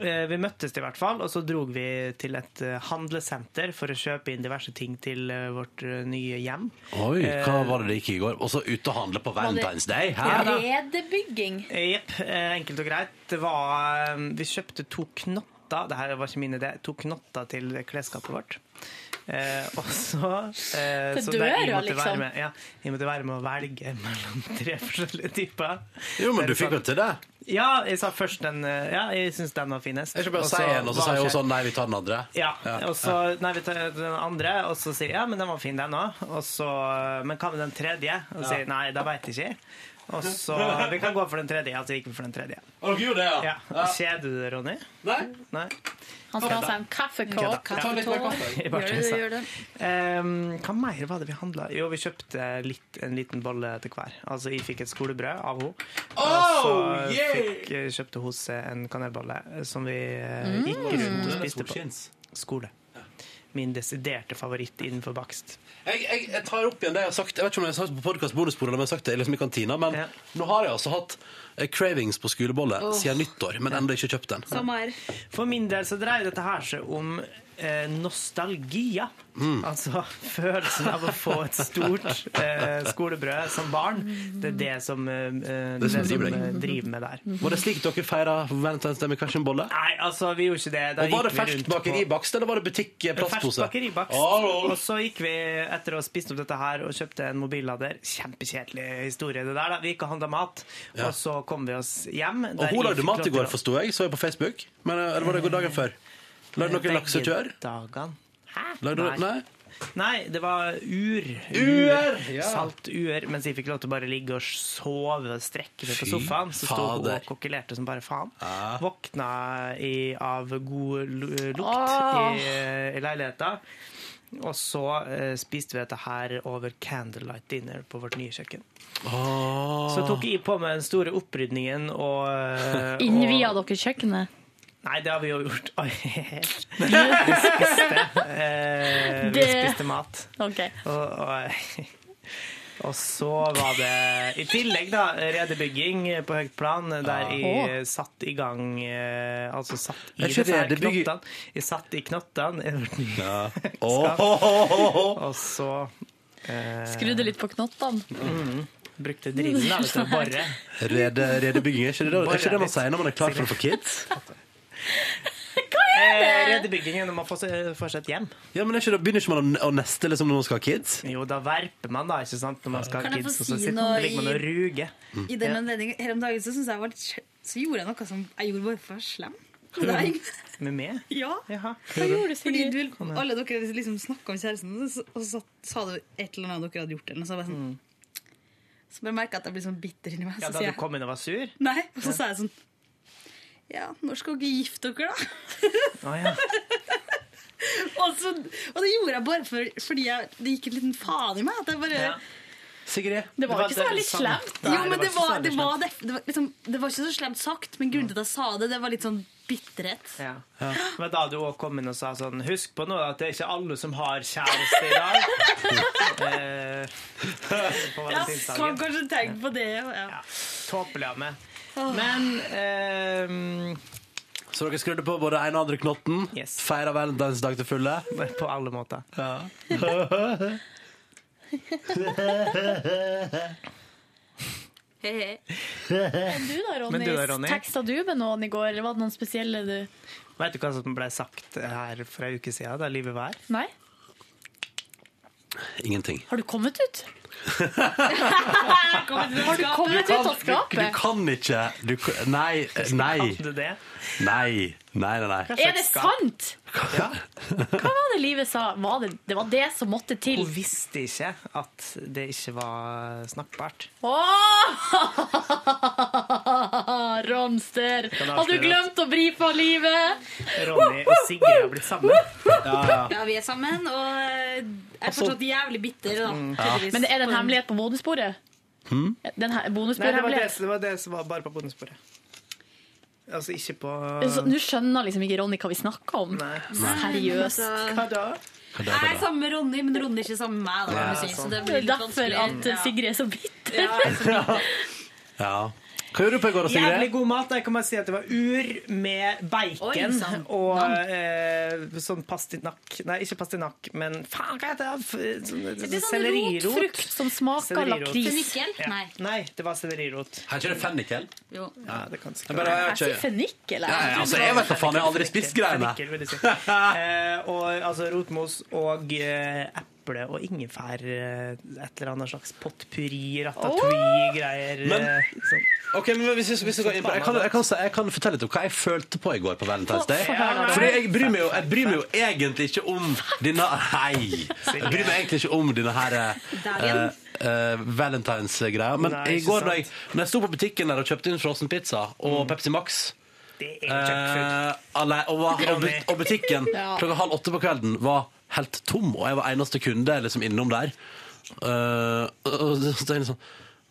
eh, vi møttes i hvert fall, og så drog vi til et eh, handlesenter for å kjøpe inn diverse ting til eh, vårt eh, nye hjem. Oi, hva Eh, var det det gikk i går? Og så ute og handle på Var det- Valentine's Day? Ja, Hæ? da. Redebygging. Eh, Jepp. eh, Enkelt og greit. Det var eh, Vi kjøpte to knotter. Det her var ikke min idé. To knotter til klesskapet vårt. Eh, og så eh, Til så der- jeg døra, måtte være liksom. Med, ja, jeg måtte være med å velge mellom tre forskjellige typer. Jo, men du Der jeg sa- fikk vel til det? Ja, jeg sa først den eh, Ja, jeg syns den var finest. Jeg skal bare Og så si en, og så var sier hun ikke- sånn nei, vi tar den andre. ja, Ja. og så Nei, vi tar den andre, og så sier jeg ja, men den var fin, den òg. Og så eh, Men hva med den tredje? Og Ja. så sier jeg, nei, da veit jeg ikke. Og så Vi kan gå for den tredje. Altså gikk vi for den tredje. Har dere gjort det, Ja. Ja. Kjeder du deg, Ronny? Nei. nei. Han skal ha seg en kaffekopp. Jeg Gjør bare det, tøysa. gjør det. Ehm, hva mer var det vi handla? Jo, vi kjøpte litt, en liten bolle til hver. Altså, jeg fikk et skolebrød av henne. Oh, og så yeah! Altså, fikk, kjøpte hun seg en kanelbolle eh, som vi eh, Mm. gikk rundt og Skole eller spiste på. solskinns? Skole. Min desiderte favoritt innenfor bakst. Jeg, jeg, jeg tar opp igjen det jeg har sagt. Jeg vet ikke om jeg har sagt det på podcast bonusbordet, eller om jeg har sagt det liksom i kantina, men nå har jeg altså hatt eh, cravings på skolebolle Åh. siden nyttår, men ennå ikke kjøpt den. For min del så dreier dette her seg om eh, nostalgia. Mm. Altså følelsen av å få et stort eh, skolebrød som barn. Det er det som, eh, eh, Det som driver deg. eh, driver med der. Var det slik dere feira Valentine's Day med kanskje en bolle? Nei, altså, vi gjorde ikke det. Da Og var det gikk vi ferskt rundt på- bakeri i bakst, eller var det butikk eh, Ferskt plastpose? bakeri bakst. Hallo. Og så gikk vi etter å ha spist opp dette her og kjøpte en mobillader. Kjempekjedelig historie, det der. da. Vi gikk og handla mat, Ja. og så kom vi oss hjem. Og hun lagde mat i går, forsto jeg, så jeg på Facebook. Men, eh, eller var det går dagen før? Eh, Lagde dere laksetør? Dagene. Lagde dere- Nei? Nei, det var ur. Ur, ja. Salt ur. Mens jeg fikk lov til å bare ligge og sove og strekke meg på Fy sofaen. Så sto hun fader. og kokkelerte som bare faen. Våkna i, av god lu- lukt Åh. i, i leiligheta. Og så eh, spiste vi dette her over candlelight dinner på vårt nye kjøkken. Så tok jeg på meg den store opprydningen og, eh, Innvia dere kjøkkenet? Nei, det har vi jo gjort. [LAUGHS] Oi. Vi spiste, eh, vi Det- spiste mat. Ok. Og, og, [LAUGHS] og så var det i tillegg da redebygging på høyt plan, eh, der Ja. jeg satt i gang eh, Altså satt i Er ikke disse her redebygg- knottene. Jeg satt i knottene. i vårt nye skap. Åh, åh, åh, åh, åh. Og så eh, Skrudde litt på knottene. Mm, brukte drillen da, til å bore. Rede, redebygging, er ikke det, er ikke det Bare man sier når man er klar for å få kids? Eh, redebyggingen når man får se- får seg et hjem. Ja, men er ikke det, Begynner ikke man å- å neste liksom, når man skal ha kids? Jo, da verper man, da. ikke sant? Når man skal ha Kan jeg få kids, og så si sitter noe man, ligger man og i- ruger. I den anledningen her om dagen så synes jeg var litt skje- Så gjorde jeg noe som jeg gjorde bare for å være [LAUGHS] slem. Hva gjorde Nei. Med meg? Ja. Hva gjorde du, Fordi Sigrid? du, Kom her. alle dere liksom snakka om kjæresten, og så, og så sa du et eller annet dere hadde gjort. Eller, noe, så, jeg bare sånn, så bare merka jeg at jeg blir sånn bitter inni meg. Ja, Så da sier du jeg, kom inn og var sur? nei, og så sa jeg sånn Ja, når skal dere gifte dere, da? Å, ja. [LAUGHS] og, så, og det gjorde jeg bare for, fordi jeg, det gikk en liten faen i meg. At jeg bare, Sigrid? Det var ikke så veldig slemt. Jo, men det var, det, var, det. det, det, var, liksom, det var ikke så slemt sagt, men grunnen til at jeg sa det, det var litt sånn bitterhet. Ja. [GASPS] Det var da du også kom inn og sa sånn Husk på nå at det er ikke alle som har kjæreste i [LAUGHS] dag. eh, [LAUGHS] på Ja, kan valentinsdagen. kanskje tenke på det. Ja. Tåpelig av meg. Men ehm, Så dere skrudde på både ene og andre knotten? Yes. Feira Valentine's dag til fulle? På alle måter. Ja. Men du da, Men Ronny? du da, Ronny? Teksta du med noen i går? Var det noen spesielle du Vet du hva som ble sagt her for ei uke siden, da livet var? Nei? Ingenting. Har du kommet [LAUGHS] ut? Har du kommet ut av Du skapet? kan ikke du, kan- Nei. eh, Nei. Kan du det? Nei, nei, nei. nei. Er det sant? Hva var det livet sa? Var det, det var det som måtte til? Hun visste ikke at det ikke var snakkbart. [LAUGHS] Åh! Ronster! Kan Har jeg du avsløre glemt å brife livet? Ronny og Sigrid har blitt sammen. Ja, Ja, vi er sammen, og jeg er Altså- fortsatt jævlig bitter. Da, Mm. tydeligvis. Men er det en hemmelighet på bonussporet? Den her Hm? Nei, det var det, bonussporhemmelighet? det var det som var bare på bonusbordet. Altså ikke på Så Nå skjønner liksom ikke Ronny hva vi snakker om. Seriøst. Hva da? Jeg er sammen med Ronny, men Ronny er ikke sammen med meg. Da, kan Ja, du si. så det Det blir er litt derfor at vanskelig. Sigrid er så bitter. Ja. Hva gjorde du på i går, Sigrid? Jævlig god mat. Jeg kan bare si at det var ur med Oi, bacon sann. og eh, sånn pastinakk Nei, ikke pastinakk, men faen, hva heter det? F- Sånn, Det er sånn sellerirot. rotfrukt som smaker Sellerirot. lakris. Fennikel? Ja. Nei. Nei, det var sellerirot. Her kjører fennikel. Jo. Ja, det kan Jeg bare- jeg har ikke- altså, fennikel. Ja, ja, altså, jeg vet da faen, jeg har aldri spist greiene. Fennikel, vil jeg si. [LAUGHS] Eh, og altså rotmos og eh, eple og ingefær eh, Et eller annet slags potpurri, ratatouille-greier. Men- eh, liksom. sånn. Ok, men hvis, hvis, hvis vi går inn på jeg kan, jeg, kan, si- jeg kan fortelle litt om hva jeg følte på i går på Valentine's Day. Få høre. Fordi jeg bryr meg jo, jeg bryr meg jo egentlig ikke om denne Hei! Jeg bryr meg egentlig ikke om denne her Dagen. eh, eh, Valentine's-greia. Men Nei, i ikke Mm. går da jeg, når jeg sto på butikken der og kjøpte inn frossen pizza og Pepsi Max Det eh, alle, og, var, og, but, [LAUGHS] og butikken Ja. klokka halv åtte på kvelden var helt tom, og jeg var eneste kunde liksom innom der. Eh, og- og så tenkte jeg sånn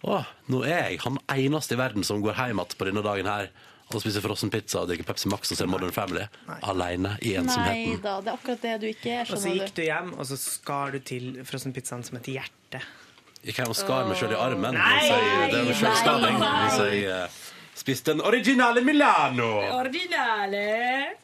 Å, nå er jeg han eneste i verden som går hjem igjen på denne dagen her og spiser frossen pizza og drikker Pepsi Max og ser Modern Family alene i Nei ensomheten. da, det er akkurat det du ikke er, Altså, Og så skjønner gikk du. du hjem, og så skar du til frossenpizzaen som et hjerte. Gikk hjem og skar meg sjøl i armen. Nei, mens jeg, det er meg selv skading, nei, nei. mens jeg eh, spiste den originale Milano. Ordinale.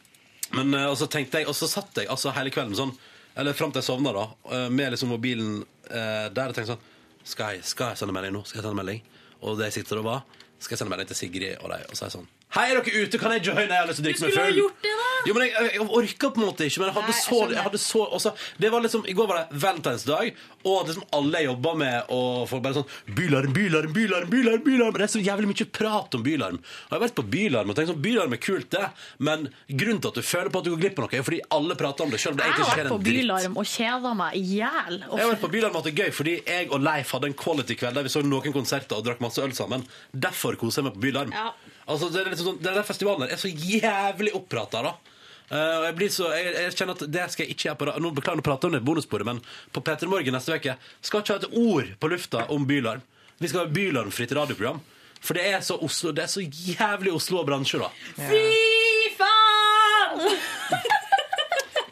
Men eh, og så tenkte jeg, og så satt jeg altså hele kvelden sånn, eller fram til jeg sovna, da, eh, med liksom mobilen eh, der og tenkte sånn skal jeg, skal jeg sende melding nå? Skal jeg sende melding? Og det jeg sikta da, var Skal jeg sende melding til Sigrid og deg og si sånn Hei, er dere ute? Kan jeg joine? Jeg har lyst til å drikke meg skulle ha full. gjort det, da! Jo, men jeg, jeg, jeg orka på en måte ikke. Men jeg hadde så, jeg hadde så også, Det var liksom I går var det valentinsdag, og liksom alle jeg jobba med, og folk bare sånn Bylarm, bylarm, bylarm, bylarm! bylarm Det er så jævlig mye prat om bylarm. Og jeg har vært på bylarm og tenkt sånn Bylarm er kult, det, men grunnen til at du føler på at du går glipp av noe, er fordi alle prater om det, selv om det Jeg har egentlig ikke vært skjer på en dritt. bylarm og kjeda meg i hjel. Jeg har vært på Bylarm og hatt det gøy fordi jeg og Leif hadde en quality kveld der vi så noen konserter og drakk masse øl sammen. Derfor koser jeg meg på Bylarm. Altså, det, er liksom sånn, det er den festivalen der er så jævlig opprata, da. Eh, og jeg, blir så, jeg, jeg kjenner at det skal jeg ikke gjøre på ra- Nå Beklager å prate om det i bonusbordet, men på P3 Morgen neste uke skal jeg ikke ha et ord på lufta om Bylarm. Vi skal ha et bylarmfritt radioprogram. For det er så, Oslo, det er så jævlig Oslo og bransje, da. Fy faen!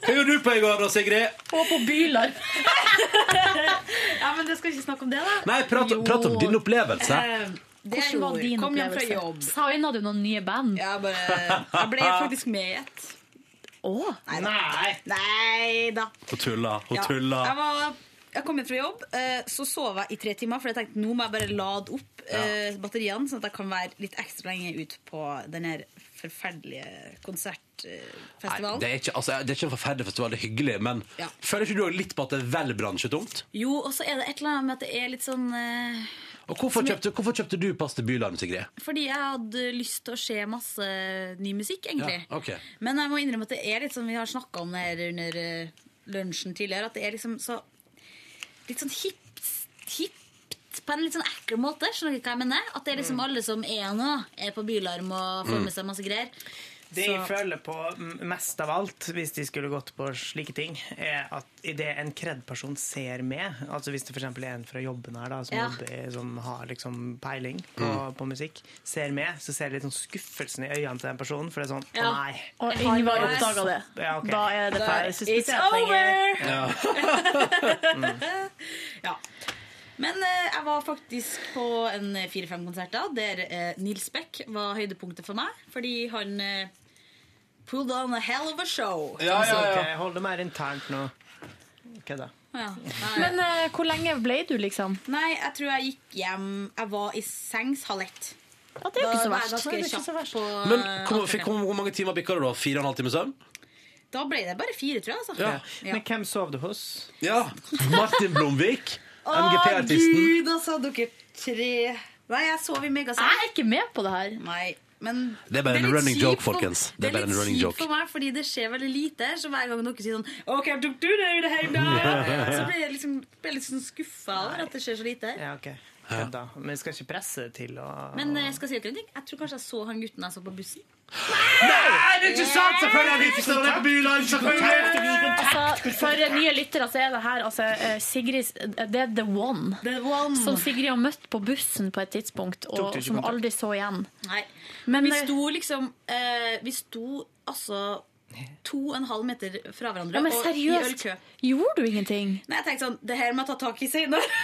Hva gjorde du på i går da, Sigrid? Og på bylarm. ja, men det skal vi ikke snakke om det, da. Nei, prat, prat om din opplevelse. Eh, det Hvordan var din Kom hjem fra opplevelse? jobb. Signa du noen nye band? Jeg, bare, Eh, jeg ble faktisk med i et. Nei, da. Nei da. Hun tulla. Hun Ja. tulla. Jeg, var, jeg kom hjem fra jobb, eh, så sov jeg i tre timer, for jeg tenkte nå må jeg bare lade opp eh, batteriene, sånn at jeg kan være litt ekstra lenge ute på den her forferdelige konsertfestivalen. Det er, ikke, altså, det er ikke en forferdelig festival, det er hyggelig, men Ja. føler ikke du også litt på at det er vel bransjetungt? Jo, og så er det et eller annet med at det er litt sånn eh, Og hvorfor kjøpte, hvorfor kjøpte du pass til Bylarm, Sigrid? Fordi jeg hadde lyst til å se masse ny musikk, egentlig. Ja, ok. Men jeg må innrømme at det er litt sånn, vi har snakka om det her under eh, lunsjen tidligere, at det er liksom så litt sånn hipt, hipt på en litt sånn ekkel måte. Skjønner dere hva jeg mener? At det er Mm. liksom alle som er nå, er på bylarm og får med seg masse greier. Det Så- jeg føler på m- mest av alt, hvis de skulle gått på slike ting, er at idet en kred-person ser med, altså hvis det f.eks. er en fra jobben her da, som, Ja. jobber, i- som har liksom peiling på, Mm. på musikk, ser med, så ser jeg litt sånn skuffelsen i øynene til den personen, for det er sånn Ja. Å, nei. Og Yngvar oppdaga det. Ja, ok. Da er det ferdig. Jeg synes It's ikke at jeg lenger- over! Ja. Men eh, jeg var faktisk på en eh, fire-fem konserter der eh, Nils Beck var høydepunktet for meg. Fordi han eh, pulled on a hell of a show. Så, ok, hold det mer internt nå. Kødda. Ja. Men eh, hvor lenge ble du, liksom? Nei, jeg tror jeg gikk hjem Jeg var i sengs halv ett. Ja, det er jo ikke så verst. Det er Da var jeg ikke ganske så kjapp på Men eh, hvor, avtrekkeren. fikk, hvor, hvor mange timer bikka du da? Fire og en halv time søvn? Da ble det bare fire, tror jeg. Altså. Ja. Men hvem sov du hos? Ja. Martin Blomvik. Å, MGP-artisten. Gud, altså, dere tre Nei, jeg sov i megaseng. Jeg er ikke med på det her. Nei, men Det er bare en litt running kjipt joke, for- folkens. Det er bare en litt running kjipt joke. for meg, fordi det skjer veldig lite. Så hver gang dere sier sånn OK, tok du deg ut hjem, da? Så blir jeg liksom, blir jeg litt sånn skuffa over at det skjer så lite. Ja, ok. kødda. Men jeg skal ikke presse det til å Men eh, jeg skal si dere en ting. Jeg tror kanskje jeg så han gutten jeg så på bussen. Nei, det er ikke sant! Selvfølgelig er det ikke sant! Det er på Byland, Altså, for nye lyttere så er det her altså, eh, Sigrid Det er The One. Som Sigrid har møtt på bussen på et tidspunkt, Tok og du ikke som kontakt? aldri så igjen. Nei. Men Men vi det- sto liksom eh, Vi sto altså to og en halv meter fra hverandre Ja, men og i seriøst, ølkø. gjorde du ingenting? Nei, jeg tenkte sånn Det her må jeg ta tak i senere.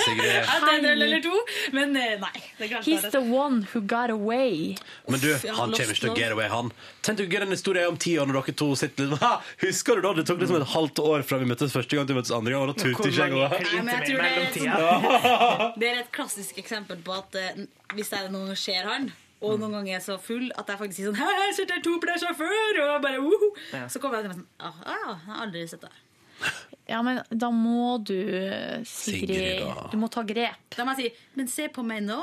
Sigrid. Etter en øl eller to. Men eh, nei. Det er He's kanskje the one who got away. Men du, han kommer ikke til å get away, han. Tenk deg en historie om ti år når dere to sitter litt [LAUGHS] ha, Husker du da? Det tok liksom et halvt år fra vi møttes første gang til vi møttes andre gang, og da turte ikke jeg å Nei, men jeg tror det, er et sånt- [LAUGHS] det er et klassisk eksempel på at eh, hvis det er noe som skjer han, og noen ganger er jeg så full at jeg faktisk sier sånn Hei, jeg har sett deg to plasser før! Og jeg bare, «Woho!» Så kommer jeg til meg sånn «Ah, ah, jeg har aldri sett deg. Ja, men da må du, eh, Sigrid, Sigrid, da. Du må ta grep. Da må jeg si Men se på meg nå!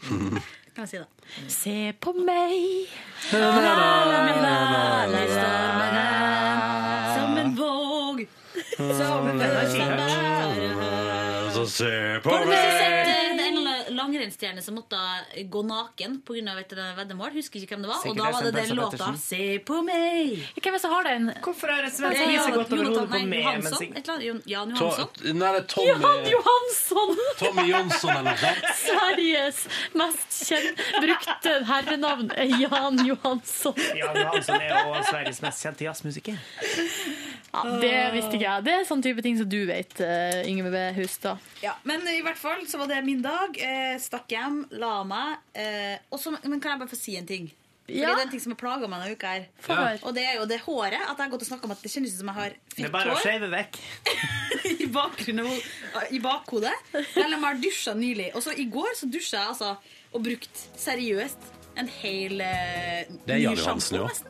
[LAUGHS] Kan jeg si det? Se på meg Som en våg Som en våg som bærer Så Altså, se på Har du meg! ikke sett eh, det ene langrennsstjerne som måtte gå naken pga. et eller annet veddemål? Husker ikke hvem det var. Sikkert og da var det Espen Bergstad den låta Pettersen. 'Se på meg'. Hvem er det som har den? Hvorfor er det svensk Det er viser Jan- godt over Jonathan- hodet på nei, meg, men Johansson? sikkert- Et eller annet. Jon- Jan To, Johansson? nei, det er Tommy, Johansson! Tommy Jonsson eller noe sånt. Sveriges mest kjent brukte herrenavn er Jan Johansson. Jan Johansson er jo Sveriges mest kjente jazzmusiker. Ja, det visste ikke jeg. Det er sånn type ting som du vet, eh, Yngve B. Hustad. Eh, Ja, men i hvert fall så var det min dag. Eh, stakk hjem, la meg. Eh, og så- men kan jeg bare få si en ting? Fordi Ja. Det er en ting som har plaga meg denne uka. her Få Ja. høre. Og det er jo det håret. At jeg har gått og snakket om at det kjennes ut som jeg har Det er fritt bare å hår shave vekk. i, bakgrunnen, hvor- i bakhodet. Eller om jeg har dusja nylig. Og så i går så dusja jeg altså og brukt seriøst en hel eh, Det er ny Jan sjampo, Johansen, jo. nesten.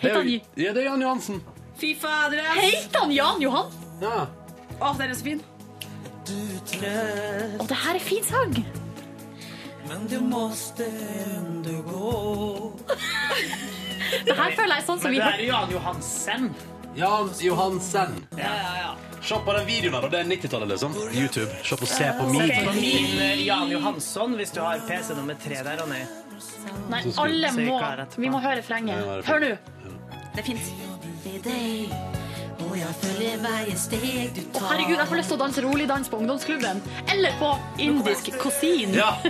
Det er jo- Ja, det er Jan Johansen. Fy fader. ass. Heter han Jan Johan? Ja. Å, den er så fin. Å, det her er fin sang! Men du måste ändå gå Det her føler jeg er sånn som Men vi det er Jan Johansen. Jan Johansen. Ja, ja, ja. Se på den videoen her, da. Det er 90-tallet, liksom. YouTube. Se på Se på Sett på min. min eh, Jan Johansson hvis du har PC nummer tre der, Ronny. Nei, alle Så må gikk jeg rett på. Vi må høre Ja, det er refrenget. fint. Hør nå. Det er fint. Det er deg, og jeg følger hver steg du Å, herregud, jeg får lyst til å danse rolig dans på ungdomsklubben. Eller på indisk kusin. Ja, ja.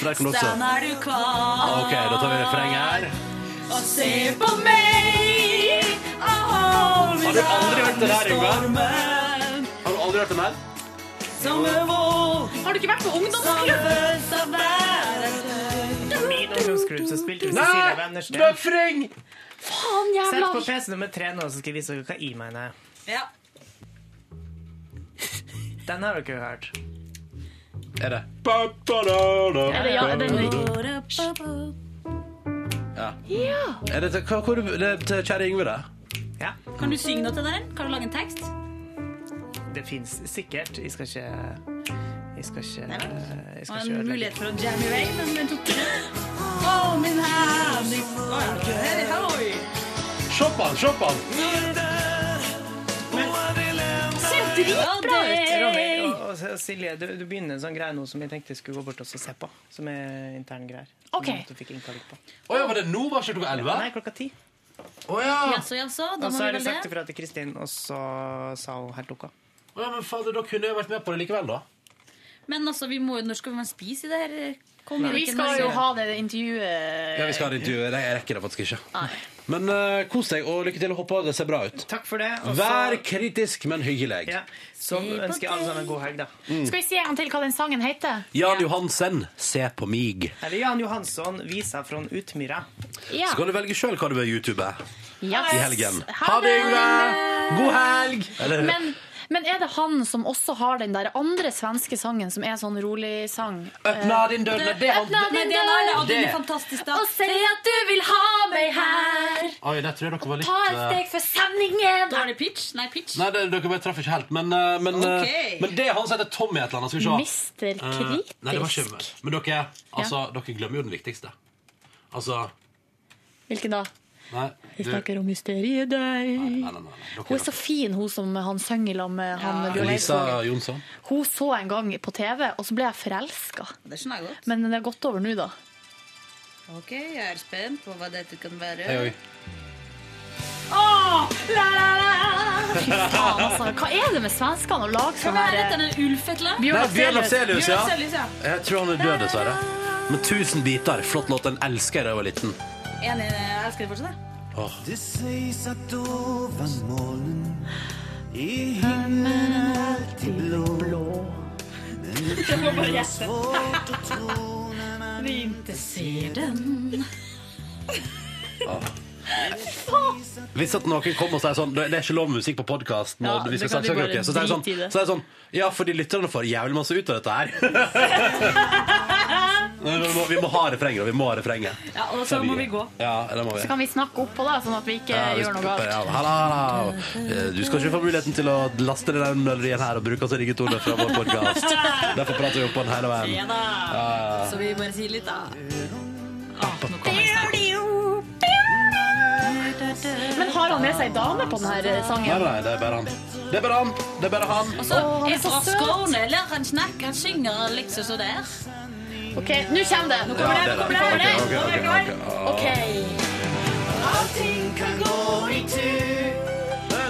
For der kan du også er du kvar OK, da tar vi refrenget her. og ser på meg. Har du aldri hørt det der, Yngve? Har du aldri hørt den her? Som en vår Har du ikke vært på ungdomsklubb? som bærer Min ungdomsklubb så spilte vi Nei, Cecilia Wennersten. refreng! Faen, Sett jævla på PC nummer tre nå, så skal jeg vise dere hva jeg mener. Ja. Den har dere jo hørt. Er det? Er det- ja, er det ja. Ja. Er det til, hva, hvor, det er til kjære Yngve, det? Kan du synge noe til den? Kan du lage en tekst? Det fins sikkert. Jeg skal ikke Jeg skal ikke, jeg Det skal var ikke en ødelegge. mulighet for å jamme i vei, men den tok det. Å, min herlig folk, her er hoi. Se på han, se på han! Ser dritbra Ronny ut! og, og Silje, du, du begynner en sånn greie nå som jeg tenkte jeg skulle gå bort og så se på. Som er interne greier. Ok. Men at Du fikk innkalling på. Å ja, var det nå? Var ikke klokka elleve? Nei, klokka ti. Å ja. Jaså, jaså, da Og må så vi har jeg vel sagt det. ifra til Kristin, og så sa hun helt OK. Å ja, men fader, da kunne jeg vært med på det likevel, da. Men altså, vi må jo, når skal man spise i det her? eh, Vi skal sånn. jo ha det intervjuet Ja, vi skal ha det intervjuet. Nei, Jeg rekker det faktisk ikke. Men eh, kos deg, og lykke til. og Håper det ser bra ut. Takk for det. og så- Vær kritisk, men hyggelig. ja, Så ønsker jeg alle sammen en god helg, da. Mm. Skal vi si en gang til hva den sangen heter? Jan Johansen, se på mig. Her er Jan Johansson, viser fra Utmyra. Ja. Så kan du velge sjøl hva du vil YouTube i helgen. Ha det, Yngve! God helg! Eller, Men, men er det han som også har den der andre svenske sangen som er sånn rolig sang? Öppna din dörr. Nei, det er han- Öppna din Nei, det er han, dörr. ja, den er fantastisk, Og si at du vil ha meg her. Oi, der tror jeg dere var litt Ta et eh, steg for sanningen. eh, Dårlig pitch? Nei, pitch. Nei, det, dere bare traff ikke helt. Men, eh, men, eh, Ok. men det er han som heter Tommy et eller annet. Skal vi se. Mister Eh, Kritisk. nei, det var ikke Men dere, altså, dere glemmer jo den viktigste. Altså Hvilken da? Nei, Vi du- snakker om mysteriet deg. Hun er Dere- så fin, hun som han synger sammen med han Bjørn Lisa Eidsvåg. Jonsson. Hun så jeg en gang på TV, og så ble jeg forelska. Men det er gått over nå, da. Ok, jeg er spent på hva dette kan være. Jeg òg. Åh, la, la, la. Fy faen, altså. Hva er det med svenskene og lag Hva sånn er her dette, den ulfetla? Nei, Bjørn Afselius, ja. Afzelius, ja. Jeg tror han er død, dessverre. Men 1000 biter. Flott låt. Den elsker jeg da jeg var liten. Enig, jeg elsker det fortsatt. jeg. Åh. Det sies at ovenmålen i himmelen er alltid blå. Jeg må bare gjette. Svårt å tro Når vi ikke ser den. Åh. Faen! Hvis at noen kommer og sier sånn Det det er ikke lov med musikk på podkasten, Ja, og vi det skal kan vi saksøke bare dere, så sier jeg sånn, drite i det. så sier jeg sånn Ja, fordi lytterne får jævlig masse ut av dette her. Men vi, må, vi må ha refrenget. Vi må ha refrenget. Ja, og så må vi gå. Ja, det må vi. Så kan vi snakke oppå, da, sånn at vi ikke Eh, Ja, hvis- gjør noe galt. ja, hallo, hallo. Eh, Du skal ikke få muligheten til å laste ned den melodien her og bruke oss i riggetonet fra vår podkast. Derfor prater vi opp på den hele veien. Ja da. Ja, Så ja. vi bare sier litt, da. Men har han med seg ei dame på denne Nei, sangen? nei, det er bare han. Det er bare han. Det er bare han. Og så Å, han er er så fra søt. Skåne, eller? Han snakker, han synger liksom så der. OK, nå kommer det. Nå kommer det, nå kommer det. Ok, ok, ok, ok. OK. Allting kan gå i tur,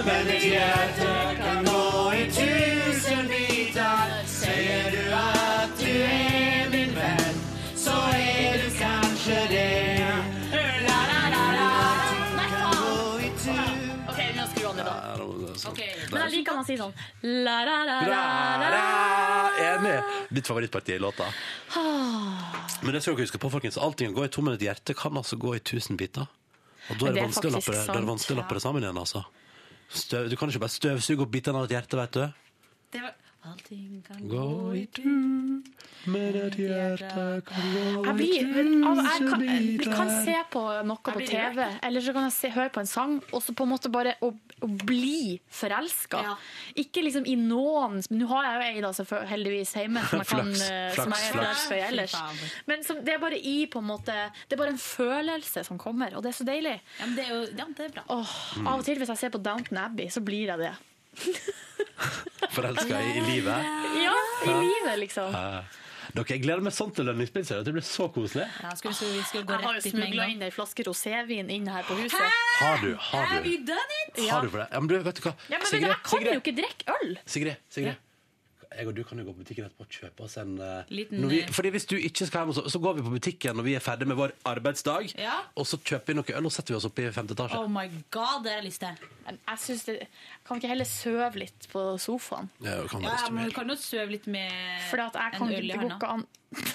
men ditt hjerte kan gå i tusen biter. Sier du at du er min venn, så er du kanskje det. La, la, la, la. Allting kan gå i tur. OK, vi må skru av nå, da. Ja, det var sånn. Men jeg liker han sier sånn la, la, la, la, Bra, la. bra. Enig. Ditt favorittparti i låta. Ah. Men det skal dere huske på, folkens. Allting kan gå i to minutter. Hjertet kan altså gå i tusen biter. Og da er Det det, er vanskelig, å faktisk lappe, det- da er det sant, vanskelig å ja. lappe det sammen igjen, altså. Støv, du kan ikke bare støvsuge opp bitene av et hjerte, vet du. Det var Allting kan Gå gå i i tur, men et hjerte kan gå Jeg, blir, av, jeg, kan, jeg kan se på noe på blir TV, eller så kan jeg se, høre på en sang, og så på en måte bare å, å bli forelska. Ikke liksom i noen men Nå har jeg jo ei, da, selvfø- heldigvis hjemme, som jeg, kan, Flaks, eh, flaks, som jeg er flaks. forelska i ellers. Men som, det er bare i på en måte Det er bare en følelse som kommer, og det er så deilig. Ja, men det er jo ja, det er bra. Åh, Av og til hvis jeg ser på Downton Abbey, så blir jeg det. Forelska i, i livet. Ja, i livet, liksom. Ja. Dere, jeg gleder meg sånn til lønningsspill. ser du. Det blir så koselig. Jeg har jo smugla inn ei flaske rosévin inn her på huset. Har du, har du, done it? har du for det? Ja, men du, vet du hva? Ja, men vet du, Sigrid, jeg kan jo Sigrid, ikke drikke øl. Sigrid, Sigrid. Jeg og du kan jo gå på butikken etterpå og kjøpe oss en eh, Liten, når vi, eh, Fordi Hvis du ikke skal hjem, så, så går vi på butikken når vi er ferdig med vår arbeidsdag, Ja. og så kjøper vi noe øl og setter vi oss opp i femte etasje. Oh my god, det har jeg lyst til. Men jeg synes det, Kan ikke heller søve litt på sofaen? Ja, det kan Ja, være hvis du men vil. du kan jo søve litt med For at jeg Eh, en kan øl i ikke hånda. gå an [LAUGHS]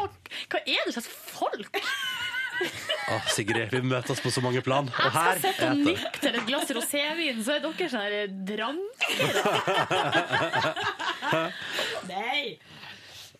Fuck! Hva er det slags folk? Å, Sigrid, [LAUGHS] vi møtes på så mange plan. Og Jeg skal her sitte er og det. nippe til et glass rosévin, så er dere sånn her drankere. Nei!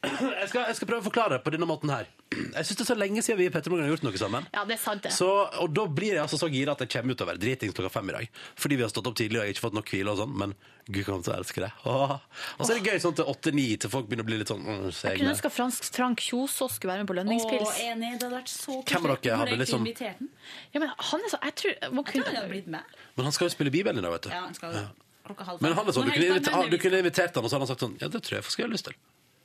Jeg skal, jeg skal prøve å forklare det på denne måten her. Jeg synes det er så lenge siden vi i Petter Morgan har gjort noe sammen. Ja, det er sant, det. Så, og da blir jeg altså så gira at jeg kommer ut og er dritings klokka fem i dag. Fordi vi har stått opp tidlig og jeg har ikke fått nok hvile og sånn. Men gud kommer til å elske det. Åh. Og så er det gøy sånn til åtte-ni til folk begynner å bli litt sånn mm, Jeg kunne segne. ønske at Fransk Frank Kjosås skulle være med på lønningspils. Å, enig, det hadde vært så Hvem koselig. av dere Burde hadde jeg ikke liksom- invitert den? Ja, men han er så Jeg tror man Jeg tror kunne han hadde blitt med. Men han skal jo spille Bibelen i dag, vet du. Ja, han skal Ja. klokka halv Men han er sånn, du Nå kunne, helt invitert, du annerledes. kunne invitert han, og så hadde han sagt sånn Ja, det tror jeg faktisk jeg har lyst til.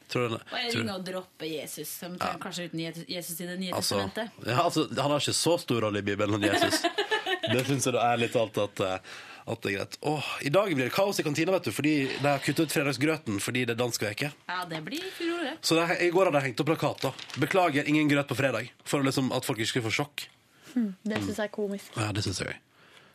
Tror du det? Og jeg Tror du- ringer og dropper Jesus, som tar kanskje uten Jesus- Jesus i Det nye Altså, testamentet. ja, altså, han har ikke så stor rolle i Bibelen, han [LAUGHS] Jesus. Det syns jeg da er litt alt at, eh, at det er greit. Åh, I dag blir det kaos i kantina, vet du, fordi de har kuttet ut fredagsgrøten fordi det er dansk veke. Ja, det blir furore. Så det, i går hadde jeg hengt opp plakater. 'Beklager, ingen grøt på fredag', for liksom at folk ikke skulle få sjokk. Hm, Det syns jeg er komisk. Ja, det syns jeg òg.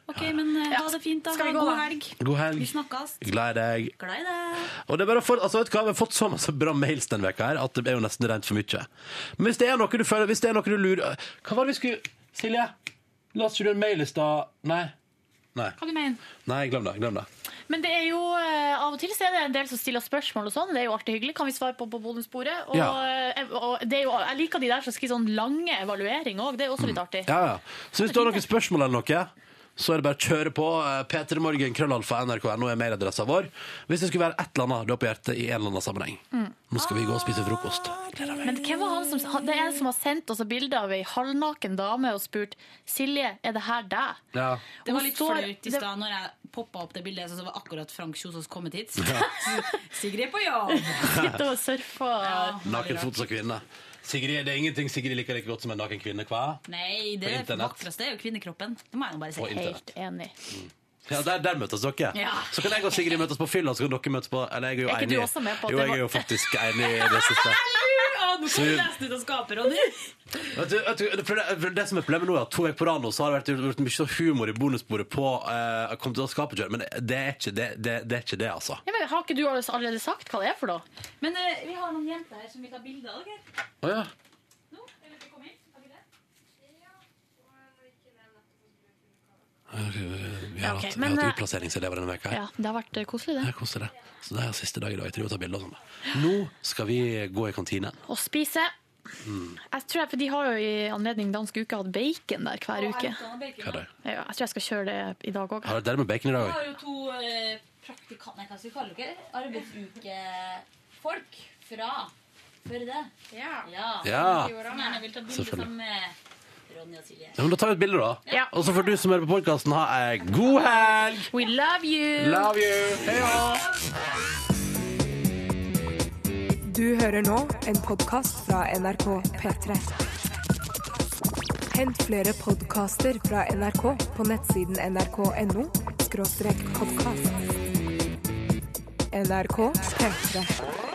Ok, men eh, ha det fint, da. Skal vi Ha en gå, god da? helg. God helg. Vi snakkes. Gled deg. Glad i deg. Og det er bare for, altså vet du hva, Vi har fått så masse bra mails denne veka her at det er jo nesten rent for mye. Men hvis det er noe du føler Hvis det er noe du lurer Hva var det vi skulle Silje, la oss ikke du en mail i stad? Nei. Nei. Hva du mener? Nei, glem det. glem det Men det er jo eh, av og til så er det en del som stiller spørsmål og sånn. Det er jo alltid hyggelig. Kan vi svare på på bonusbordet? Og, Ja. eh, og det er jo, jeg liker de der som skriver sånn lange evaluering òg. Det er jo også litt artig. Mm. Ja, ja. Så hvis du har noen spørsmål eller noe, så er det bare å kjøre på. eh, P3morgen, krøllalfa, nrk.no er mailadressa vår. Hvis det skulle være et eller annet du har på hjertet i en eller annen sammenheng. Mm. Nå skal vi gå og spise frokost. Men hvem var han som, han- det er en som har sendt oss et bilde av ei halvnaken dame og spurt Silje, er det her deg? Ja. Det var litt Hun står- flaut i det- stad når jeg poppa opp det bildet. Så det var akkurat Frank Kjosås kommet hit. Ja. [LAUGHS] Sigrid er på jobb! [LAUGHS] Sitter og surfer. Nakenfotos av kvinne. Sigrid, det er ingenting Sigrid liker like godt som en naken kvinne, hva? Nei, På det er det internett. vakreste er jo kvinnekroppen. Det må jeg nå bare si. På internett. enig. Ja, der, der møtes dere. Ja. Så kan jeg og Sigrid møtes på fylla, så kan dere møtes på Eller jeg er jo Er ikke enig. du også med på at jo, det jeg var- er jo faktisk enig [LAUGHS] i det [LAUGHS] siste. Å, nå Så- kom du nesten ut av skapet, Ronny! Vet du, vet du, det- for det, for det som er problemet nå, er at to uker på rad nå så har det vært gjort mye sånn humor i bonusbordet på uh, Kom til å skape kjør, men det er ikke det, det, det, er ikke det altså. Ja, men har ikke du allerede sagt hva det er for noe? Men eh, vi har noen jenter her som vil ta bilde av dere. Å ja. Nå, jeg vil ikke komme inn. Har vi det? Vi Ja, har ok, hatt, vi men, har eh, hatt utplasseringselever denne veka. her. Ja, det har vært eh, koselig, Jeg det. koser det. Så det er siste dag i dag. Jeg tror jeg tar bilder og sånn. Nå skal vi gå i kantinen. Å spise. Mm. Jeg tror jeg, for De har jo i anledning Dansk uke hatt bacon der hver uke. Hva er det? Ja, jeg tror jeg skal kjøre det i dag òg. Har dere med bacon i Vi dag? har jo to eh, praktikant... Nei, hva skal vi kalle dere? Arbeidsukefolk fra Førde. Ja. ja. Ja. Som gjerne vil ta bilde Selvfølgelig. sammen med Ronny og Silje. Ja, men da tar vi et bilde, da. Ja. Og så får du som hører på podkasten, ha ei god helg! We love you! Love you! Du hører nå en podkast fra NRK P3. Hent flere podkaster fra NRK på nettsiden nrk.no podkast. NRK P3.